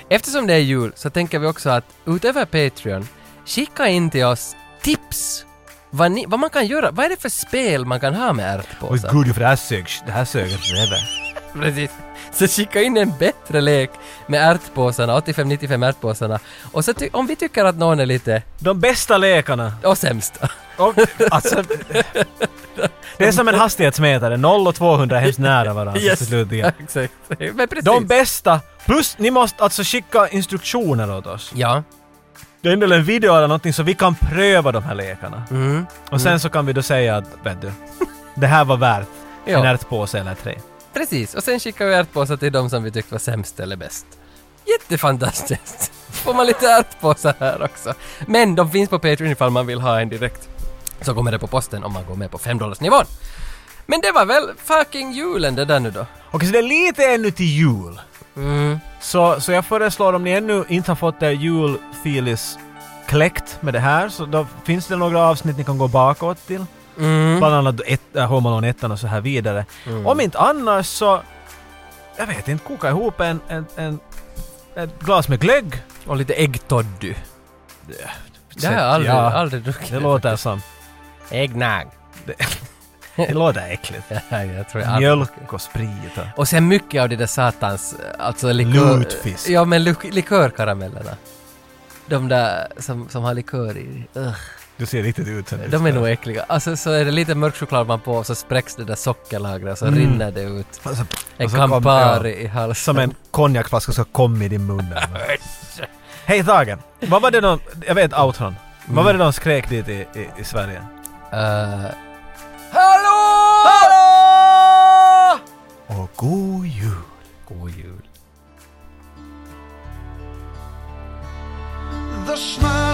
Eftersom det är jul så tänker vi också att utöver Patreon, skicka in till oss tips! Vad, ni, vad man kan göra, vad är det för spel man kan ha med Oj ärtpåsar? gud, för det här sög... Det här sög röven. Precis. Så skicka in en bättre lek med ärtpåsarna, 85-95 ärtpåsarna. Och så ty- om vi tycker att någon är lite, De bästa lekarna. och sämsta. Och, alltså, det är som en hastighetsmätare. 0 och 200 är hemskt nära varandra yes. till slut igen. *laughs* Exakt. Men precis. De bästa. Plus, ni måste alltså skicka instruktioner åt oss. Ja. Det är en del en video eller någonting så vi kan pröva de här lekarna. Mm. Och sen så kan vi då säga att, vet du, det här var värt en Ja. ärtpåse eller tre. Precis, och sen skickar vi ärtpåsar till de som vi tyckte var sämst eller bäst. Jättefantastiskt! Får man lite ärtpåsar här också. Men de finns på Patreon ifall man vill ha en direkt. Så kommer det på posten om man går med på 5 nivån. Men det var väl fucking julen det där nu då? Okej, så det är lite ännu till jul. Mm, Så, så jag föreslår om ni ännu inte har fått er julfilis kläckt med det här så då finns det några avsnitt ni kan gå bakåt till. Mm. Bland annat ett, äh, Home Alone 1 och så här vidare. Om inte annars så, jag vet inte, koka ihop en, en, en ett glas med glögg. Och lite äggtoddy. Det har jag aldrig, Ja, aldrig druckit. Det låter som, Äggnag. *laughs* det låter äckligt. jag tror jag aldrig- Mjölk och sprit och... Och sen mycket av det där satans, alltså likör... Lutfisk. Ja, men lu- likörkaramellerna. De där som, som har likör i. Ugh, Du ser riktigt ut som de är nog äckliga. Alltså så är det lite mörk choklad man på och så spräcks det där sockerlagret och så rinner det ut. Alltså, En Mm. och så kom- Campari ja. i halsen. Som en konjakflaska ska komma i *laughs* din mun. Hej Tage! Vad var det de... Jag vet outron. Vad Mm. var det de skrek dit i, i, i Sverige? Eh, Och god jul! god jul. The smile.